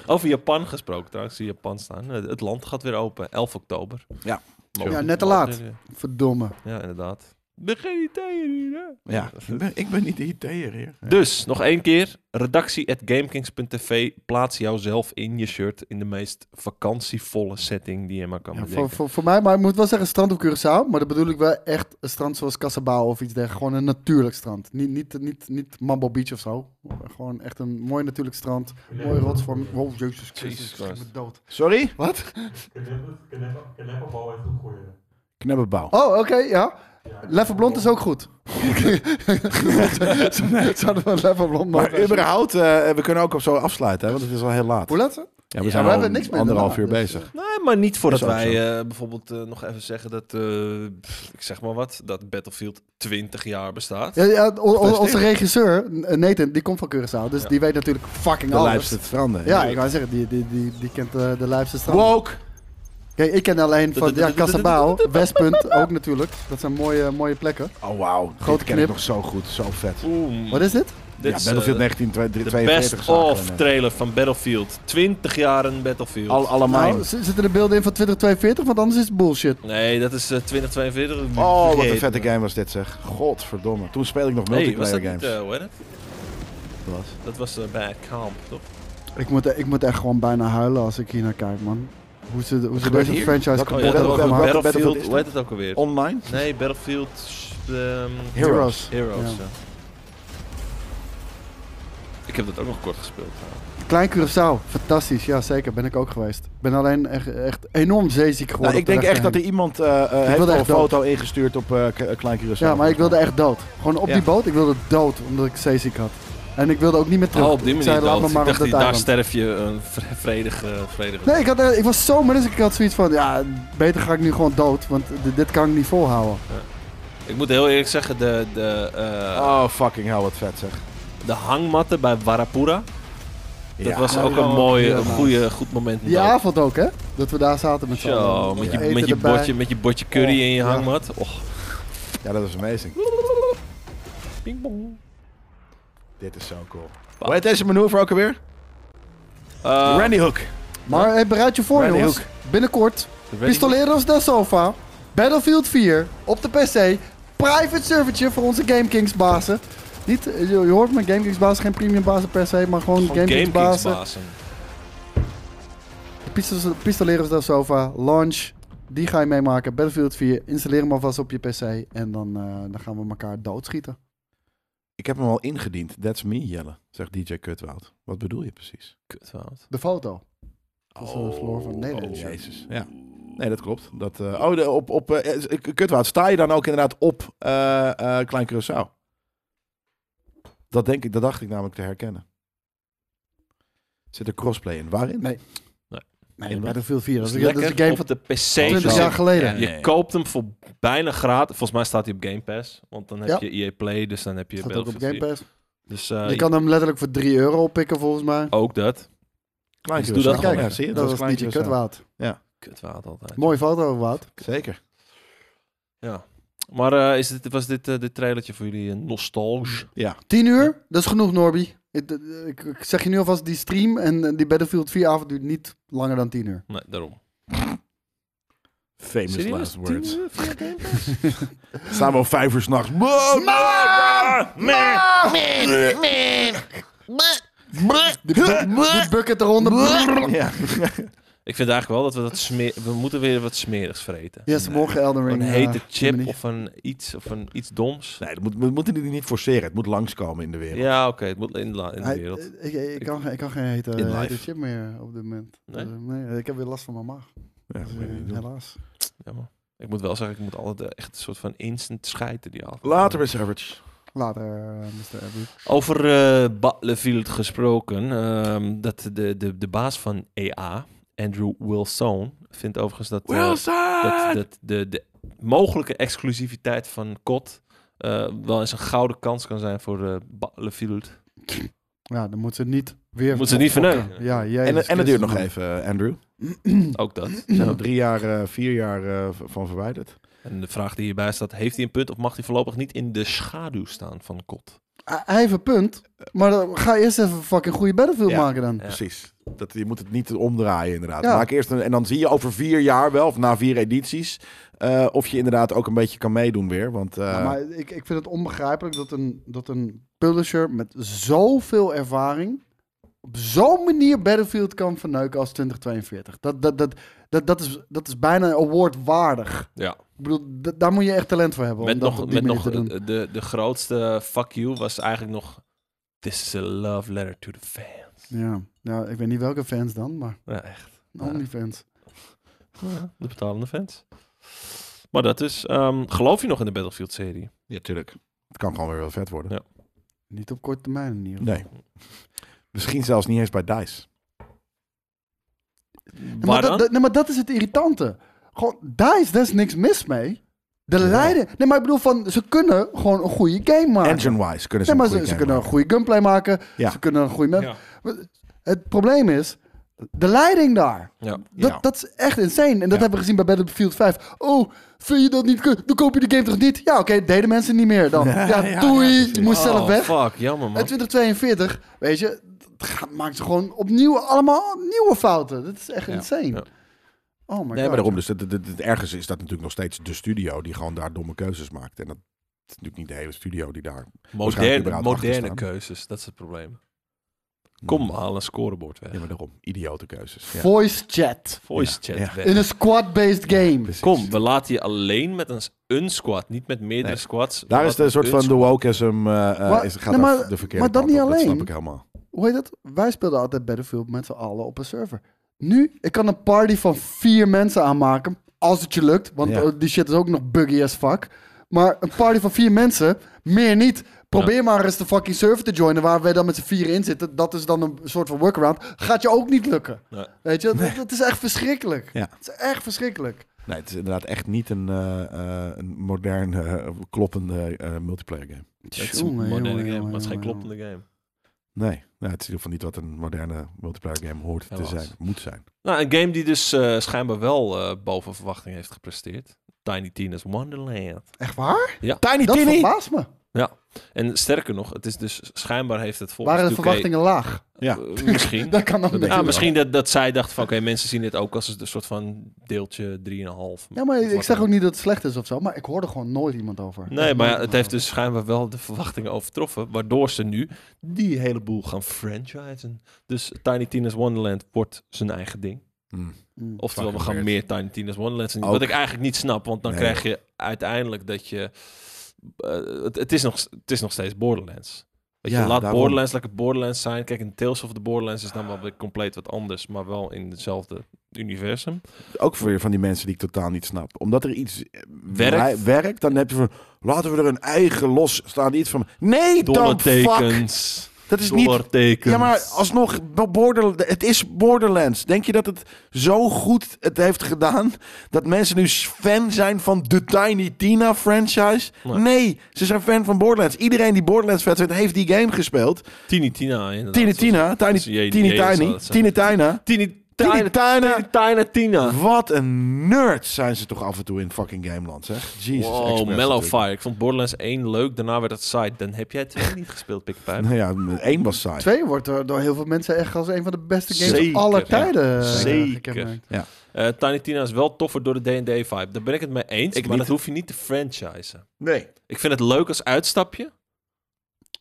Speaker 1: Over Japan gesproken trouwens, ik zie Japan staan. Het het land gaat weer open, 11 oktober.
Speaker 2: Ja.
Speaker 1: Mogen-
Speaker 3: Ja, net te
Speaker 1: mogen
Speaker 3: laat.
Speaker 1: jullie-
Speaker 3: Verdomme.
Speaker 1: Ja, inderdaad. De GIT hier, hè?
Speaker 2: Ja. Ik ben, ik ben niet de IT'er hier.
Speaker 1: Dus, nog één keer. Redactie at gamekings.tv. Plaats jouzelf in je shirt in de meest vakantievolle setting die je maar kan
Speaker 3: Ja, voor,
Speaker 1: bedenken.
Speaker 3: voor, voor mij, maar ik moet wel zeggen strand op Curaçao. Maar dat bedoel ik wel echt een strand zoals Casabao of iets dergelijks. Gewoon een natuurlijk strand. Niet, niet, niet, niet Mambo Beach of zo. Gewoon echt een mooi natuurlijk strand. Mooi rotsvorm. Wow, jezus
Speaker 1: Jesus
Speaker 3: Christus. Ik
Speaker 1: Christ.
Speaker 3: ben dood.
Speaker 2: Sorry?
Speaker 3: Wat?
Speaker 5: Knepperbal heeft een goeie.
Speaker 2: Knebbenbouw.
Speaker 3: Oh, oké, ja. Leffe Blond is ook goed. [laughs] Zouden we een Leffe Blond
Speaker 2: Maar
Speaker 3: maken?
Speaker 2: überhaupt, eh, we kunnen ook op zo afsluiten, hè, want het is al heel laat.
Speaker 3: Hoe laat ze?
Speaker 2: Ja, we
Speaker 1: Ja,
Speaker 2: zijn
Speaker 1: we
Speaker 2: al
Speaker 3: hebben niks meer
Speaker 2: anderhalf uur
Speaker 3: daarna, dus,
Speaker 2: bezig.
Speaker 1: Nee, maar niet voordat
Speaker 2: Dat is ook
Speaker 1: wij eh, bijvoorbeeld eh, nog even zeggen dat, eh, pff, ik zeg maar wat, dat Battlefield 20 jaar bestaat.
Speaker 3: Ja, ja, o- o-
Speaker 2: Fantastisch.
Speaker 3: onze regisseur, N- Nathan, die komt van Curaçao. Dus
Speaker 1: Ja.
Speaker 3: die weet natuurlijk fucking
Speaker 2: de lijf
Speaker 3: alles.
Speaker 2: zit veranderen.
Speaker 3: Ja, ik wou zeggen, die, die, die, die kent eh, de lijpste strand.
Speaker 2: Woke!
Speaker 3: Kijk, ik ken alleen van ja, Casabao, Westpunt ook natuurlijk. Dat zijn mooie, mooie plekken.
Speaker 2: Oh, wauw. Grote
Speaker 3: Grote
Speaker 2: ken ik
Speaker 3: knip.
Speaker 2: nog zo goed. Zo vet.
Speaker 1: Oeh,
Speaker 3: Wat is dit?
Speaker 1: dit
Speaker 2: ja,
Speaker 1: is,
Speaker 2: Battlefield
Speaker 1: eh,
Speaker 2: 1942
Speaker 1: de best
Speaker 2: zagen we
Speaker 1: of
Speaker 2: net.
Speaker 1: trailer van Battlefield. 20 jaar een Battlefield.
Speaker 2: Al, allemaal.
Speaker 3: Nou, z- zitten er beelden in van 2042? Want anders is het bullshit.
Speaker 1: Nee, dat is eh, 2042.
Speaker 2: oh, wat een
Speaker 1: Vergeet
Speaker 2: vette
Speaker 1: me.
Speaker 2: game was dit zeg. Godverdomme. Toen speelde ik nog
Speaker 1: Hey, was
Speaker 2: multiplayer
Speaker 1: dat niet,
Speaker 2: games.
Speaker 1: eh, hoe heet het?
Speaker 2: Was.
Speaker 1: Dat was eh, bij Camp, toch?
Speaker 3: Ik moet, ik moet echt gewoon bijna huilen als ik hier naar kijk, man. Hoe ze, hoe ze
Speaker 2: gebeurt
Speaker 3: deze
Speaker 2: hier?
Speaker 3: franchise
Speaker 2: Welke-
Speaker 1: Oh,
Speaker 3: kapot
Speaker 1: ja, dat was
Speaker 2: Battle-
Speaker 3: hebben
Speaker 2: welke- welke-
Speaker 3: gemaakt.
Speaker 2: Battlefield
Speaker 1: Battlefield,
Speaker 2: is
Speaker 1: hoe heet het ook alweer?
Speaker 2: Online?
Speaker 1: eh, Nee, Battlefield ehm,
Speaker 2: Heroes.
Speaker 1: Heroes.
Speaker 3: Ja.
Speaker 1: ja. Ik heb dat ook nog kort gespeeld. trouwens.
Speaker 3: Klein Curaçao, fantastisch. Ja, zeker. Ben ik ook geweest. Ik ben alleen echt, echt enorm zeeziek geworden.
Speaker 2: Nou, ik
Speaker 3: op de
Speaker 2: denk echt dat er
Speaker 3: rechterheen.
Speaker 2: iemand eh, eh, heeft al
Speaker 3: wilde
Speaker 2: een
Speaker 3: echt dood.
Speaker 2: foto ingestuurd op eh, K- eh, Klein Curaçao.
Speaker 3: Ja, maar ik wilde echt dood. Gewoon op
Speaker 2: Ja.
Speaker 3: die boot, ik wilde dood, omdat ik zeeziek had. En ik wilde ook niet meer terug.
Speaker 1: Oh, op die
Speaker 3: Ik
Speaker 1: manier.
Speaker 3: zei, laat
Speaker 1: wel.
Speaker 3: me
Speaker 1: Ik
Speaker 3: maar op
Speaker 1: dacht,
Speaker 3: dat
Speaker 1: daar
Speaker 3: eiland.
Speaker 1: sterf je een vre- vredige... vredige...
Speaker 3: Nee, ik, had, eh, ik was zo maar dus ik had zoiets van, ja, beter ga ik nu gewoon dood, want di- dit kan ik niet volhouden.
Speaker 1: Ik moet heel eerlijk zeggen, de, de, eh,
Speaker 2: Oh, fucking hell, wat vet zeg.
Speaker 1: de hangmatten bij Warapura... Dat
Speaker 2: Ja.
Speaker 1: was
Speaker 3: Ja,
Speaker 1: ook
Speaker 3: ja.
Speaker 1: een mooie,
Speaker 3: Ja,
Speaker 1: een goede, goed moment. om
Speaker 3: Die
Speaker 1: dood
Speaker 3: avond ook, hè? Dat we daar zaten met z'n
Speaker 1: Zo,
Speaker 3: allen.
Speaker 1: met je,
Speaker 3: Eten
Speaker 1: met, je
Speaker 3: erbij.
Speaker 1: bordje, met je bordje curry
Speaker 3: Oh,
Speaker 1: in je
Speaker 3: ja.
Speaker 1: hangmat. Och.
Speaker 2: Ja, dat was amazing.
Speaker 1: Ping pong.
Speaker 2: Dit is zo cool. Hoe heet deze manoeuvre ook alweer?
Speaker 1: Eh,
Speaker 2: Randy Hook.
Speaker 3: Maar hey, bereid je voor,
Speaker 2: Randy
Speaker 3: jongens. Binnenkort, Pistoleros del Sofa, Battlefield 4, op de PC, private servertje voor onze GameKings bazen. Niet, eh, je, je hoort me, GameKings bazen, geen premium bazen per se, maar gewoon, GameKings bazen. Pistos- Pistoleros del Sofa, launch, die ga je meemaken. Battlefield 4, installeer hem alvast op je PC en dan, eh, dan gaan we elkaar doodschieten.
Speaker 2: Ik heb hem al ingediend. That's me, Jelle, zegt DJ Kutwoud. Wat bedoel je precies?
Speaker 3: De foto. Dat is de verloren van Nederland.
Speaker 2: Oh, Jezus, ja. Nee, dat klopt. Dat, eh, oh, de- op, op eh, eh, Kutwoud, sta je dan ook inderdaad op eh, eh, Klein Curaçao? Dat, denk ik, dat dacht ik namelijk te herkennen. Zit er crossplay in? Waarin?
Speaker 3: Nee. Nee, Battlefield 4, dat is, dat
Speaker 1: lekker
Speaker 3: is een game
Speaker 1: op
Speaker 3: van
Speaker 1: de PC.
Speaker 3: 20
Speaker 1: zo.
Speaker 3: jaar geleden.
Speaker 2: Ja,
Speaker 1: Je
Speaker 2: Nee.
Speaker 1: koopt hem voor bijna gratis. Volgens mij staat hij op Game Pass. Want dan heb
Speaker 3: Ja.
Speaker 1: je EA Play, dus dan heb je
Speaker 3: Staat ook op
Speaker 1: Battlefield
Speaker 3: Game
Speaker 1: 4.
Speaker 3: Pass.
Speaker 1: Dus eh,
Speaker 3: Je kan hem letterlijk voor 3 euro oppikken volgens mij.
Speaker 1: ook dat.
Speaker 2: Klein
Speaker 1: Dus
Speaker 2: Curaçao.
Speaker 1: doe Oh, dat
Speaker 2: Kijk,
Speaker 1: gewoon
Speaker 2: ja,
Speaker 1: even.
Speaker 2: zie je?
Speaker 3: Dat
Speaker 2: is
Speaker 3: was
Speaker 2: Klein
Speaker 3: niet je
Speaker 2: Curaçao.
Speaker 3: kutwaad.
Speaker 1: Kutwaard altijd.
Speaker 3: Mooie foto, Wout.
Speaker 2: Zeker.
Speaker 1: Maar eh, is dit, was dit, eh, dit trailertje voor jullie een nostalgie?
Speaker 3: 10 uur, dat is genoeg, Norby. Ik, ik- ik zeg je nu alvast, die stream en eh, die Battlefield 4 avond duurt niet langer dan 10 uur.
Speaker 1: Nee, daarom.
Speaker 2: Famous last words.
Speaker 1: Tien uur via Game Pass?
Speaker 2: Staan we om vijf uur s'nachts.
Speaker 3: Die, bu- die bucket eronder.
Speaker 2: Ja.
Speaker 1: Ik vind eigenlijk wel dat we dat smeer... We moeten weer wat smerigs vreten.
Speaker 3: Yes, morgen Elden Ring. eh,
Speaker 1: Een hete chip
Speaker 3: Dominique.
Speaker 1: of een iets, of een iets doms.
Speaker 2: Nee, dat moet, we moeten die niet forceren. Het moet langskomen in de wereld.
Speaker 1: Ja, oké. het moet in, de la- in de
Speaker 3: Hij-
Speaker 1: wereld.
Speaker 3: eh, Ik, ik, kan, geen- ik kan geen hete,
Speaker 2: In
Speaker 3: hete
Speaker 2: life.
Speaker 3: chip meer op dit moment.
Speaker 1: Nee?
Speaker 3: Eh, nee, ik heb weer last van mijn maag.
Speaker 2: Ja, dat
Speaker 3: Dus,
Speaker 2: moet je
Speaker 3: eh,
Speaker 2: niet doen.
Speaker 3: helaas.
Speaker 1: Jammer. Ik moet wel zeggen, ik moet altijd eh, echt een soort van instant scheiden die avond.
Speaker 2: Later bij Savage.
Speaker 3: Later, eh, Mr. Abbey.
Speaker 1: Over eh Battlefield gesproken. ehm, dat de, de, de baas van EA, Andrew Wilson, vindt overigens dat, eh, dat, dat de, de mogelijke exclusiviteit van COD eh, wel eens een gouden kans kan zijn voor eh Battlefield.
Speaker 3: Ja, dan moet ze niet weer...
Speaker 1: Moet ze niet
Speaker 3: opfokken.
Speaker 1: verneuken.
Speaker 3: Ja, jezus
Speaker 2: En, en het duurt
Speaker 3: Christus,
Speaker 2: nog
Speaker 3: man.
Speaker 2: even, eh, Andrew.
Speaker 3: [clears throat]
Speaker 1: Ook dat.
Speaker 2: We zijn er drie jaar, eh, vier jaar eh, v- van verwijderd.
Speaker 1: En de vraag die hierbij staat, heeft hij een punt of mag hij voorlopig niet in de schaduw staan van COD?
Speaker 3: Ah, Hij heeft een punt. Maar dan ga eerst even een fucking goede Battlefield
Speaker 2: Ja.
Speaker 3: maken dan.
Speaker 1: Ja.
Speaker 2: Precies. Dat, je moet het niet omdraaien, inderdaad.
Speaker 3: Ja.
Speaker 2: Maak eerst een, en dan zie je over vier jaar wel, of na vier edities, eh, of je inderdaad ook een beetje kan meedoen weer. Want eh,
Speaker 3: Ja, maar ik, ik vind het onbegrijpelijk dat een, dat een publisher met zoveel ervaring op zo'n manier Battlefield kan verneuken als 2042. Dat, dat, dat, dat, dat, is, dat is bijna awardwaardig.
Speaker 1: Ja.
Speaker 3: Ik bedoel, d- daar moet je echt talent voor hebben
Speaker 1: Met
Speaker 3: om dat
Speaker 1: nog,
Speaker 3: op
Speaker 1: met
Speaker 3: die manier
Speaker 1: nog
Speaker 3: te doen.
Speaker 1: eh, de, de grootste fuck you was eigenlijk nog... This is a love letter to the fans.
Speaker 3: ja. ja, ik weet niet welke fans dan, maar
Speaker 1: Ja, echt. Ja.
Speaker 3: OnlyFans.
Speaker 1: De betalende fans. Maar dat is... ehm, geloof je nog in de Battlefield-serie?
Speaker 2: ja, tuurlijk. Het kan gewoon weer wel vet worden.
Speaker 1: Ja.
Speaker 3: Niet op korte termijn in ieder geval.
Speaker 2: Nee. Misschien zelfs niet eens bij DICE.
Speaker 1: Waar
Speaker 3: maar,
Speaker 1: dan?
Speaker 3: dat, dat- nee, maar dat is het irritante. Gewoon, daar is, daar is niks mis mee. De leider... Nee, maar ik bedoel van... Ze kunnen gewoon een goede game maken.
Speaker 2: Engine-wise kunnen ze
Speaker 3: Nee, Ah, maar
Speaker 2: een goede
Speaker 3: ze, ze
Speaker 2: game
Speaker 3: kunnen een
Speaker 2: maken.
Speaker 3: goede gunplay maken.
Speaker 2: Ja.
Speaker 3: Ze kunnen een goede... map-
Speaker 1: Ja.
Speaker 3: Het probleem is... De leiding daar.
Speaker 1: Ja.
Speaker 3: Dat,
Speaker 2: Ja.
Speaker 3: dat is echt insane. En dat hebben we gezien bij Battlefield 5. Oh, vind je dat niet kun- Dan koop je de game toch niet? Ja, oké, deden mensen niet meer dan. Ja,
Speaker 2: [laughs] ja,
Speaker 3: doei.
Speaker 2: ja, precies.
Speaker 3: je moest zelf
Speaker 1: Oh,
Speaker 3: weg.
Speaker 1: fuck. Jammer, man.
Speaker 3: En 2042, weet je... Dat gaat- maakt ze gewoon opnieuw allemaal nieuwe fouten. Dat is echt insane.
Speaker 1: Ja.
Speaker 3: Oh my god.
Speaker 2: Nee, maar daarom. Dus het, het, het- het ergens is dat natuurlijk nog steeds de studio die gewoon daar domme keuzes maakt. En dat is natuurlijk niet de hele studio die daar... waarschijnlijk
Speaker 1: Moderne,
Speaker 2: überhaupt
Speaker 1: moderne
Speaker 2: achterstaan.
Speaker 1: keuzes. Dat is het probleem. Kom, haal een scorebord weg.
Speaker 2: Ja, maar daarom. Idiote keuzes. Ja.
Speaker 3: Voice chat.
Speaker 1: Voice
Speaker 2: Ja.
Speaker 1: chat
Speaker 2: Ja.
Speaker 1: weg.
Speaker 3: In een squad-based game.
Speaker 2: Precies.
Speaker 1: Kom, we laten je alleen met een, s- een squad. Niet met meerdere
Speaker 2: Nee.
Speaker 1: squads.
Speaker 2: Daar
Speaker 1: We
Speaker 2: is de
Speaker 1: laten
Speaker 2: soort
Speaker 1: een
Speaker 2: van de
Speaker 1: squad.
Speaker 2: wokeism eh, eh,
Speaker 3: Maar-
Speaker 2: is, gaat
Speaker 3: nee,
Speaker 2: daar
Speaker 3: maar-
Speaker 2: de verkeerde
Speaker 3: maar dat
Speaker 2: kant
Speaker 3: niet
Speaker 2: op. Dat
Speaker 3: alleen.
Speaker 2: snap ik helemaal.
Speaker 3: Hoe heet dat? Wij speelden altijd Battlefield met z'n allen op een server. Nu, ik kan een party van vier mensen aanmaken. Als het je lukt. Want
Speaker 2: Ja.
Speaker 3: eh, die shit is ook nog buggy as fuck. Maar een party van vier mensen, meer niet. Probeer maar eens de fucking server te joinen waar wij dan met z'n vier in zitten. Dat is dan een soort van workaround. Gaat je ook niet lukken.
Speaker 1: Nee.
Speaker 3: Weet je, dat, dat is echt verschrikkelijk.
Speaker 2: Ja.
Speaker 3: Het is echt verschrikkelijk.
Speaker 2: Nee, het is inderdaad echt niet een, eh, eh, een modern, eh, kloppende eh, multiplayer game.
Speaker 1: Het is een
Speaker 3: Tjonge,
Speaker 1: moderne
Speaker 3: jonge,
Speaker 1: game,
Speaker 3: jonge,
Speaker 1: maar het is geen
Speaker 3: jonge,
Speaker 1: kloppende game.
Speaker 2: Nee, nou, het is in ieder geval niet wat een moderne multiplayer game hoort te
Speaker 1: Helaas.
Speaker 2: zijn, moet zijn.
Speaker 1: Nou, een game die dus eh, schijnbaar wel eh, boven verwachting heeft gepresteerd. Tiny Tina's Wonderland.
Speaker 3: jonge. Echt waar?
Speaker 2: Tiny
Speaker 3: Dat
Speaker 2: Tiny!
Speaker 3: verbaast me.
Speaker 1: Ja. En sterker nog, het is dus schijnbaar heeft het volgens
Speaker 3: Waren de
Speaker 1: 2K
Speaker 3: verwachtingen laag?
Speaker 2: Ja.
Speaker 1: [laughs] eh, misschien.
Speaker 3: [laughs] Dat kan ook
Speaker 2: Dat
Speaker 3: niet.
Speaker 2: denk ik
Speaker 1: Ja,
Speaker 2: wel.
Speaker 1: Ah, misschien dat, dat zij dachten van oké, mensen zien dit ook als een soort van deeltje 3,5.
Speaker 3: Ja, maar ik
Speaker 1: Wat
Speaker 3: zeg
Speaker 1: dan.
Speaker 3: ook niet dat het slecht is of zo, maar ik hoorde gewoon nooit iemand over.
Speaker 1: Nee, maar ja,
Speaker 3: Nooit
Speaker 1: het heeft
Speaker 3: iemand
Speaker 1: dus schijnbaar wel de verwachtingen overtroffen. Waardoor ze nu die hele boel gaan franchisen. Dus Tiny Tina's Wonderland wordt zijn eigen ding.
Speaker 2: Hmm.
Speaker 3: over. Mm.
Speaker 1: Oftewel, we
Speaker 2: Fucking
Speaker 1: gaan
Speaker 2: weird.
Speaker 1: meer Tiny Tina's Wonderland zien.
Speaker 2: Ook.
Speaker 1: Wat ik eigenlijk niet snap, want dan
Speaker 2: Nee.
Speaker 1: krijg je uiteindelijk dat je... eh, het, het, is nog, het is nog steeds Borderlands. Weet je,
Speaker 2: Ja,
Speaker 1: laat
Speaker 2: daarom.
Speaker 1: Borderlands lekker Borderlands zijn. Kijk, in Tales of the Borderlands is dan wel weer compleet wat anders. Maar wel in hetzelfde universum.
Speaker 2: Ook voor van die mensen die ik totaal niet snap. Omdat er iets eh,
Speaker 1: Werkt.
Speaker 2: wij- werkt dan heb je van... Laten we er een eigen losstaande iets van... Nee, dan fuck!
Speaker 1: Dollartekens.
Speaker 2: Dat is niet...
Speaker 1: Dollartekens.
Speaker 2: Ja, maar alsnog, bo- border, het is Borderlands. Denk je dat het zo goed het heeft gedaan... dat mensen nu s- fan zijn van de Tiny Tina franchise?
Speaker 1: Nee.
Speaker 2: Nee, ze zijn fan van Borderlands. Iedereen die Borderlands vet vindt, heeft die game gespeeld.
Speaker 1: Tini Tina, inderdaad.
Speaker 2: Tiny Tina, Tiny
Speaker 1: is- je-
Speaker 2: Tiny,
Speaker 1: je- je zou
Speaker 2: Tiny,
Speaker 1: dat zeggen.
Speaker 2: Tiny Tina.
Speaker 1: Tini
Speaker 2: Tiny Tina.
Speaker 1: Tina Tina.
Speaker 2: Wat een nerd zijn ze toch af en toe in fucking Gameland, zeg. Jesus,
Speaker 1: Wow,
Speaker 2: Express
Speaker 1: Mellow
Speaker 2: natuurlijk.
Speaker 1: Fire. Ik vond Borderlands 1 leuk, daarna werd het side. Dan heb jij het niet gespeeld, Pikpijp.
Speaker 2: Nou ja, één was saai.
Speaker 3: Twee wordt door, door heel veel mensen echt als een van de beste games van
Speaker 1: Zeker,
Speaker 3: alle
Speaker 1: ja.
Speaker 3: tijden. eh,
Speaker 1: Zeker.
Speaker 3: gekenmerkt.
Speaker 1: Eh, Tiny Tina is wel toffer door de D&D-vibe. Daar ben ik het mee eens,
Speaker 2: Ik
Speaker 1: maar
Speaker 2: niet.
Speaker 1: dat hoef je niet te franchisen.
Speaker 2: Nee.
Speaker 1: Ik vind het leuk als uitstapje.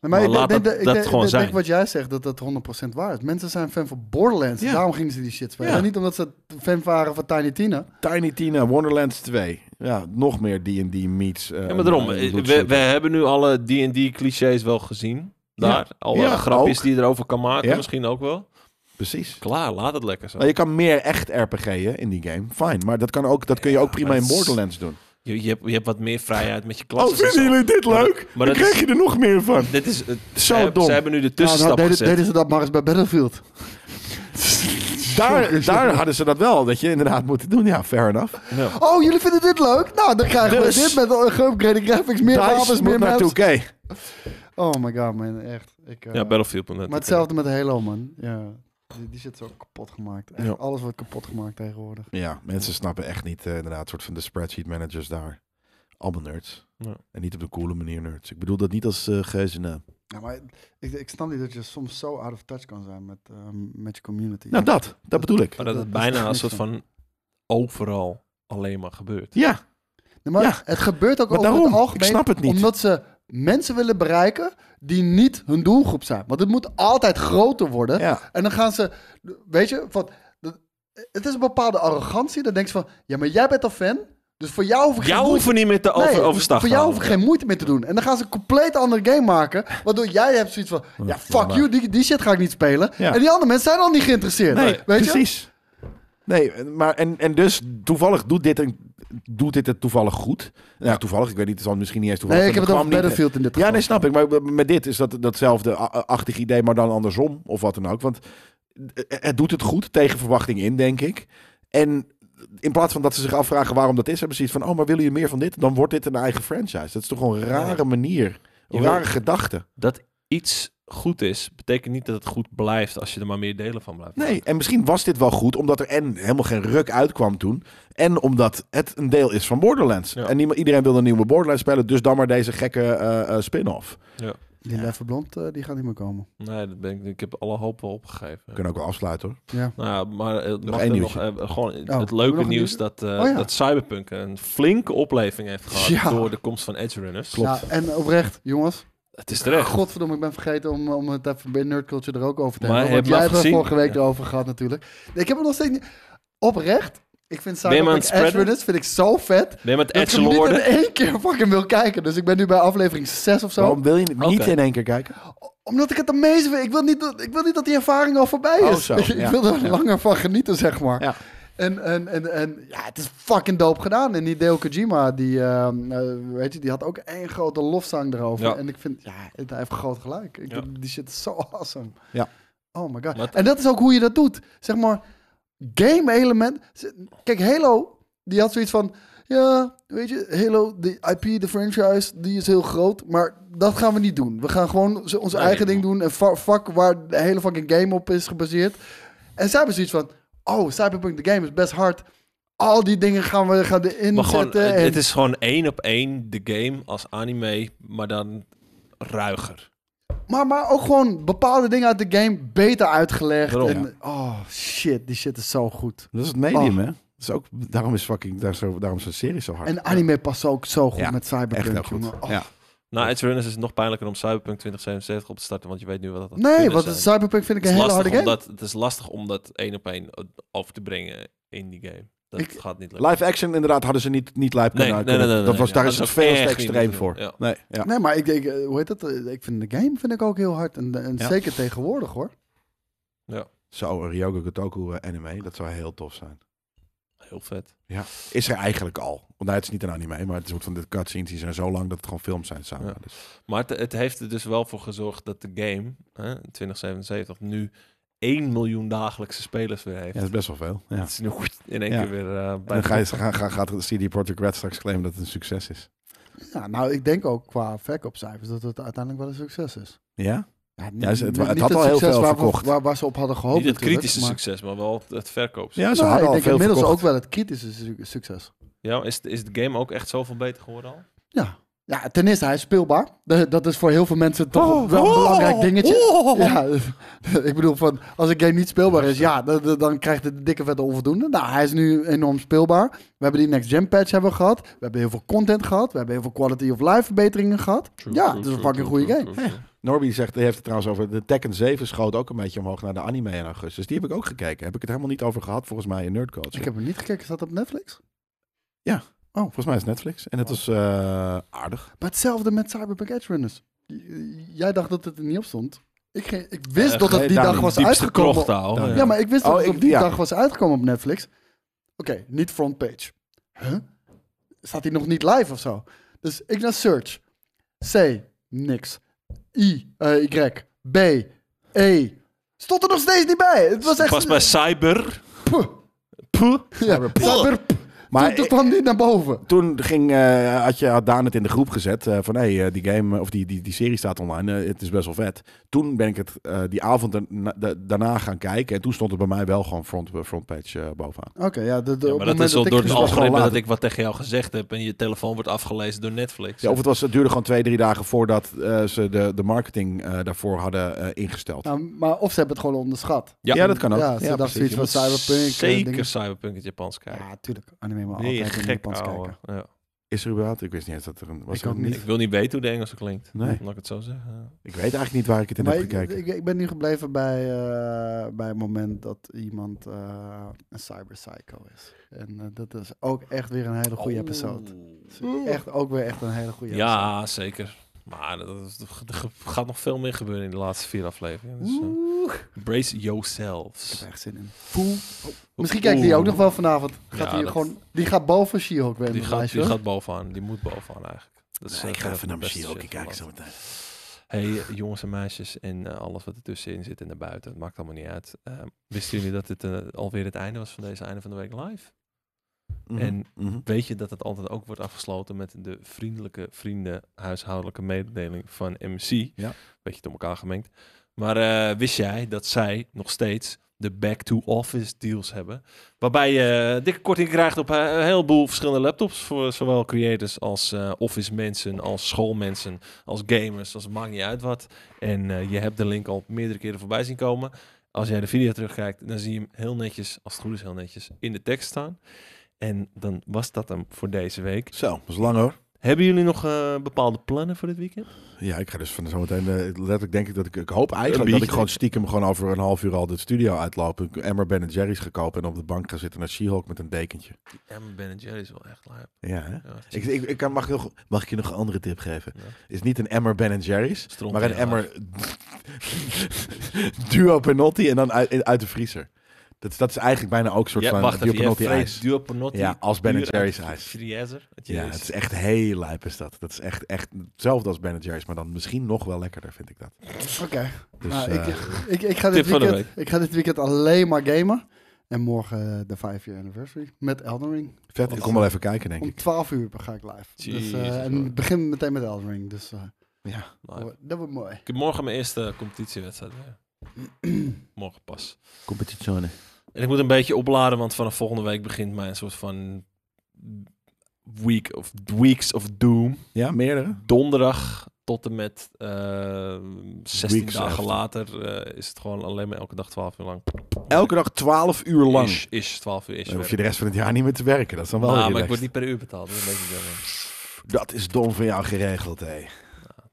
Speaker 3: Maar, ik
Speaker 1: laat
Speaker 3: denk-
Speaker 1: dat-
Speaker 3: ik
Speaker 1: dat
Speaker 3: denk-
Speaker 1: gewoon
Speaker 3: ik denk
Speaker 1: zijn.
Speaker 3: wat jij zegt, dat dat 100% waar is. Mensen zijn fan van Borderlands,
Speaker 2: Ja.
Speaker 3: daarom gingen ze die shit spelen.
Speaker 2: Ja.
Speaker 3: En niet omdat ze fan waren van Tiny Tina.
Speaker 1: Dus
Speaker 2: Tiny Tina, Wonderlands 2. Ja, nog meer D&D meets... eh,
Speaker 1: Ja, maar daarom,
Speaker 2: eh,
Speaker 1: eh, we,
Speaker 2: bloedzuiger.
Speaker 1: we hebben nu alle D&D-clichés wel gezien. Daar, alle
Speaker 2: Ja,
Speaker 1: grapjes
Speaker 2: ook.
Speaker 1: die je erover kan maken,
Speaker 2: Ja.
Speaker 1: misschien ook wel.
Speaker 2: Precies.
Speaker 1: Klaar, laat het lekker zo.
Speaker 3: Ah,
Speaker 2: Nou, je kan meer echt RPG'en in die game. Fijn. Maar dat, kan ook, dat kun je ook prima
Speaker 1: maar
Speaker 2: in
Speaker 1: het is-
Speaker 2: Borderlands doen.
Speaker 1: Je, je, hebt, je hebt wat meer vrijheid met je
Speaker 2: Oh,
Speaker 1: klas.
Speaker 2: vinden jullie dit leuk?
Speaker 1: Maar dat
Speaker 2: Dan krijg
Speaker 1: is-
Speaker 2: je er nog meer van.
Speaker 1: Dit is, het-
Speaker 2: Zo
Speaker 1: ze, hebben-
Speaker 2: dom.
Speaker 1: ze hebben nu de
Speaker 3: Nou, nou,
Speaker 1: tussenstap
Speaker 3: deden,
Speaker 1: gezet.
Speaker 3: deden ze dat maar eens bij Battlefield.
Speaker 2: [laughs] Daar, daar hadden ze dat wel, dat je inderdaad moet doen. Ja, fair enough.
Speaker 1: Ja.
Speaker 3: Oh, jullie vinden dit leuk? Nou, dan krijgen
Speaker 2: Dus-
Speaker 3: we dit met een geüpgrade graphics, meer wapens,
Speaker 2: DICE
Speaker 3: meer
Speaker 2: moet naar
Speaker 3: maps.
Speaker 2: 2K.
Speaker 3: Oh my god, man, echt. Ik, eh,
Speaker 1: Ja, Battlefield. net.
Speaker 3: maar hetzelfde met Halo, man. Ja, die, die zit zo kapot gemaakt. Echt,
Speaker 2: Ja.
Speaker 3: Alles wordt kapot gemaakt tegenwoordig.
Speaker 2: Ja, mensen snappen echt niet eh, inderdaad soort van de spreadsheet managers daar. Allemaal nerds.
Speaker 1: Ja.
Speaker 2: En niet op de coole manier nerds. Ik bedoel dat niet als eh geuze naam.
Speaker 3: Ja, maar ik, ik snap niet dat je soms zo out of touch kan zijn met, eh, met je community.
Speaker 2: Nou, dat. Dat bedoel ik.
Speaker 1: Maar dat het
Speaker 3: Dat is
Speaker 1: bijna
Speaker 3: echt
Speaker 1: een
Speaker 3: niks
Speaker 1: soort van overal alleen maar gebeurt.
Speaker 2: Ja,
Speaker 3: Nee, maar
Speaker 2: ja.
Speaker 3: het gebeurt ook
Speaker 2: maar
Speaker 3: over het
Speaker 2: daarom. Ik
Speaker 3: algemeen
Speaker 2: snap het niet.
Speaker 3: Omdat ze mensen willen bereiken die niet hun doelgroep zijn. Want het moet altijd groter worden.
Speaker 2: Ja.
Speaker 3: En dan gaan ze, weet je, van, dat- het is een bepaalde arrogantie. Dan denk je van, ja, maar jij bent al fan. Dus voor jou hoef ik geen
Speaker 1: Jou
Speaker 3: moeite-
Speaker 1: hoeven niet meer te over,
Speaker 3: Nee,
Speaker 1: overstag
Speaker 3: Voor
Speaker 1: te
Speaker 3: jou hoef
Speaker 1: halen.
Speaker 3: ik geen moeite meer te doen. En dan gaan ze een compleet andere game maken. Waardoor jij hebt zoiets van, ja, fuck you, die, die shit ga ik niet spelen.
Speaker 2: Ja.
Speaker 3: En die andere mensen zijn al niet geïnteresseerd.
Speaker 2: Nee,
Speaker 3: weet je?
Speaker 2: precies. Nee, en- maar en, en dus toevallig doet dit, een, doet dit het toevallig goed. Nou, toevallig, ik weet niet, het zal misschien niet eens toevallig
Speaker 3: Nee, ik heb
Speaker 2: zijn,
Speaker 3: het over
Speaker 2: kwam niet-
Speaker 3: Battlefield in
Speaker 2: Ja,
Speaker 3: dit geval.
Speaker 2: nee, snap ik. Maar met dit is dat, datzelfde a- achtig idee, maar dan andersom of wat dan ook. Want het doet het goed, tegen verwachting in, denk ik. En in plaats van dat ze zich afvragen waarom dat is, hebben ze iets van: oh, maar willen jullie meer van dit? Dan wordt dit een eigen franchise. Dat is toch een rare manier. Een
Speaker 1: Jawel.
Speaker 2: rare gedachte.
Speaker 1: Dat iets goed is, betekent niet dat het goed blijft als je er maar meer delen van blijft.
Speaker 2: Nee, en misschien was dit wel goed omdat er en helemaal geen ruk uitkwam toen. En omdat het een deel is van Borderlands.
Speaker 1: Ja.
Speaker 2: En niemand, iedereen wilde een nieuwe Borderlands spelen, dus dan maar deze gekke eh, eh, spin-off.
Speaker 3: Die Leffe Blond, eh, die gaat niet meer komen.
Speaker 1: Nee, dat ben ik, ik heb alle hoop wel opgegeven.
Speaker 2: We kunnen ook wel afsluiten hoor.
Speaker 3: Ja.
Speaker 1: Nou ja, maar eh, mag
Speaker 2: één
Speaker 1: er nog,
Speaker 2: nieuwtje.
Speaker 1: eh, gewoon
Speaker 3: Oh,
Speaker 1: het
Speaker 3: hebben we nog
Speaker 1: leuke
Speaker 3: een
Speaker 1: nieuws
Speaker 3: nieuwtje?
Speaker 1: dat, eh,
Speaker 3: Oh ja.
Speaker 1: dat Cyberpunk een flinke opleving heeft gehad
Speaker 3: Ja.
Speaker 1: door de komst van Edge Runners.
Speaker 3: Ja, en oprecht, jongens.
Speaker 1: Het is terecht.
Speaker 3: Godverdomme, ik ben vergeten om, om het even bij Nerd Culture er ook over te
Speaker 1: Maar
Speaker 3: hebben.
Speaker 1: heb
Speaker 3: Want
Speaker 1: je
Speaker 3: jij
Speaker 1: hem
Speaker 3: hebt er
Speaker 1: gezien?
Speaker 3: vorige week
Speaker 1: Ja.
Speaker 3: erover gehad natuurlijk. Nee, Ik heb hem nog steeds niet... Oprecht, ik vind
Speaker 1: Ben je hem aan
Speaker 3: Cyberpunk
Speaker 1: het spreaden?
Speaker 3: Edge Runners vind ik zo vet.
Speaker 1: Nee, met
Speaker 3: Dat ik
Speaker 1: Edge
Speaker 3: hem niet in
Speaker 1: Lorden.
Speaker 3: één keer fucking wil kijken. Dus ik ben nu bij aflevering 6 of zo.
Speaker 2: Waarom wil je niet
Speaker 1: Oké.
Speaker 2: in één keer kijken?
Speaker 3: Omdat ik het amazing vind. Ik wil niet dat, ik wil niet dat die ervaring al voorbij is.
Speaker 2: Oh, zo,
Speaker 3: [laughs] ik
Speaker 2: ja.
Speaker 3: wil er
Speaker 2: Ja.
Speaker 3: langer van genieten, zeg maar.
Speaker 2: Ja.
Speaker 3: En, en, en, en ja, het is fucking dope gedaan. En die Deo Kojima, die, eh, eh, weet je, die had ook één grote lofzang erover.
Speaker 1: Ja.
Speaker 3: En ik vind, ja, het- hij heeft groot gelijk. Ik
Speaker 1: Ja.
Speaker 3: vind die shit zo [laughs] awesome.
Speaker 2: Ja.
Speaker 3: Oh my god.
Speaker 1: Maar het-
Speaker 3: En dat is ook hoe je dat doet. Zeg maar, game element. Kijk, Halo, die had zoiets van... Ja, weet je, Halo, de IP, de franchise, die is heel groot. Maar dat gaan we niet doen. We gaan gewoon z- ons
Speaker 1: Nee.
Speaker 3: eigen ding doen. En fa- fuck waar de hele fucking game op is gebaseerd. En zij hebben zoiets van... Oh, Cyberpunk the game is best hard. Al die dingen gaan we gaan erin eh,
Speaker 1: Maar gewoon,
Speaker 3: zetten.
Speaker 1: het,
Speaker 3: en-
Speaker 1: het is gewoon één op één de game als anime, maar dan ruiger.
Speaker 3: Maar, maar ook gewoon bepaalde dingen uit de game beter uitgelegd.
Speaker 1: Daarom,
Speaker 3: en, Oh shit, die shit is zo goed.
Speaker 2: Dat is het medium, hè?
Speaker 3: Oh.
Speaker 2: Dat is ook, daarom is fucking, daar zo, daarom is een serie zo hard.
Speaker 3: En anime past ook zo goed
Speaker 2: Ja,
Speaker 3: met Cyberpunk.
Speaker 2: Echt heel goed.
Speaker 3: jongen. Oh.
Speaker 2: Ja.
Speaker 1: Na Nou, Edge Runners is het nog pijnlijker om Cyberpunk 2077 op te starten, want je weet nu wat dat had
Speaker 3: Nee,
Speaker 1: kunnen
Speaker 3: want
Speaker 1: zijn.
Speaker 3: Cyberpunk vind ik een hele harde
Speaker 1: lastig
Speaker 3: game.
Speaker 1: om dat, het is lastig om dat één op één eh, over te brengen in die game. Dat
Speaker 3: Ik-
Speaker 1: gaat niet lukken.
Speaker 2: Live action inderdaad hadden ze niet, niet live
Speaker 1: Nee, nee,
Speaker 2: kunnen
Speaker 1: nee, nee, nee,
Speaker 2: dat was,
Speaker 1: nee.
Speaker 2: Daar
Speaker 1: Dat
Speaker 2: is
Speaker 1: is
Speaker 2: het
Speaker 1: ook
Speaker 2: veel
Speaker 1: echt
Speaker 2: te
Speaker 1: niet
Speaker 2: extreem
Speaker 1: te doen,
Speaker 2: voor.
Speaker 1: ja.
Speaker 2: Nee, ja.
Speaker 3: Nee, maar ik denk, eh, hoe heet dat? Eh, Ik vind de game vind ik ook heel hard. En, en
Speaker 2: Ja.
Speaker 3: zeker tegenwoordig hoor.
Speaker 2: Zou een Ryoga Gotoku eh, anime, dat zou heel tof zijn.
Speaker 1: Heel vet.
Speaker 2: Is er eigenlijk al. Want nou, het is niet een anime, maar het is een soort van de cutscenes die zijn zo lang dat het gewoon films zijn samen.
Speaker 1: Ja.
Speaker 2: Dus,
Speaker 1: Maar het, het heeft er dus wel voor gezorgd dat de game, hè, 2077, nu 1 miljoen dagelijkse spelers weer heeft.
Speaker 2: ja, dat is best wel veel. Ja.
Speaker 1: Het is nu goed in één
Speaker 2: Ja.
Speaker 1: keer weer eh,
Speaker 2: En
Speaker 1: bij
Speaker 2: dan
Speaker 1: de
Speaker 2: ga je, ga, ga, gaat CD Projekt Red straks claimen dat het een succes is.
Speaker 3: Ja, nou, ik denk ook qua verkoopcijfers dat het uiteindelijk wel een succes is.
Speaker 2: Ja?
Speaker 3: Ja,
Speaker 2: Ja, het- het
Speaker 3: niet
Speaker 2: had al heel
Speaker 3: succes
Speaker 2: veel
Speaker 3: waar we-
Speaker 2: verkocht.
Speaker 3: Waar, waar ze op hadden gehoopt.
Speaker 1: Niet het
Speaker 3: natuurlijk,
Speaker 1: kritische
Speaker 3: maar-
Speaker 1: succes, maar wel het- het verkoop.
Speaker 2: Ja, ze
Speaker 3: Nou,
Speaker 2: hadden
Speaker 3: ik
Speaker 2: al
Speaker 3: denk
Speaker 2: veel
Speaker 3: inmiddels
Speaker 2: verkocht.
Speaker 3: ook wel het kritische su- succes.
Speaker 1: Ja, is, de- is de game ook echt zoveel beter geworden al?
Speaker 3: Ja. ja, ten eerste, hij is speelbaar. De- Dat is voor heel veel mensen toch
Speaker 2: Oh,
Speaker 3: wel een
Speaker 2: oh,
Speaker 3: belangrijk dingetje.
Speaker 2: oh.
Speaker 3: Ja, [laughs] ik bedoel, van, als een game niet speelbaar is, ja, dan, dan- dan krijgt het een dikke vette onvoldoende. Nou, hij is nu enorm speelbaar. We hebben die Next Gen patch hebben we gehad. We hebben heel veel content gehad. We hebben heel veel quality of life verbeteringen gehad. ja, het is een fucking goede game.
Speaker 2: Norby zegt, die heeft het trouwens over de Tekken 7 schoot ook een beetje omhoog naar de anime in augustus. Die heb ik ook gekeken. Heb ik het helemaal niet over gehad volgens mij in Nerdcoach.
Speaker 3: dus
Speaker 2: Oh,
Speaker 3: Ik heb hem niet gekeken. Staat dat op Netflix?
Speaker 2: Volgens mij is het Netflix. En het
Speaker 3: Oh.
Speaker 2: was eh, aardig.
Speaker 3: Maar hetzelfde met Cyberpunk Edge Runners. J- Jij dacht dat het er niet op stond. Ik, ge- ik wist
Speaker 1: Eh,
Speaker 3: dat het die
Speaker 2: daar
Speaker 3: dag
Speaker 2: niet.
Speaker 3: was
Speaker 1: Diepste
Speaker 3: uitgekomen.
Speaker 1: krocht al.
Speaker 2: Ja,
Speaker 1: Ja.
Speaker 3: Ja, maar ik wist
Speaker 2: Oh,
Speaker 3: dat het
Speaker 2: ik-
Speaker 3: op die
Speaker 2: ja.
Speaker 3: dag was uitgekomen op Netflix. Oké, niet frontpage. Huh? Staat hij nog niet live of zo? Dus ik naar search. C, niks. I, eh, Y, B, E. Stond er nog steeds niet bij. Het was echt...
Speaker 1: Pas bij Cyber.
Speaker 3: Puh.
Speaker 1: Puh.
Speaker 3: Ja, cyber, puh.
Speaker 2: Maar
Speaker 3: Toen- toen
Speaker 2: ik-
Speaker 3: kwam die naar boven.
Speaker 2: Toen ging, eh, had, je, had Daan het in de groep gezet eh, van hé, hey, eh, die game eh, of die, die, die serie staat online. eh, het is best wel vet. Toen ben ik het eh, die avond daarna- da- daarna gaan kijken. En toen stond het bij mij wel gewoon front, frontpage eh, bovenaan.
Speaker 3: Oké, ja. De, de, op
Speaker 1: maar
Speaker 3: het
Speaker 1: dat is
Speaker 3: moment
Speaker 1: wel
Speaker 3: ik
Speaker 1: door het
Speaker 3: dus-
Speaker 2: al- was gewoon
Speaker 1: algoritme dat
Speaker 2: later.
Speaker 1: ik wat tegen jou gezegd heb en je telefoon wordt afgelezen door Netflix.
Speaker 2: Ja, of het, was, het duurde gewoon twee, drie dagen voordat eh, ze de, de marketing eh, daarvoor hadden eh, ingesteld.
Speaker 3: Nou, maar of ze hebben het gewoon onderschat.
Speaker 2: ja. dat kan ook.
Speaker 3: ja, ze dachten
Speaker 2: precies.
Speaker 3: zoiets
Speaker 2: Je
Speaker 3: van
Speaker 2: moet-
Speaker 3: cyberpunk. eh,
Speaker 1: Zeker
Speaker 3: dingen.
Speaker 1: Cyberpunk in het Japans kijken.
Speaker 3: Ja, tuurlijk. Anime maar
Speaker 1: nee,
Speaker 3: altijd in het
Speaker 1: gek
Speaker 3: Japans
Speaker 1: ouwe.
Speaker 3: kijken.
Speaker 1: Ja.
Speaker 2: Is er überhaupt? Ik wist niet eens dat er een... Was
Speaker 3: Ik
Speaker 2: er
Speaker 3: ook
Speaker 2: een-
Speaker 3: niet.
Speaker 1: Ik wil niet weten hoe de Engelse klinkt.
Speaker 2: Nee.
Speaker 1: Laat ik het zo zeggen.
Speaker 2: Ik weet eigenlijk niet waar ik het in
Speaker 3: Maar
Speaker 2: heb
Speaker 3: ik,
Speaker 2: gekeken.
Speaker 3: ik, ik ben nu gebleven bij, eh, bij het moment dat iemand eh, een cyberpsycho is. En eh, dat is ook echt weer een hele goede episode. Dus Echt ook weer echt een hele goede
Speaker 1: Oh. Ja,
Speaker 3: episode.
Speaker 1: zeker. Maar dat, dat- er ge- gaat nog veel meer gebeuren in de laatste vier afleveringen. Dus, eh,
Speaker 3: Oeh, ik
Speaker 1: brace yourselves.
Speaker 3: heb er echt zin in. Poeh. Misschien kijkt die ook nog wel vanavond. Gaat
Speaker 1: Ja,
Speaker 3: die,
Speaker 1: dat-
Speaker 3: gewoon, die gaat boven She-Hulk weer in
Speaker 1: Die
Speaker 3: het
Speaker 1: gaat,
Speaker 3: lijstje,
Speaker 1: die
Speaker 3: hoor.
Speaker 1: gaat bovenaan. Die moet bovenaan eigenlijk. Dat is, eh,
Speaker 2: ik ga
Speaker 1: verre
Speaker 2: even
Speaker 1: van
Speaker 2: naar
Speaker 1: de beste
Speaker 2: mijn ook
Speaker 1: shit
Speaker 2: kijken
Speaker 1: van
Speaker 2: zo
Speaker 1: land.
Speaker 2: meteen.
Speaker 1: Hey eh, jongens en meisjes en eh, alles wat ertussenin zit en daarbuiten. Het maakt allemaal niet uit. Eh, wisten jullie dat dit eh, alweer het einde was van deze einde van de week live? En-
Speaker 2: Mhm.
Speaker 1: Weet je dat het altijd ook wordt afgesloten met de vriendelijke vrienden huishoudelijke mededeling van MC?
Speaker 2: Ja.
Speaker 1: Beetje door elkaar gemengd. Maar eh, wist jij dat zij nog steeds de back-to-office deals hebben? Waarbij je dikke korting krijgt op eh, een heleboel verschillende laptops. Voor zowel creators als eh, office mensen, als schoolmensen, als gamers, als het maakt niet uit wat. En eh, je hebt de link al meerdere keren voorbij zien komen. Als jij de video terugkijkt, dan zie je hem heel netjes, als het goed is heel netjes, in de tekst staan. En dan was dat hem voor deze week.
Speaker 2: Zo, dat is lang hoor.
Speaker 1: Hebben jullie nog eh, bepaalde plannen voor dit weekend?
Speaker 2: Ja, ik ga dus van zometeen... eh, letterlijk denk ik dat ik... Ik hoop
Speaker 1: Een
Speaker 2: eigenlijk dat
Speaker 1: biertje.
Speaker 2: ik gewoon stiekem gewoon over een half uur al de studio uitloop. Ik Emmer Ben Jerry's ga kopen en op de bank ga zitten naar She-Hulk met een dekentje.
Speaker 1: Ja, maar Ben Jerry is wel echt live.
Speaker 2: Ja, hè?
Speaker 1: Ja,
Speaker 2: Ik, ik, ik kan, mag, ik nog, mag ik je nog een andere tip geven?
Speaker 1: Ja.
Speaker 2: Is niet een emmer Ben Jerry's,
Speaker 1: Stront
Speaker 2: maar een
Speaker 1: in
Speaker 2: emmer [laughs] Duo Penotti en dan uit, uit de vriezer. Dat, dat is eigenlijk bijna ook een soort
Speaker 1: Ja,
Speaker 2: van
Speaker 1: wacht
Speaker 2: Duo
Speaker 1: even, je
Speaker 2: Penotti
Speaker 1: vreet
Speaker 2: ijs.
Speaker 1: duo Panotti.
Speaker 2: Ja, als Ben
Speaker 1: puur
Speaker 2: Jerry's
Speaker 1: uit
Speaker 2: ijs.
Speaker 1: Friezer. Het
Speaker 2: Ja,
Speaker 1: is-
Speaker 2: het is echt heel lijp is dat. Dat is echt, echt hetzelfde als Ben Jerry's, maar dan misschien nog wel lekkerder vind ik dat.
Speaker 3: Oké.
Speaker 2: Dus,
Speaker 3: Nou,
Speaker 2: eh,
Speaker 3: ik, ik, ik, ga dit
Speaker 1: Tip van de
Speaker 3: weekend, ik ga dit weekend alleen maar gamen. En morgen eh, de 5-year anniversary met Elden Ring.
Speaker 2: vet, ik kom wel even kijken denk
Speaker 3: Om
Speaker 2: ik.
Speaker 3: 12 uur ga ik live. Dus, eh,
Speaker 1: Jezus,
Speaker 3: en
Speaker 1: hoor.
Speaker 3: het begint meteen met Elden Ring. Dus eh,
Speaker 2: Ja.
Speaker 1: Live.
Speaker 3: dat wordt mooi.
Speaker 1: Nou, Ik heb morgen mijn eerste eh, competitiewedstrijd. ja. [clears throat] morgen pas.
Speaker 2: Competizione.
Speaker 1: En ik moet een beetje opladen, want vanaf volgende week begint mijn soort van week of weeks of doom.
Speaker 2: Ja, meerdere.
Speaker 1: Donderdag tot en met eh 16
Speaker 2: Weeks
Speaker 1: dagen
Speaker 2: after.
Speaker 1: later eh, is het gewoon alleen maar elke dag 12 uur lang.
Speaker 2: Elke dag 12 uur lang.
Speaker 1: Is, is 12 uur is.
Speaker 2: Dan hoef je
Speaker 1: werk.
Speaker 2: de rest van het jaar niet meer te werken. Dat is dan wel
Speaker 1: Nou, maar ik
Speaker 2: relaxed.
Speaker 1: word niet per uur betaald. Dat is een beetje jammer.
Speaker 2: Dat is dom van jou geregeld, hé.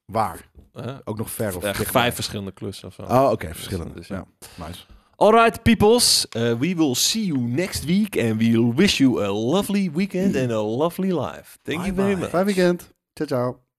Speaker 2: Waar?
Speaker 1: Hè?
Speaker 2: Ook nog ver of
Speaker 1: Echt
Speaker 2: dichtbij?
Speaker 1: vijf verschillende klussen of zo.
Speaker 2: Oh, oké, verschillende.
Speaker 1: Dus,
Speaker 2: ja.
Speaker 1: ja.
Speaker 2: Nice.
Speaker 1: Ah. Alright, peoples. Uh, we will see you next week and Mm. we'll wish you a lovely weekend and a lovely life. Thank you
Speaker 2: Bye-bye.
Speaker 1: very much.
Speaker 3: Fijn weekend. Ciao, ciao.